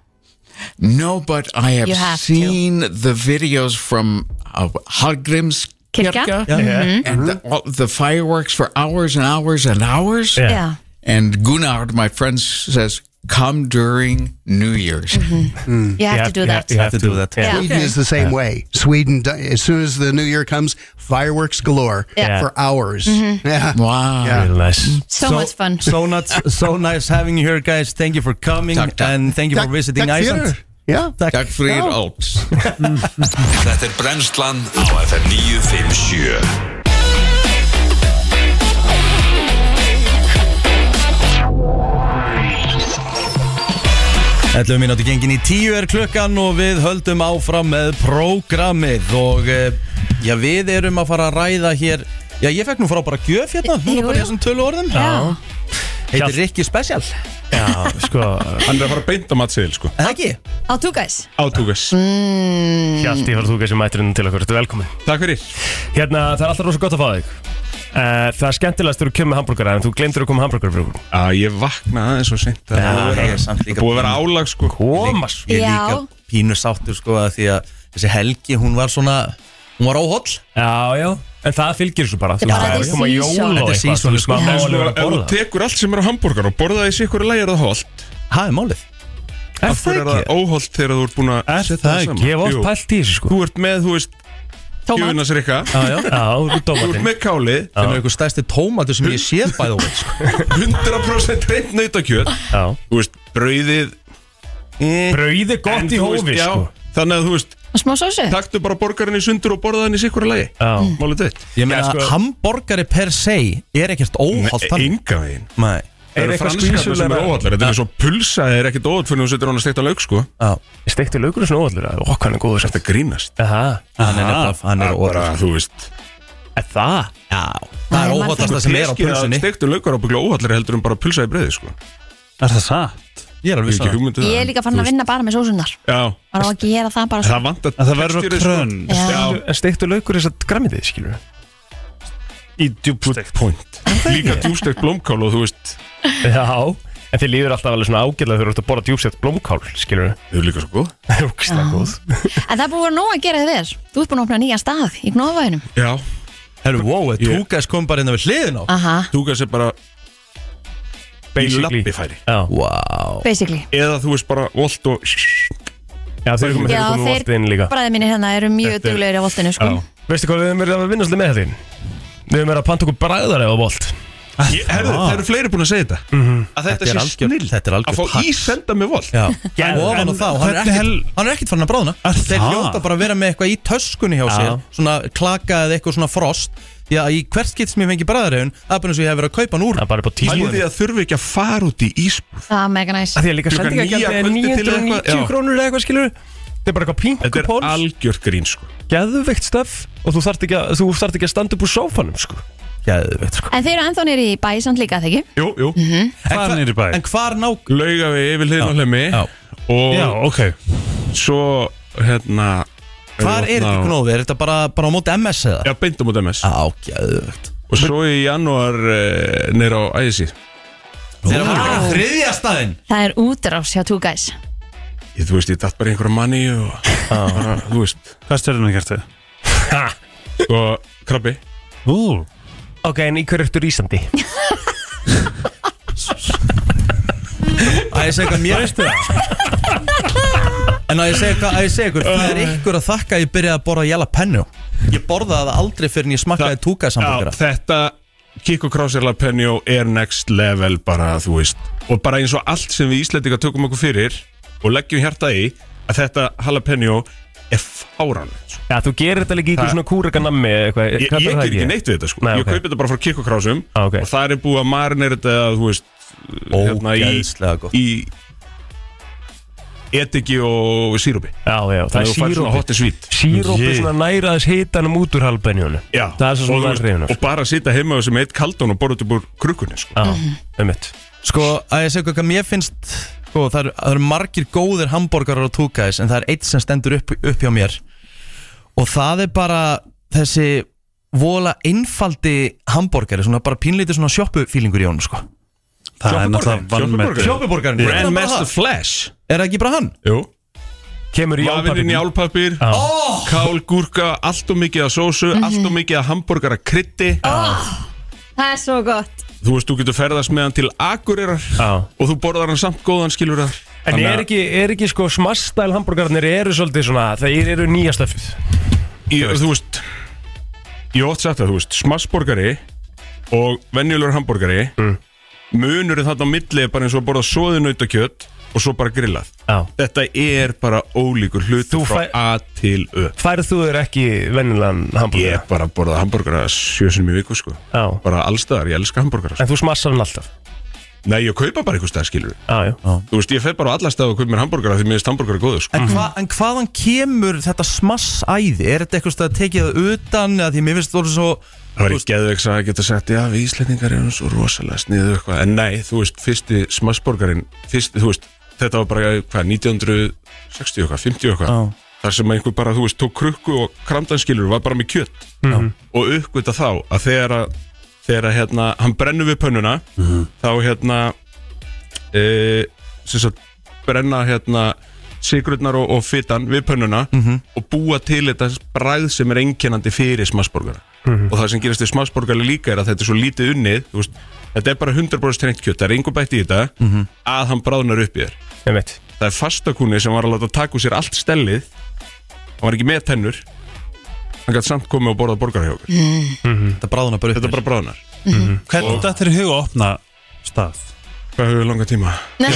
Speaker 6: No, but I have,
Speaker 2: You have to.
Speaker 6: seen the videos from uh, Hallgrim's
Speaker 2: Kirkja? Mm-hmm.
Speaker 6: and the, all, the fireworks for hours and hours and hours.
Speaker 3: Yeah.
Speaker 2: Yeah.
Speaker 6: And Gunnar, my friend, says, "Come during New Year's."
Speaker 2: Mm-hmm. You have to do that.
Speaker 3: You
Speaker 1: have to do that.
Speaker 2: Yeah.
Speaker 8: Sweden
Speaker 2: Okay.
Speaker 8: is the same way. Sweden, do- as soon as the new year comes, fireworks galore
Speaker 3: Yeah.
Speaker 8: for hours. Yeah.
Speaker 6: Wow.
Speaker 8: Yeah.
Speaker 3: Really nice
Speaker 2: So, much fun.
Speaker 1: So nuts, so nice having you here, guys. Thank you for coming
Speaker 6: Takk, takk.
Speaker 1: and thank you for
Speaker 8: Takk-
Speaker 1: visiting
Speaker 8: takk fyrir.
Speaker 1: Iceland.
Speaker 8: Yeah.
Speaker 6: Takk
Speaker 2: Oh.
Speaker 6: fyrir allt.
Speaker 7: *laughs* Þetta er brennslan á FM 957
Speaker 1: 11 minúti gengin í 10 er klukkan og við höldum áfram með prógramið og eh, já, við erum að fara að ræða hér Já, ég fekk nú frábæra gjöf hérna, hún er
Speaker 2: Jú,
Speaker 1: bara í
Speaker 2: jú.
Speaker 1: þessum tölu orðum
Speaker 2: Já.
Speaker 1: Heitir Rikki Special,
Speaker 3: Já, sko
Speaker 9: Hann er að fara að beinta maður til, sko
Speaker 1: eða ekki?
Speaker 2: Á þú guys.
Speaker 9: Átúkas
Speaker 3: Hjalti Farðúka sem mætir inn til okkur, þetta er velkomin
Speaker 9: Takk fyrir
Speaker 3: Hérna, það er alltaf rosa gott að fá þig uh, Það er skemmtilegast þegar þú kemur með hambúrgara en þú glemtir að koma með hambúrgara fyrir okkur
Speaker 9: Að ég vakna aðeins og sent Það er búið að
Speaker 1: ég er samt
Speaker 9: vera-
Speaker 1: líka
Speaker 9: búið að vera álag, sko
Speaker 3: Koma svo
Speaker 1: Ég er
Speaker 2: Já.
Speaker 1: líka pínu sáttur sko að því að þessi helgi, hún var svona, hún var óholl
Speaker 3: Já, já, en það fylgir þessu bara Þú
Speaker 2: Þetta er bara þetta
Speaker 3: veist, það er koma
Speaker 2: er
Speaker 3: jól
Speaker 2: season.
Speaker 3: og
Speaker 1: Þetta er
Speaker 3: eitthvað,
Speaker 1: season,
Speaker 3: þú veist,
Speaker 1: sko.
Speaker 3: maður má
Speaker 9: En sko,
Speaker 3: alveg vera
Speaker 9: ef
Speaker 3: að
Speaker 9: þú
Speaker 3: borða
Speaker 9: tekur allt sem er á hambúrgar og borða það í sikur lægir það holt
Speaker 1: Það er málið
Speaker 3: Er
Speaker 9: Af
Speaker 3: það
Speaker 9: hverju er það
Speaker 3: ekki?
Speaker 9: óholt þegar þú ert búin að
Speaker 3: Er
Speaker 9: setja
Speaker 3: það ekki? Ég hef
Speaker 9: Jú.
Speaker 3: oft pælt í þessu sko
Speaker 9: Þú ert með, þú veist,
Speaker 2: Tómat.
Speaker 9: gjöfunasrykka
Speaker 3: Já, þú ert
Speaker 9: Þú ert
Speaker 3: dómatinn
Speaker 9: með káli
Speaker 1: Það er einhver stærsti tómatur sem ég séð bæði og veit sko
Speaker 9: 100% reynd nautakjöt
Speaker 3: Já
Speaker 9: Þú veist, brauðið eh,
Speaker 3: Brauði
Speaker 9: en
Speaker 3: gott í
Speaker 9: þú veist,
Speaker 3: hófi
Speaker 9: já,
Speaker 3: sko
Speaker 9: Þannig að þú veist,
Speaker 2: Og smá sósu.
Speaker 9: taktu bara borgarinn í sundur og borða hann í sikur lægi
Speaker 3: Já.
Speaker 9: Málið dött *laughs*
Speaker 1: Ég meina,
Speaker 3: sko-
Speaker 1: hamborgari per se er ekkert óholt
Speaker 9: Enga e- veginn
Speaker 1: Nei
Speaker 9: Það eru franskarna sem eru óvallar Þetta er svo pulsa er ekkert óvall fyrir þú setur hann að steikta lauk sko
Speaker 3: Steikti laukur er svona óallur að okkur hann er góður sem
Speaker 9: Þetta grínast
Speaker 3: Aha,
Speaker 1: Hann er nefnilega, hann er
Speaker 9: Það bara,
Speaker 1: óvallar
Speaker 9: þú veist
Speaker 3: er það?
Speaker 1: Já, það er
Speaker 2: Nei,
Speaker 1: óvallast sem er á pulsunni
Speaker 9: Steiktu laukar á byggla óvallar heldur en bara pulsa í breiði sko
Speaker 5: Er það satt?
Speaker 1: Ég er alveg
Speaker 9: Ég hef
Speaker 1: vissan
Speaker 9: ekki hugmynd um
Speaker 2: Ég er
Speaker 9: það.
Speaker 2: líka fann að vinna bara með sósunar
Speaker 9: Já,
Speaker 2: Bara á að gera það bara
Speaker 9: það
Speaker 2: svo
Speaker 9: vant
Speaker 5: En það verður að krönn
Speaker 2: Já.
Speaker 3: En steikti laukur er satt græmiðið, skilur
Speaker 5: í djúbstegt
Speaker 9: point Líka djústegt blómkál og þú veist
Speaker 3: Já, en þið líður alltaf alveg svona ágæðlega þegar þú ert að borða djúbsett blómkál, skilur
Speaker 9: Þau eru líka svo góð
Speaker 3: Það er ógislega góð
Speaker 2: En það er búið að nóg að gera þér Þú ert búin að opna nýja stað í Gnóðvæðinum
Speaker 9: Já,
Speaker 1: Herru, wow, Tugas kom bara inn á við hliðin á
Speaker 2: Aha,
Speaker 9: þú gæst bara í lappifæri
Speaker 3: Já,
Speaker 1: Wow
Speaker 2: basically
Speaker 9: Eða þú veist bara volt og
Speaker 3: já þeir komið
Speaker 2: Já,
Speaker 3: þeir komið
Speaker 2: þeir-
Speaker 3: voltið inn líka
Speaker 2: Bræði mínir hérna eru mjög
Speaker 3: Þetta er-
Speaker 2: duglegir á voltinu sko.
Speaker 3: Já. Veistu hvað við höfum verið að vinna svolítið með þetta? Við höfum verið að panta okkur bræðar eða volt
Speaker 9: Ég- Herðu, það eru fleiri búin að segja þetta Að þetta
Speaker 1: Þetta er
Speaker 9: sé
Speaker 1: algjör-
Speaker 9: snill
Speaker 1: þetta er algjör
Speaker 9: Að fá
Speaker 1: pax.
Speaker 9: ísenda með volt
Speaker 1: Já,
Speaker 3: Já,
Speaker 1: og ofan á
Speaker 3: en
Speaker 1: þá, hann er,
Speaker 5: hvernig
Speaker 1: ekkert,
Speaker 5: hel-
Speaker 1: hann er ekkert farin að bráðna Þeir
Speaker 5: það?
Speaker 1: hljóta bara að vera með eitthvað í töskunni hjá sér Svona klaka eða eitthvað svona frost Já, í hvert skitt sem ég fengi bræðarauðun Það er bara eins og ég hef verið að kaupa hann úr
Speaker 3: Það er bara upp á tíma
Speaker 9: Pæliði að þurfi ekki að fara út í ísbúð
Speaker 2: Það er mega næs
Speaker 3: Því að líka
Speaker 9: Klukkan níu
Speaker 3: sendingagjaldið
Speaker 9: að
Speaker 3: er
Speaker 9: kvöldi til eitthvað,
Speaker 3: 990
Speaker 9: já.
Speaker 3: krónur eða eitthvað skilur Þetta er bara eitthvað
Speaker 9: Þetta
Speaker 3: pingu
Speaker 9: er
Speaker 3: póls
Speaker 9: algjör grín sko
Speaker 3: Geðveikt stöf Og þú þarft ekki að, þú þarft ekki að standa upp úr sófanum sko
Speaker 1: Geðveikt, sko.
Speaker 2: En þeir eru ennþá nýri í bæsand líka, þegar ekki?
Speaker 9: Jú, jú
Speaker 5: Hvað er nýri bæ?
Speaker 1: En hvar ná
Speaker 9: Lauga við yfir hliðin á hlemmi
Speaker 1: Já.
Speaker 9: Og
Speaker 5: Já, ok
Speaker 9: svo hérna
Speaker 1: Hvar er þetta
Speaker 9: knóð?
Speaker 1: knóðið? Er þetta bara, bara á móti MS eða?
Speaker 9: Já, beintum út MS
Speaker 1: Á, geðveikt
Speaker 9: Og svo í janúar uh, neyra á æðisí
Speaker 1: Þeir eru að fara á þriðja staðinn
Speaker 2: Það er útrás hjá Two Guys
Speaker 9: Ég, þú veist, ég datt bara í einhverja manni og bara, þú veist
Speaker 5: Hvað stjörnum er gert þið?
Speaker 9: Og krabbi
Speaker 5: Ú
Speaker 3: Ok, en í hverju ertu rísandi?
Speaker 1: Æ, ég segi hvað mér veistu það En að ég segi hvað, að ég segi ykkur Það er ykkur að þakka að ég byrjaði að borða jalapennu Ég borðaði það aldrei fyrir en ég smakkaði túka
Speaker 9: Já,
Speaker 1: sambokara
Speaker 9: þetta Kiko Krásirlapenjó er next level bara, þú veist Og bara eins og allt sem við Íslendinga tökum okkur fyrir Og leggjum hjarta í Að þetta jalapenjó er fáranlegt sko.
Speaker 3: Já, þú gerir þetta líka í ykkur
Speaker 9: Það-
Speaker 3: svona kúrakanammi eða eitthvað
Speaker 9: Ég,
Speaker 3: hvað
Speaker 9: ég
Speaker 3: er það
Speaker 9: ger ekki neitt við þetta sko
Speaker 3: Nei,
Speaker 9: Ég
Speaker 3: ok.
Speaker 9: kaupi þetta bara frá Kiko Krásum
Speaker 3: Ah, ok.
Speaker 9: Og það er búið að marinir þetta, þú veist hérna, í-
Speaker 1: Ógeðslega gott
Speaker 9: Í Ediki og sírópi
Speaker 3: Já, já, það er
Speaker 9: Þannig að þú fær svona
Speaker 3: sírópi
Speaker 9: hot and sweet
Speaker 3: Sírópi
Speaker 5: Ég-
Speaker 3: svona næraðis hitanum út úr halbenjónu
Speaker 9: Já,
Speaker 3: Það er svo
Speaker 9: og,
Speaker 3: svona
Speaker 9: þú
Speaker 3: verðriðinu
Speaker 9: veist, og bara sita heima sem eitt kaldón og borða upp úr krukkunni sko.
Speaker 3: Já, ummitt
Speaker 1: Sko, að ég segja hvað mér finnst sko, það, eru, það eru margir góðir hambúrgarar og túkæðis En það er eitt sem stendur upp, upp hjá mér Og það er bara þessi vola einfaldi hambúrgari Svona bara pínlítið svona sjoppufílingur í honum sko.
Speaker 5: Það er náttúrulega
Speaker 9: Sjoppuborgarinn.
Speaker 5: vannmett
Speaker 1: Sjoppuborgarinn
Speaker 9: Grandmaster Flash
Speaker 1: Er það ekki bara hann?
Speaker 9: Jú
Speaker 3: Kemur í
Speaker 9: Vafinn í
Speaker 3: álpapirinn
Speaker 9: álpapir
Speaker 3: Já.
Speaker 9: Kál, gúrka, allt og mikið að sósu Allt og mikið að hambúrgara krytti
Speaker 2: Það er svo gott
Speaker 9: Þú veist, þú getur ferðast með hann til Akureyrar
Speaker 3: Já.
Speaker 9: Og þú borðar hann samt góðan skilur það
Speaker 3: En er ekki, er ekki sko smastæl hambúrgarnir eru svolítið svona Þeir eru nýja stöfið
Speaker 9: ég, Þú veist Ég ótt sagt það, þú veist Smassborgari og venjulegur hambúrgari mm. Munurinn þarna á milli er bara eins og að borða soðið nautakjöt Og svo bara grillað
Speaker 3: Já
Speaker 9: Þetta er bara ólíkur hlutur
Speaker 3: Þú
Speaker 9: frá
Speaker 3: fæ-
Speaker 9: A til Ö
Speaker 3: Færð þú þér ekki venjulegan
Speaker 9: Ég
Speaker 3: hambúrgar?
Speaker 9: bara borða hambúrgara sjösunum í viku sko
Speaker 3: Já
Speaker 9: Bara allstaðar, ég elska hambúrgara sko.
Speaker 3: En þú smassar hann alltaf
Speaker 9: Nei, ég kaupa bara einhver stað skilur
Speaker 3: Já, já
Speaker 9: Þú veist, ég fer bara á alla staði og kaup mér hambúrgara Því mér finnst hambúrgara góður sko
Speaker 1: En, hva, en hvaðan kemur þetta smassæði? Er þetta eitthvað að tekið það utan? Eða því mér finnst það svo
Speaker 9: Það var í geðveiks að geta sagt Já, við Íslendingar erum svo rosalega sniðu eitthvað En nei, þú veist, fyrsti smassborgarinn fyrsti, Þú veist, þetta var bara hvað, 1960 eitthvað, 50 eitthvað
Speaker 1: Já.
Speaker 9: Þar sem einhver bara, þú veist, tók krukku og kramdanskilur var bara með kjött og uppgöta þá að þegar að þegar að hérna, hann brennur við pönnuna þá hérna e, sem sagt brenna hérna sigrurnar og, og fytan við pönnuna og búa til þetta bræð sem er einkennandi fyrir smassborgara og það sem gerast við smassborgara líka er að þetta er svo lítið unnið þú veist, þetta er bara 100% tengt kjött það er einhver bætt í þetta að hann bráðnar upp í þér
Speaker 3: Ummitt
Speaker 9: það er fastakunni sem var að láta taka úr sér allt stellið hann var ekki með tennur hann gætt samt komið og borðað borgara hjá okkur
Speaker 1: Þetta bráðuna bara upp
Speaker 9: Mhm. þetta bara bráðnar
Speaker 5: Hvernig þetta er í hug að opna stað?
Speaker 9: Hvað hefur langa tíma?
Speaker 5: Í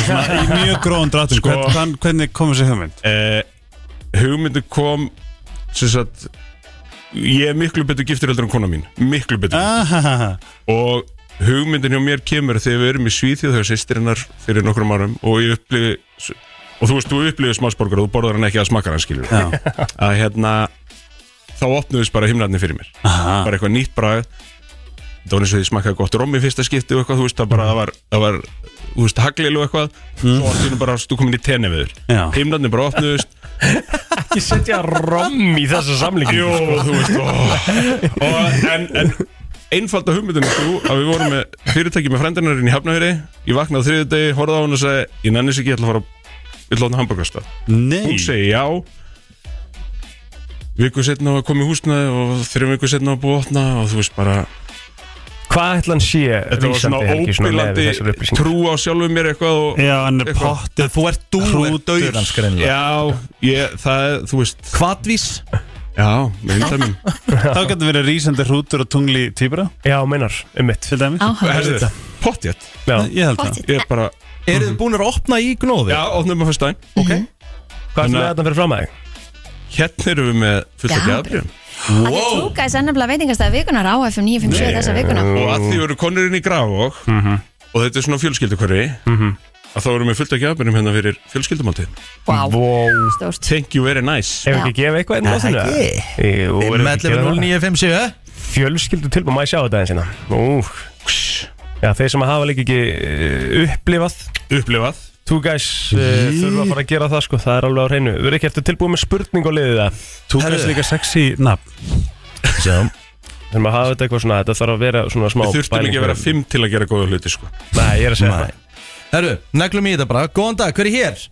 Speaker 5: mjög gróðan drátum
Speaker 9: Sko-
Speaker 5: hvern, Hvernig komur sér hugmynd?
Speaker 9: Eh, hugmyndu kom sem sagt ég er miklu betur giftur heldur en kona mín miklu betur
Speaker 5: Ahaha.
Speaker 9: og hugmyndin hjá mér kemur þegar við erum í Svíþjóð þegar sýstirinnar fyrir nokkrum árum og ég upplifi og þú veist, þú upplifir smagsborgar og þú borðar hann ekki að smakar hann skilur *laughs* að hérna þá opnuðist bara himnarnir fyrir mér Aha. bara eitthvað nýtt bragð það var eins og því smakkaði gott romm í fyrsta skipti og eitthvað, þú veist, það bara það var, það var þú veist, haglil og eitthvað svo allt í einu bara, þú komin í tenni við þur
Speaker 5: Já.
Speaker 9: himnarnir bara opnuðist
Speaker 3: Ég setja rom í þessa samlingu
Speaker 9: Jú, þú veist ó, og, en, en einfalda hugmyndin er þú að við vorum með fyrirtæki með frendinarinn í Hafnaveri ég vaknaði þriðu degi, horfði á hún og segi ég nennis ekki, ég ætla að fara ég ætla að hann hamburgastað
Speaker 5: Nei
Speaker 9: hún segi já viku setna var komið húsnaði og þrjum viku setna var búið að opna og þú veist bara
Speaker 3: Hvað ætla hann sé
Speaker 9: þetta var svona óbillandi trú á sjálfu mér eitthvað og
Speaker 5: Já, hann er
Speaker 9: Eitthvað.
Speaker 5: pottið
Speaker 1: Þú ert dúður
Speaker 5: Hrútur
Speaker 1: hans greinlega
Speaker 9: Já, ég, það, er, þú veist
Speaker 1: Hvatvís
Speaker 9: Já, mynda mín *laughs*
Speaker 5: Þá getur verið rísandi hrútur og tungli týpura
Speaker 3: Já, meinar, um mitt
Speaker 5: til dæmis
Speaker 2: áhugavert
Speaker 9: Herðu, pottjett
Speaker 3: Já.
Speaker 5: Ég held það
Speaker 2: Pottit.
Speaker 9: Ég er bara,
Speaker 1: Eru þið búin að opna í gnóði?
Speaker 9: já, opnum að fyrsta dæn
Speaker 1: Ok
Speaker 3: Hvað er
Speaker 9: Þannig
Speaker 3: það
Speaker 9: að-
Speaker 3: þetta fyrir fram að þig?
Speaker 9: Hérna erum við með fullt
Speaker 2: Já.
Speaker 9: ekki aðbrjum
Speaker 2: Wow. Það tóka þess ennabla veitingastæði vikunar á FM 957 þessa vikuna
Speaker 9: Og að því eru konurinn í Grafog Og þetta er svona fjölskyldukverfi Að þá erum við fullt ekki aðbrjum hérna fyrir fjölskyldumáltíð
Speaker 2: Vá,
Speaker 3: Wow
Speaker 2: stórt
Speaker 9: Thank you very nice
Speaker 3: Hefur ekki gefið eitthvað einn lásinu? Jú, erum við ekki
Speaker 1: 11
Speaker 3: gefið það?
Speaker 1: 0957
Speaker 3: Fjölskyldu tilbúið, maður sjá þetta eins hérna Ú, Já, þeir sem hafa líka ekki eh, upplifað
Speaker 9: Upplifað
Speaker 3: Two guys uh, þurfa að fara að gera það sko, það er alveg á hreinu Við erum ekki eftir tilbúið með spurning og liðið það
Speaker 5: Þú kannast líka sexy nafn
Speaker 1: Sjáum
Speaker 3: Þegar maður hafa þetta eitthvað svona, þetta þarf að vera svona smá
Speaker 9: Við þurftum ekki að vera fimm til að gera góða hluti sko
Speaker 3: Nei, ég er að segja
Speaker 1: Nei. Herru, neglum í þetta bara Góðan dag, hver er hér?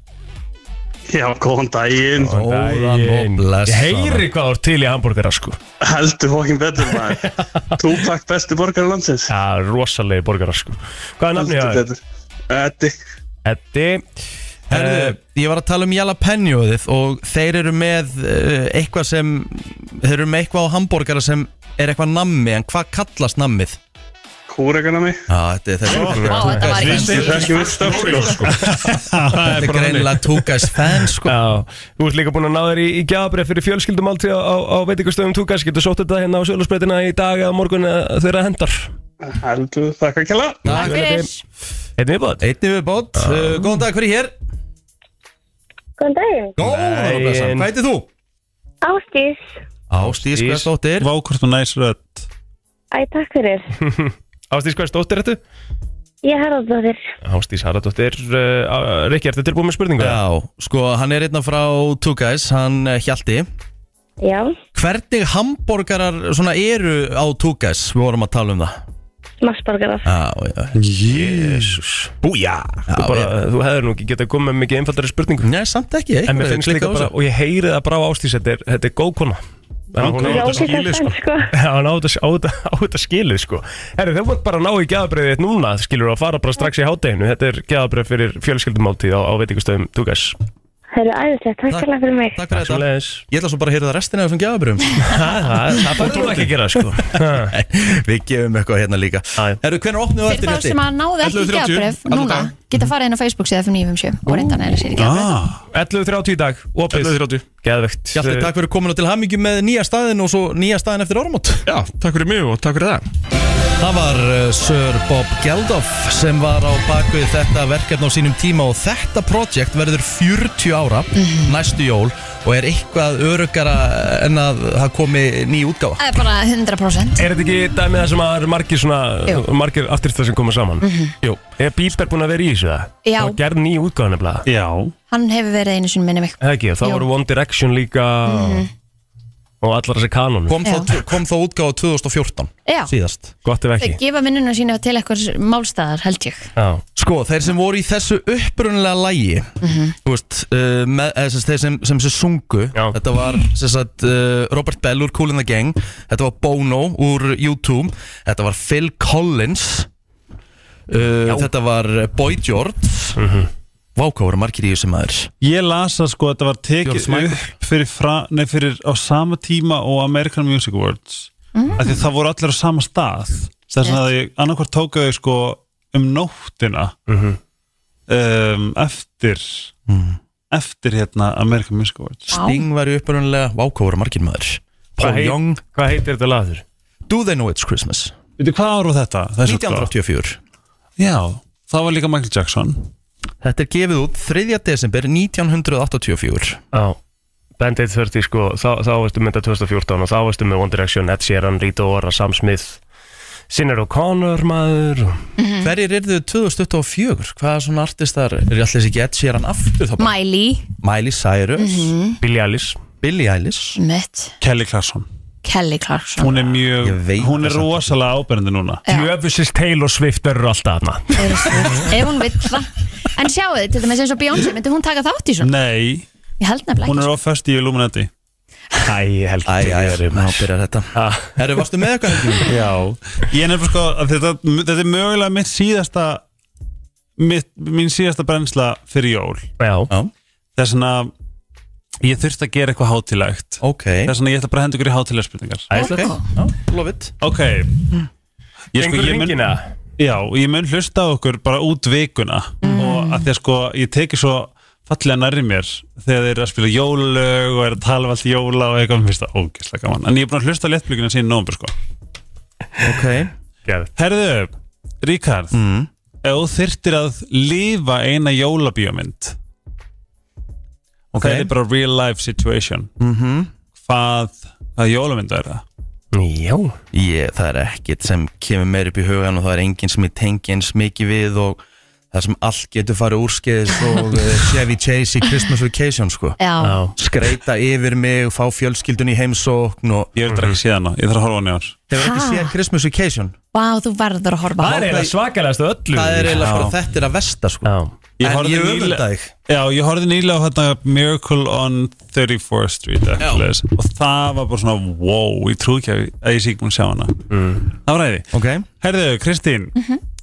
Speaker 10: Já, góðan daginn.
Speaker 3: það
Speaker 1: Góðan og
Speaker 3: Daginn. Ég
Speaker 1: blessaðan.
Speaker 3: heyri hvað þú ert til í hambúrgara sko
Speaker 10: Heldur fokkin betur
Speaker 9: *laughs*
Speaker 10: maður. Tupac besti borgar landsins.
Speaker 3: Það er rosalegi borgara sko Hvað er nafnið það?
Speaker 10: betur. Eddi.
Speaker 3: Eddi Eh,
Speaker 1: Herru, ég var að tala um jalapenjóðið og þeir eru með uh, eitthvað sem þeir eru með eitthvað á hambúrgara sem er eitthvað nammi, en hvað kallast nammið?
Speaker 10: Kúregan að mig.
Speaker 1: Já, þetta er þetta er-
Speaker 2: Vá, þetta var
Speaker 9: Ég
Speaker 2: ekki
Speaker 9: er ekki vilt af sko
Speaker 1: þetta er greinilega túkæs fan sko
Speaker 3: Já, þú ert líka búin að ná þér í, í gjafabrið fyrir fjölskyldum alltaf á, á, á veitingastöðum Two guys getur sótt þetta hérna á sjölusbreytina í dag eða á morgun eða þeirra hendar
Speaker 10: Heldur þakka ekki hella.
Speaker 2: Takk fyrir
Speaker 3: Hérna við báðið
Speaker 1: Einnig við bótt, uh, góðan dag, hver er hér?
Speaker 11: Góðan daginn.
Speaker 1: Góðan og blessaðan. hvað heitir þú?
Speaker 11: Ástís.
Speaker 1: Ástís
Speaker 3: Ís.
Speaker 1: Hversdóttir
Speaker 5: Vákvort og næs rödd
Speaker 11: Æ, takk fyrir.
Speaker 3: Ástís, hvað er stóttir þetta?
Speaker 11: Ég er Haraldóttir.
Speaker 3: Ástís Haraldóttir, uh, Rikki, ertu tilbúið með spurningu?
Speaker 1: Já, sko, hann er einna frá túkæs, hann uh, Hjalti
Speaker 11: Já.
Speaker 1: Hvernig hambúrgarar svona eru á túkæs? Við vorum að tala um það
Speaker 11: Massborgarar.
Speaker 1: Já, já,
Speaker 5: Jésús
Speaker 9: Búja
Speaker 1: já
Speaker 3: Bara, þú hefur nú ekki getað komið með mikið einfaldari spurningu
Speaker 1: Nei, samt ekki
Speaker 3: En mér finnst líka bara, og ég heyri það bara á Ástís, þetta er, þetta er góð kona Þannig að hún á
Speaker 11: Já,
Speaker 3: þetta
Speaker 11: ok, það
Speaker 3: skilið,
Speaker 11: er
Speaker 3: sko.
Speaker 11: sko.
Speaker 3: Já, hún á þetta- á þetta- á þetta skilið sko Herri, þau mátt bara ná í gæðabriðið þitt núna skilur og fara bara strax í hátteginu Þetta er gæðabrið fyrir fjölskyldumáltíð á, á veitingastöðum Tugas
Speaker 11: Það eru æðislegt. Takk
Speaker 1: Takk.
Speaker 11: fyrir fyrir mig.
Speaker 1: Takk fyrir þetta Ég ætla svo bara að heyra það restina af þessum gjafabrjum *laughs*
Speaker 3: Það það fór þú ekki að gera sko
Speaker 1: Við gefum eitthvað hérna líka
Speaker 3: Já, já.
Speaker 1: Herru, hvernig opnum við
Speaker 2: Fyrir
Speaker 1: eftir
Speaker 2: þá sem
Speaker 1: hjarti?
Speaker 2: að náðu ekki
Speaker 9: 11.30,
Speaker 2: geðabrif
Speaker 9: alla
Speaker 2: núna
Speaker 9: daga.
Speaker 2: geta farið inn á Facebook síðan fyrir 957 og reyndan er sér í geðabrif
Speaker 3: 11.30 í dag, opið
Speaker 9: 11.30
Speaker 3: Gæðvegt
Speaker 1: Hjalti, takk fyrir komin og til hammingjum með nýja staðin og svo nýja staðin eftir ormót
Speaker 9: Já, takk fyrir mig og takk fyrir það
Speaker 1: Það var uh, Sir Bob Geldof sem var á bakvið þetta verkefni á sínum tíma og þetta projekt verður 40 ára
Speaker 2: Mhm.
Speaker 1: næstu jól og er eitthvað örugara en að það komi ný útgáfa
Speaker 2: Það er bara 100%
Speaker 3: Eh, Er þetta ekki dæmið það sem að eru margir svona
Speaker 2: Jú. Mhm.
Speaker 3: margir afturstæð sem koma saman? Jú Er Bieber búin að vera í þessu það?
Speaker 2: Já.
Speaker 3: Það var gerð ný útgáð nefnilega
Speaker 5: Já
Speaker 2: Hann hefur verið einu sinni minni mig
Speaker 3: Það ekki, þá
Speaker 2: Jú.
Speaker 3: voru One Direction líka
Speaker 2: Mhm.
Speaker 3: og allar þessi kanonum
Speaker 1: Kom, þá, kom þá útgáfa 2014
Speaker 2: Já.
Speaker 1: síðast
Speaker 3: Gott ef
Speaker 2: Þau
Speaker 3: ekki
Speaker 2: gefa minnuna sína til eitthvað málstæðar held ég
Speaker 3: Já,
Speaker 1: Sko, þeir sem voru í þessu upprunnilega lægi Þú veist, uh, með, eða, sem, sagt, þeir sem, sem sem sungu
Speaker 3: Já.
Speaker 1: Þetta var sem sagt, uh, Robert Bell úr Cool in the Gang Þetta var Bono úr U2 Þetta var Phil Collins uh, Þetta var Boy George mm -hmm. Váka voru margir í þessu maður
Speaker 5: Ég las að sko þetta var tekið
Speaker 1: George Michael.
Speaker 5: upp fyrir, fra, nei, fyrir á sama tíma og American Music Awards mm. af því það voru allir á sama stað þess að ég annarkvart tók að ég sko um nóttina um, eftir Mm. eftir hérna American Music Awards
Speaker 1: Sting var í upprunnilega Váka voru margir maður
Speaker 3: Hvað
Speaker 1: Paul
Speaker 3: heit-
Speaker 1: Young
Speaker 3: hvað heitir þetta laður?
Speaker 1: Do They Know It's Christmas
Speaker 5: Veitu hvað ára þetta? Þessi
Speaker 1: 1984
Speaker 5: Já, það var líka Michael Jackson
Speaker 1: Þetta er gefið út 3. desember 1984
Speaker 3: Já, Bandit 30 sko, þá, þá varstu mynda 2014 og þá varstu með One Direction, Ed Sheeran, Rita Ora, Sam Smith, Sinner O'Connor maður
Speaker 2: Mm.
Speaker 1: Hverjir er þau 2024? Hvaða svona artistar er allir þessi gett sér hann aftur þá? bara?
Speaker 2: Miley,
Speaker 1: Miley Cyrus
Speaker 2: Mhm.
Speaker 3: Billie Eilish
Speaker 1: Billie Eilish
Speaker 2: mitt,
Speaker 5: Kelly Clarkson
Speaker 2: Kelly Clarkson
Speaker 5: Hún er mjög, hún er rosalega áberandi núna
Speaker 3: Jöfusist Taylor Swift eru alltaf þarna
Speaker 2: ef hún vill það en sjáu þið, til dæmis eins og Beyoncé, myndi hún taka þátt í svona?
Speaker 5: Nei,
Speaker 2: Ég held nefnilega
Speaker 5: hún
Speaker 2: ekki
Speaker 5: er of fast í Illuminati
Speaker 3: *laughs* Æ, heldur
Speaker 5: Æ, æ,
Speaker 1: þá byrjar þetta Herru, varstu með eitthvað helgum?
Speaker 5: Já, ég nefnir sko að þetta, þetta er mögulega mitt síðasta mitt, mín síðasta brennsla fyrir jól
Speaker 3: Já,
Speaker 1: Já.
Speaker 5: Þess vegna ég þurfti að gera eitthvað hátilegt
Speaker 1: okay.
Speaker 5: Þess vegna ég ætla bara að henda ykkur í hátilega spurningar
Speaker 3: Æðislegt.
Speaker 1: Love it
Speaker 5: Ok ég, sko,
Speaker 3: Gengur
Speaker 5: ég mun-
Speaker 3: hringina?
Speaker 5: Já, og ég mun hlusta á okkur bara út vikuna og að því að sko ég teki svo fallega nærri mér þegar þeir eru að spila jólög og eru að tala um allt jóla og eitthvað, mér finnst það ógeðslega gaman en ég er búin að hlusta léttblíkuna síðan nómur sko
Speaker 1: Ok
Speaker 5: Herðu, Ríkard
Speaker 1: Mm.
Speaker 5: ef þú þyrtir að lifa eina jólabíómynd og það er bara real life situation
Speaker 1: Mhm.
Speaker 5: hvað, hvað jólamynda er það?
Speaker 3: Já
Speaker 1: ég, Það er ekkit sem kemur meir upp í hugan og það er enginn sem ég tengi eins mikið við og það sem allt getur farið úrskeiðis og eh, Chevy Chase í Christmas Vacation sko.
Speaker 2: Já. Já.
Speaker 1: Skreita yfir mig, fá fjölskyldun í heimsókn og...
Speaker 5: Ég vil ekki séð hana, ég þarf að horfa hann í ár
Speaker 1: Hefur ekki
Speaker 2: Ha?
Speaker 1: séð Christmas Vacation?
Speaker 2: Vá, þú verður að horfa á það.
Speaker 3: svakalegast öllu
Speaker 1: Það er eiginlega
Speaker 5: Já.
Speaker 1: bara þetta er að vesta sko.
Speaker 5: Ég
Speaker 1: En
Speaker 5: horfði
Speaker 1: ég öfunda
Speaker 5: nýlega-
Speaker 1: þig.
Speaker 5: Já, ég horfði nýlega á hérna Miracle on 34th Street actually, og það var bara svona wow, ég trúi ekki að- að ég sé ekki múin að sjá hana Það var æði
Speaker 1: okay.
Speaker 5: Herðu, Kristín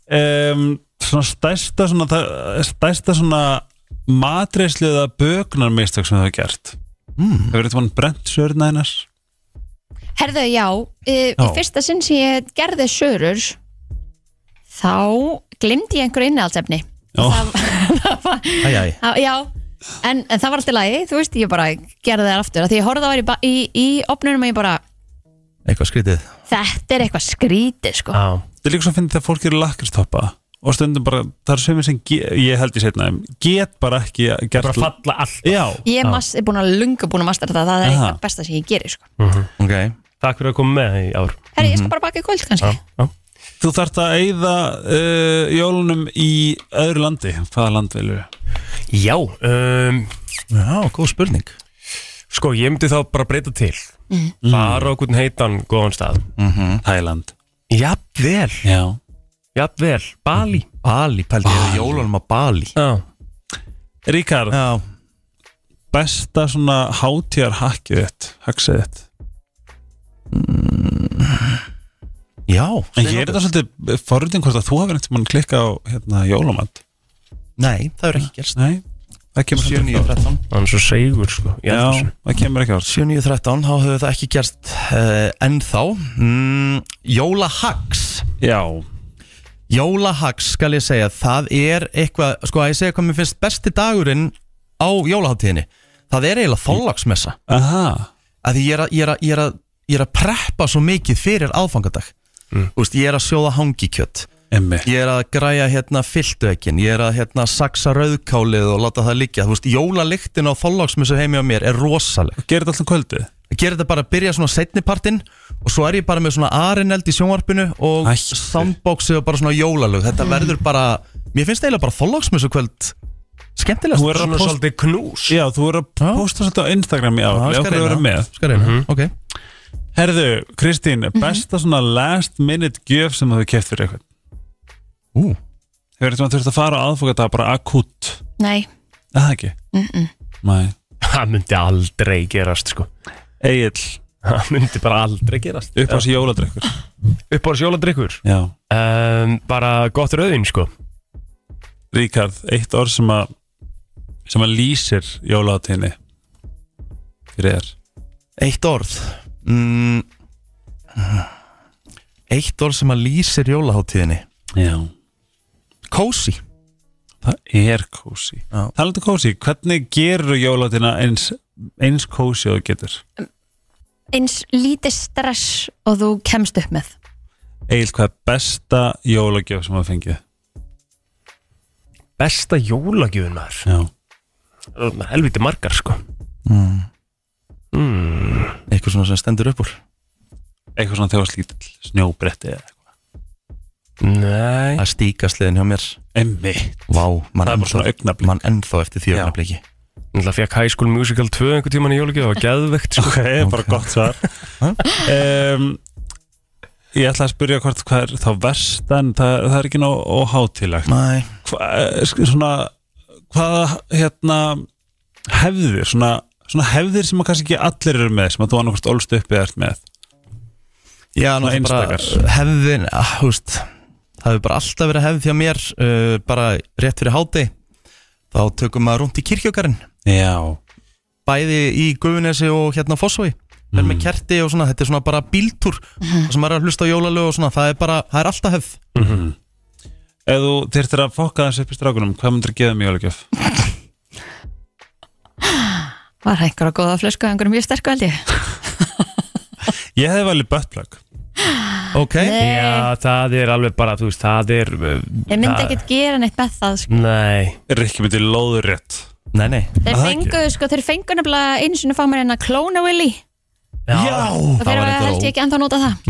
Speaker 5: um, svona stærsta svona, það- stærsta svona matreisliða bögnarmistök sem það hefur gert mm. Hefur þetta mann brent sörna hennars?
Speaker 2: Herðu, já, í, í
Speaker 5: Já.
Speaker 2: fyrsta sinn sem ég gerði sörur þá glimdi ég einhverju innihaldsefni
Speaker 5: Já,
Speaker 1: Æj, æj
Speaker 2: Á, Já, en, en það var alltaf lægi, þú veist, ég bara gerði það aftur af því ég horfði á það í, ba- í, í opnunum og ég bara,
Speaker 1: Eitthvað skrítið
Speaker 2: þetta er eitthvað skrítið, sko
Speaker 3: Já
Speaker 5: Það er líka svo að finna þegar fólk eru lakristoppa og stundum bara, það er sömur sem ge- ég held ég setna þeim, get bara ekki gert
Speaker 3: Bara falla allt
Speaker 5: Já
Speaker 2: Ég mas, er búin að lunga búin að mastera það, það er
Speaker 5: Aha.
Speaker 2: eitthvað besta sem ég geri, sko
Speaker 1: okay.
Speaker 3: Takk fyrir að koma með í ár
Speaker 2: Herri, ég skal bara baka í kvöld kannski
Speaker 5: Þú þarft að eyða uh, jólunum í öðru landi Hvaða land vilju?
Speaker 3: Já um,
Speaker 1: Já, góð spurning
Speaker 3: Sko, ég myndi þá bara breyta til Fara okkur heitan góðan stað
Speaker 5: Þæland
Speaker 3: Jafnvel,
Speaker 5: Já
Speaker 3: jafnvel, Bali
Speaker 1: Bali, pældi ég jólunum á Bali
Speaker 3: Já,
Speaker 5: Ríkard,
Speaker 1: Já
Speaker 5: besta svona hátíjar hakkið þitt, haksið þitt
Speaker 1: Já
Speaker 5: En ég er þetta svolítið forröndin hvort að þú hafir einhvern mann klikka á hérna, jólumat
Speaker 1: Nei, það er ekki gerst
Speaker 5: Nei, það kemur samt ekki á óvart.
Speaker 1: 7.9.13
Speaker 3: hann er svo segur sko Ég held
Speaker 5: Já,
Speaker 3: þessu.
Speaker 5: það kemur ekki á óvart.
Speaker 1: 7.9.13, þá hefur það ekki gerst uh, ennþá mm, Jólahags
Speaker 5: Já,
Speaker 1: Jólahags skal ég segja Það er eitthvað, sko að ég segja hvað mér finnst besti dagurinn á jólaháttíðinni Það er eiginlega þóllagsmessa
Speaker 5: aha
Speaker 1: að því ég er að, ég er að, ég er að, ég er að preppa svo mikið fyrir aðfangadag mm. Úst, ég er að sjóða hangikjött
Speaker 5: Emmi
Speaker 1: ég er að græja hérna fylltuekkin ég er að hérna saksa rauðkálið og láta það liggja, þú veist, jólalyktin á þóllagsmissu heimi á mér er rosaleg
Speaker 5: Gerir þetta alltaf kvöldið?
Speaker 1: ég gerir þetta bara að byrja svona setnipartin og svo er ég bara með svona arineld í sjónvarpinu og
Speaker 5: Hættu.
Speaker 1: soundboxi og bara svona jólalög þetta verður bara, mér finnst eiginlega bara þóllagsmissu kvöld skemmtilegast
Speaker 5: Þú er að
Speaker 3: Svona
Speaker 5: posta
Speaker 3: svolítið knús
Speaker 5: Já, þú er að posta svolítið á Instagram í ár Ég
Speaker 1: Já, skal
Speaker 5: okkur að
Speaker 1: reyna.
Speaker 5: vera með
Speaker 1: Skal reyna, ok
Speaker 5: Herðu, Kristín, besta svona last minute gjöf sem þú hefur keft fyrir eitthvað
Speaker 1: Ú.
Speaker 5: Hefur þetta þurft að fara á aðfókata bara akút
Speaker 2: Nei,
Speaker 5: Er það ekki? Nei
Speaker 3: Það myndi aldrei gerast sko
Speaker 5: Egil,
Speaker 3: Það myndi bara aldrei gerast
Speaker 5: upp á þessi jóladrykkur
Speaker 3: Upp á sjóladrykkur
Speaker 5: Já
Speaker 3: um, Bara gott rauðin sko
Speaker 5: Ríkard, eitt orð sem að sem að lýsir jólaðatíðinni fyrir þér
Speaker 1: Eitt orð mm. Eitt orð sem að lýsir jólaháttíðinni
Speaker 5: Já
Speaker 1: Kósi
Speaker 5: Það er kósi
Speaker 1: Já.
Speaker 5: Talandi um kósi, hvernig gerur jólaðatíðina eins, eins kósi og þú getur?
Speaker 2: eins lítið stress og þú kemst upp með
Speaker 5: Egil, hvað er besta jólagjöf sem að fengið?
Speaker 3: Besta jólagjöfunar
Speaker 5: Já
Speaker 3: Helviti margar sko
Speaker 1: mm.
Speaker 3: mm.
Speaker 1: Eitthvað svona sem stendur upp úr
Speaker 5: Eitthvað svona þegar slítill snjóbretti eða
Speaker 3: eitthvað Nei
Speaker 1: Að stíkasliðin hjá mér
Speaker 5: Emmi
Speaker 1: Vá, mann
Speaker 3: Það er bara svona
Speaker 1: ennþá, man ennþá eftir því augnabliki
Speaker 3: Það fekk High School Musical 2 einhvern tíman í jólagjöf Það var geðvegt sko
Speaker 5: Ok, bara gott svar um, Ég ætla að spyrja hvort hvað er þá verst en það, það er ekki nóg óhátilegt
Speaker 1: Nei
Speaker 5: Hva, eh, Svona, hvaða hérna hefðir, svona, svona hefðir sem að kannski ekki allir eru með, sem að þú annarkvort ólst upp eða ert með
Speaker 1: Já,
Speaker 5: Svona
Speaker 1: náttúrulega bara
Speaker 5: einstakar.
Speaker 1: hefðin ah, þú veist, Það hefur bara alltaf verið hefð hjá mér uh, bara rétt fyrir háti þá tökum maður rúnt í kirkjökarinn
Speaker 5: Já
Speaker 1: Bæði í Guðunesi og hérna á Fossói Verð
Speaker 3: Mm.
Speaker 1: með kerti og svona, þetta er svona bara bíltúr mm. sem maður er að hlusta á jólalög og svona það er bara, það er alltaf hefð
Speaker 5: mm -hmm. Ef þú þyrftir að fokka þessu upp í strákunum, hvað myndir að gefa mig jólagjöf?
Speaker 2: Var það einhverja góða flösku, einhverju mjög sterku held ég
Speaker 5: Ég hefði valið buttplug
Speaker 1: Ok
Speaker 2: Nei.
Speaker 3: Já, það er alveg bara, þú veist, það er uh,
Speaker 2: Ég myndi ekkert gera neitt með það sko.
Speaker 3: Nei
Speaker 5: Rikki myndi lóður rétt
Speaker 1: Nei, nei
Speaker 2: Þeir fengu, sko, þeir fengu nefnilega einu sinni fá mér en að klóna Willy
Speaker 3: Já,
Speaker 2: og þeir var held ég ekki ennþá nota það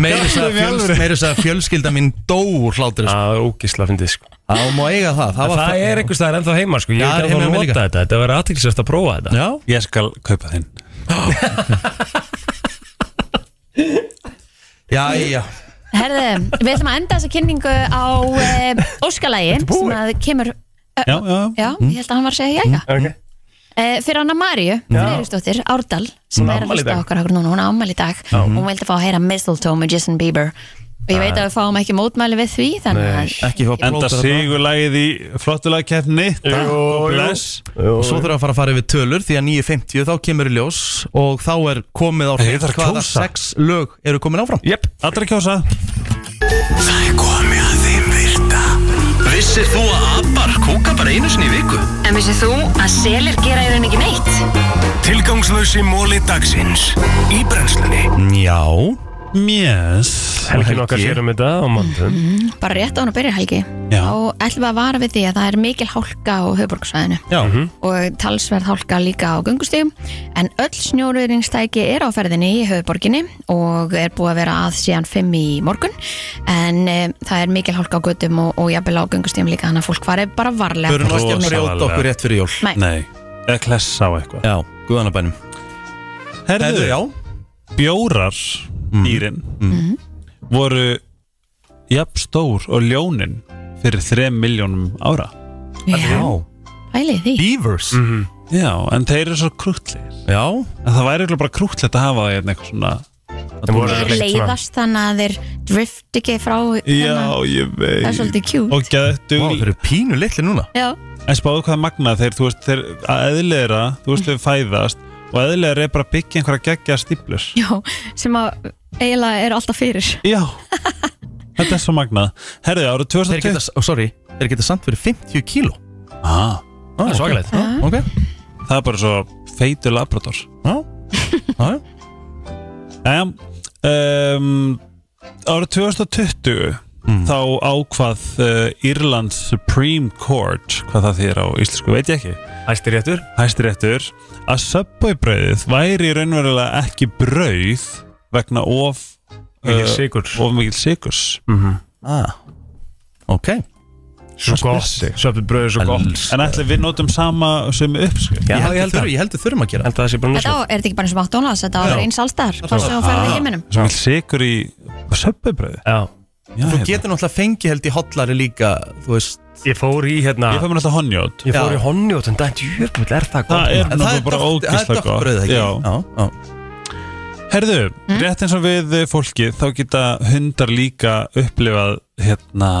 Speaker 1: Meira þess að fjölskylda mín dó úr hlátur
Speaker 3: Það er ógisla að fyndið sko
Speaker 1: Það má eiga það
Speaker 3: Það,
Speaker 1: var-
Speaker 3: er einhvers staðar ennþá heima sko Ég
Speaker 1: Já,
Speaker 3: er
Speaker 1: það er
Speaker 3: ekki að
Speaker 1: heima
Speaker 3: nota
Speaker 1: líka.
Speaker 3: þetta Þetta verður aðtilsvægt að prófa þetta
Speaker 1: Já
Speaker 5: Ég skal kaupa þinn
Speaker 1: Jæja
Speaker 2: Herði, við ætlum að enda þessa kynningu á e, óskalægi sem að kemur eh,
Speaker 5: Já, já.
Speaker 2: já,
Speaker 3: Hmm?
Speaker 2: ég held að hann var að segja jæja
Speaker 3: okay.
Speaker 2: e, fyrir Anna Maríu, Freyrisdóttir, Árdal sem
Speaker 3: Hún á
Speaker 2: er að
Speaker 3: afmæli í
Speaker 2: hlusta
Speaker 3: dag.
Speaker 2: okkur okkur núna, hún á ammæli í dag
Speaker 3: Já.
Speaker 2: hún vildi fá að heyra Mistletoe með Jason Bieber og ég veit að við fáum ekki mótmæli við því þannig að
Speaker 1: Ekki hjá
Speaker 5: Enda sigurlægið í flottulagkeppni Takk og bless
Speaker 1: Og svo þurfum við að fara að fara yfir tölur Því að 9.50 þá kemur í ljós Og þá er komið á
Speaker 5: Ég þarf að
Speaker 1: hvaða
Speaker 5: kjósa.
Speaker 1: sex lög eru komin áfram
Speaker 3: Jep,
Speaker 5: allra kjósa
Speaker 4: Það er komið að þeim virta Vissir þú að abar kúka bara einu sinni í viku?
Speaker 12: En vissið þú að selir gera í raun ekki neitt?
Speaker 4: Tilgangslösi móli dagsins Í brennslunni
Speaker 1: Já
Speaker 5: Mjess
Speaker 3: Helgin okkar sér um þetta á mandum
Speaker 2: bara rétt á hann að byrja helgi
Speaker 5: Já.
Speaker 2: og ætlum við að vara við því að það er mikil hálka á höfuborgsvæðinu
Speaker 1: Já
Speaker 2: og talsverð hálka líka á göngustíum en öll snjóruðningstæki er á ferðinni í höfuborginni og er búið að vera að síðan 5 í morgun en e, það er mikil hálka á göttum og, og jafnvel á göngustíum líka þannig að fólk farið bara varlega
Speaker 1: Förum ekki að brjóta okkur rétt fyrir jól
Speaker 2: Nei.
Speaker 5: Eða klessa á eitthvað
Speaker 1: Já, guðanabænum
Speaker 5: Herðu,
Speaker 1: já
Speaker 5: bjórar dýrin Mm. voru jafn stór og ljónin fyrir 3 miljónum ára
Speaker 2: Já, pælið því
Speaker 1: Beavers
Speaker 5: Mhm. Já, en þeir eru svo krútlegir
Speaker 1: Já
Speaker 5: En það væri örugglega bara krútlegt að hafa því eitthvað svona
Speaker 2: Þeir leiðast þannig að þeir drift ekki frá
Speaker 5: Já, ég veit
Speaker 2: Það er svolítið cute.
Speaker 5: Og geðtu
Speaker 1: Vá, þeir eru pínu litli núna
Speaker 2: Já,
Speaker 5: En spáðu hvað magnað þeir, þú veist, þeir að eðlera, þú veist, þeir fæðast og eðlera er bara að byggja einhverja geggja stíplus.
Speaker 2: já, sem að eiginlega eru alltaf fyrir
Speaker 5: Já, *laughs* þetta er svo magnað. Herði, árið
Speaker 1: Þeir
Speaker 5: 2020...
Speaker 1: geta, oh, sorry, þeir geta samt verið 50 kíló
Speaker 5: Ah,
Speaker 1: Það er
Speaker 3: svakalegt.
Speaker 1: Ok
Speaker 5: það er bara svo feitur labrador. *laughs*
Speaker 1: Já, já, já
Speaker 5: Jæja, um, árið 2020
Speaker 3: Mm.
Speaker 5: þá ákvað uh, Írlands Supreme Court, hvað það þýr á íslensku, veit ég ekki.
Speaker 3: Æstir réttur
Speaker 5: Hæstiréttur að Subway-brauðið væri raunverulega ekki brauð vegna of
Speaker 3: Mikils
Speaker 5: uh,
Speaker 3: sykurs.
Speaker 5: of mikil sigurs
Speaker 3: Mm.
Speaker 1: ah. Ok
Speaker 3: Svo gott Söpðu bröðu svo gott
Speaker 5: en ætli við notum sama sem uppskrift
Speaker 3: Já,
Speaker 1: Ég held að ég held við þurfum að gera
Speaker 3: Held að það sé bara
Speaker 2: Þetta á, er þetta ekki bara eins og McDonalds, þetta á að vera eins allstar hvað sem þú ferði í heiminum
Speaker 5: svo mikil sigur í Subway-brauði
Speaker 3: Já
Speaker 1: Þú getur náttúrulega fengið held í hollari líka Þú veist
Speaker 3: Ég fór í hérna
Speaker 5: ég fæ mér alltaf honjót
Speaker 3: Ég fór
Speaker 1: Já.
Speaker 3: í honnjóttan Dænt jörgvill, er það gott?
Speaker 5: það er
Speaker 1: En
Speaker 5: náttúrulega bara
Speaker 1: dökkt-
Speaker 5: ógislega
Speaker 1: Það er dökbröð
Speaker 5: gott
Speaker 1: ekki
Speaker 5: Já.
Speaker 1: já, já.
Speaker 5: herðu, rétt eins og við eh, fólkið þá geta hundar líka upplifað hérna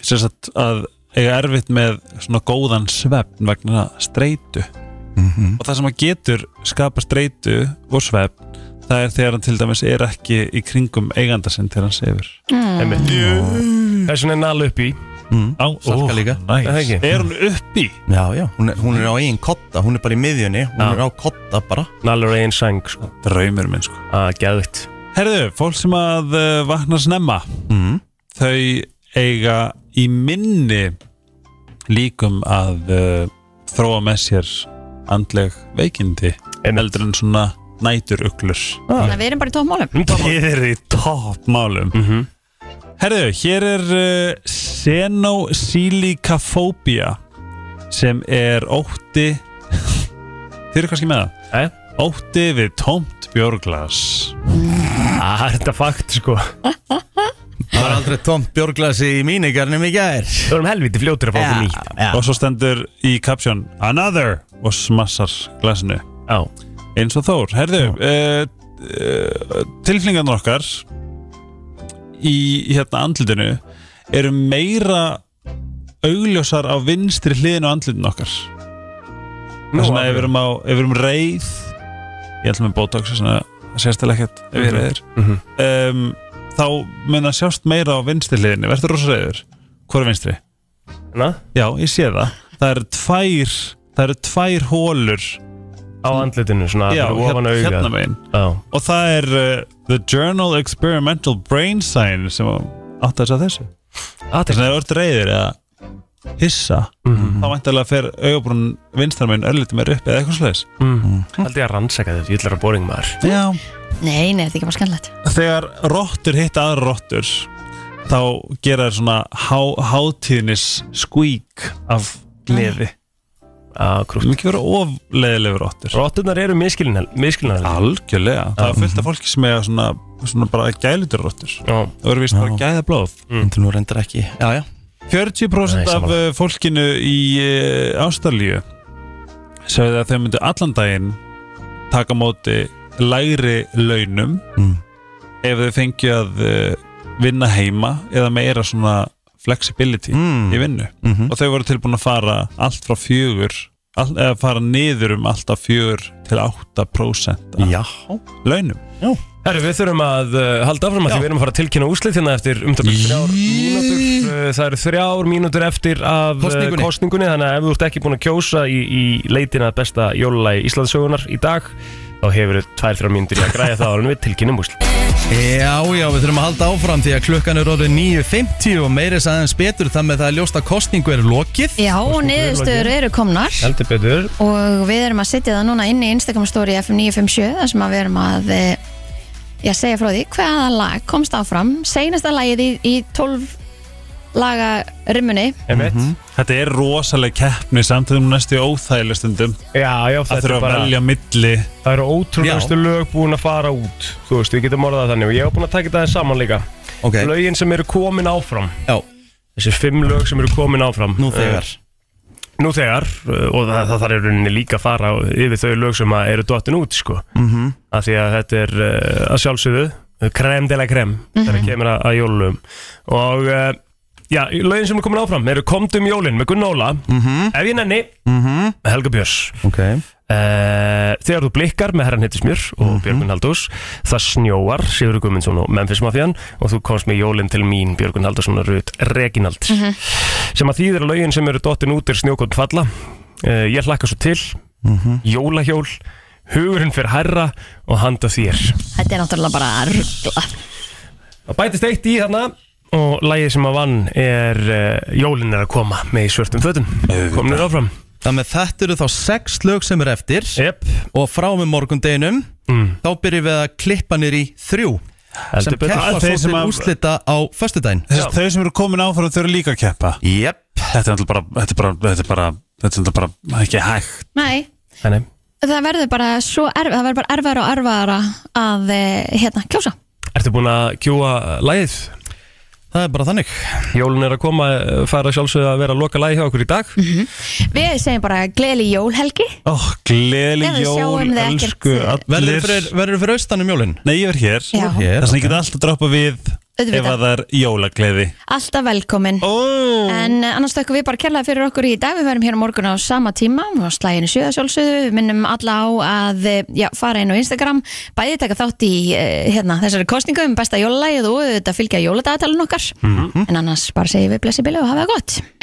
Speaker 5: sem sagt að eiga erfitt með svona góðan svefn vegna streitu
Speaker 3: Mhm.
Speaker 5: og það sem að getur skapa streitu og svefn það er þegar hann til dæmis er ekki í kringum eiganda sinn þegar hann sefur
Speaker 3: Einmitt. Þess vegna er nal upp í
Speaker 1: Á, Salka líka
Speaker 3: næs. Mm. Það ekki. Er hún
Speaker 1: uppi? Já, já, hún er, hún er á eigin kotta, hún er bara í miðjunni Hún
Speaker 3: Já.
Speaker 1: er á kotta bara
Speaker 3: Nallur eigin sæng sko.
Speaker 5: Draumur minn sko
Speaker 3: ah, Gæðvitt
Speaker 5: Herðu, fólk sem að uh, vakna snemma
Speaker 1: mm.
Speaker 5: Þau eiga í minni líkum að uh, þróa með sér andleg veikindi heldur en svona næturuglur
Speaker 2: Þannig að við erum bara í tópmálum
Speaker 5: Þið eru í toppmálum mm -hmm. Herðu, hér er uh, Xenosilikaphobia sem er ótti *laughs* Þið eru kannski með það
Speaker 3: Æ?
Speaker 5: Ótti við tómt björglas
Speaker 3: Það Ah, er þetta fakt sko
Speaker 1: Það var aldrei tomt björglasi í mínigarnum í gær Við
Speaker 3: vorum helviti um fljótur að fá okkur nýtt.
Speaker 5: Og svo stendur í caption Another og smassar glasinu
Speaker 3: Já
Speaker 5: Eins og Þór, herðu uh, uh, Tilflingarnar okkar Í hérna andlitinu Eru meira Augljósar á vinstri hliðinu á andlitinu okkar
Speaker 3: Nú,
Speaker 5: Þess vegna
Speaker 3: alveg.
Speaker 5: ef við erum á Ef við erum reið Ég ætlum með botox þess vegna Það sést alveg ekkert ef ég er
Speaker 3: Mhm.
Speaker 5: reiður um, Þá mun að sjást meira á vinstri hliðinu Verður rosa reyður Hvor er vinstri?
Speaker 3: Na?
Speaker 5: Já, ég sé það Það eru tvær Það eru tvær hólur
Speaker 3: Á andlitinu svona
Speaker 5: Já,
Speaker 3: fyrir ofan
Speaker 5: hérna,
Speaker 3: augað.
Speaker 5: hérna megin
Speaker 3: Já.
Speaker 5: Og það er uh, The Journal Experimental Brain Science sem átt að þessu
Speaker 3: Ah,
Speaker 5: Þess vegna er orð reyðir eða hissa þá væntalega fer augabrún vinstra megin örlítið meir upp eða eitthvað slags
Speaker 3: mm. Haldi ég að rannsaka þetta, ég ætlar að bóring maður
Speaker 5: Já
Speaker 2: Nei, nei, þetta er ekki bara skemmtilegt
Speaker 5: Þegar rottur hitta aðra rottur þá gera þér svona há, hátíðnis skvík af gleði
Speaker 3: Já, Ah, krútt
Speaker 5: Mikið vera ofleðilegur rottur
Speaker 3: Rotturnar eru miskilnar
Speaker 5: Algjörlega Það er fullt af fólki sem er svona, svona bara gælutur rottur Það eru vist bara gæða blóð
Speaker 1: Þetta nú reyndar ekki Já, já
Speaker 5: 40%
Speaker 1: Nei,
Speaker 5: af
Speaker 1: sammála.
Speaker 5: uh, fólkinu í uh, Ástralíu sagði að þau myndu allan daginn taka á móti lægri launum
Speaker 1: Mm.
Speaker 5: ef þau fengju að uh, vinna heima eða meira svona flexibility í vinnu
Speaker 1: Mhm.
Speaker 5: og þau voru tilbúin að fara allt frá fjögur all, eða fara niður um alltaf fjögur til 8% af
Speaker 1: Já.
Speaker 5: launum
Speaker 1: Já.
Speaker 3: Herru, við þurfum að uh, halda áfram að því við erum að fara að tilkynna úslit hérna eftir um það þrjár mínútur uh, Það eru þrjár mínútur eftir af
Speaker 1: Kosningunni.
Speaker 3: kostningunni, kostningunni þannig að ef þú ert ekki búin að kjósa í, í leitina að besta jólalagi Íslandsögunar í dag þá hefur þau tvær-þrjár mínútur í að græja það ára en við tilkynum úslit
Speaker 1: Já, já, við þurfum að halda áfram því að klukkan er orðið 9.50 og meiris aðeins betur þar með það er ljóst að kostningu er lokið
Speaker 2: Já, og niðurstöður eru komnar
Speaker 3: Heldur betur
Speaker 2: og við erum að setja það núna inn í Instagram story FM 957 þar sem að við erum að eh, ég segja frá því hvaða lag komst áfram seinasta lagið í, í 12 laga rimmunni
Speaker 3: Mhm.
Speaker 5: Þetta er rosalega keppni samt þegar næstu í óþægileg stundum
Speaker 3: Já, já,
Speaker 5: að
Speaker 3: þetta
Speaker 5: þurfa
Speaker 3: er
Speaker 5: að
Speaker 3: bara-
Speaker 5: velja milli
Speaker 3: Það eru ótrúlegustu lög búin að fara út Þú veist, við getum orðað það þannig og ég hef búin að taka þetta aðeins saman líka
Speaker 1: Ok.
Speaker 3: Lögin sem eru komin áfram
Speaker 1: Já
Speaker 3: Þessi fimm lög sem eru komin áfram
Speaker 1: Nú þegar
Speaker 3: Eh, Nú þegar eh, og það, það þarf í rauninni líka að fara yfir þau lög sem að eru dottin út sko
Speaker 1: Mhm.
Speaker 3: Af því að þetta er uh, að sjálfsögðu krem de la krem þegar
Speaker 1: Mhm.
Speaker 3: kemur að, að jólum og uh, já, lögin sem er komin áfram eru Komdum jólin með Gunn Óla Ef ég nenni
Speaker 1: Mhm.
Speaker 3: með Helga Björns Eh,
Speaker 1: okay.
Speaker 3: Þegar þú blikkar með herran hittismjör og
Speaker 1: Mhm.
Speaker 3: Björgun Haldús Það snjóar, Sigurður Guðmundsson og Memphis Mafian Og þú komst með jólinn til mín, Björgun Haldússon og Rut Reginald
Speaker 1: Mhm.
Speaker 3: Sem að þýðir að lögin sem eru dottin út er snjókotn falla uh, Ég hlakka svo til,
Speaker 1: Mhm.
Speaker 3: jólahjól Hugurinn fyrir herra og handa þér
Speaker 2: Þetta er náttúrulega bara rugla
Speaker 3: Það bætist eitt í þarna Og lagið sem að vann er uh, Jólinn er að koma með í svörtum fötum Komnir áfram
Speaker 1: Þannig að þetta eru þá sex lög sem eru eftir
Speaker 3: yep.
Speaker 1: og frá með morgundeginum þá byrjum við að klippa niður í þrjú
Speaker 5: Heldur
Speaker 1: sem
Speaker 5: betur.
Speaker 1: keppa
Speaker 5: Að
Speaker 1: svo
Speaker 5: þeir sem
Speaker 1: til
Speaker 5: að-
Speaker 1: úrslita á föstudaginn
Speaker 5: Þess, þau sem eru komin áfram þau eru líka að keppa
Speaker 1: yep.
Speaker 5: þetta er náttúrulega bara þetta er bara, þetta er bara, þetta er bara, ekki hægt
Speaker 2: Nei,
Speaker 3: Þannig.
Speaker 2: það verður bara svo erf, það verður bara erfara og erfara að eh, hérna, kjósa
Speaker 3: Ertu búin að kjúa lægið?
Speaker 1: Það er bara þannig
Speaker 3: Jólun er að koma, eh, fara sjálfsögð að vera að loka lægi hjá okkur í dag
Speaker 2: Við segjum bara gleðli jól Helgi
Speaker 5: oh, Gleðli
Speaker 2: Eða sjáum
Speaker 5: jól,
Speaker 2: við ekkert-
Speaker 5: elsku allir
Speaker 1: Verður fyrir, verður fyrir austan um jólin?
Speaker 5: Nei, ég er hér
Speaker 2: Já.
Speaker 1: Hér,
Speaker 5: Þess vegna ég get alltaf droppa við
Speaker 2: Auðvitað.
Speaker 5: Ef að það er jólagleði
Speaker 2: Alltaf velkomin oh. En eh, annars þökkum við bara kærlega fyrir okkur í dag Við verum hér á morgun á sama tíma og slæginu sjöða sjálfsögðu Við minnum alla á að eh, já, fara inn á Instagram Bæði taka þátt í eh, hérna, þessari kostningu
Speaker 5: Mhm.
Speaker 2: um besta jólalagið og þetta fylgja jóladagatalun okkar En annars bara segjum við blessi bíli og hafa það gott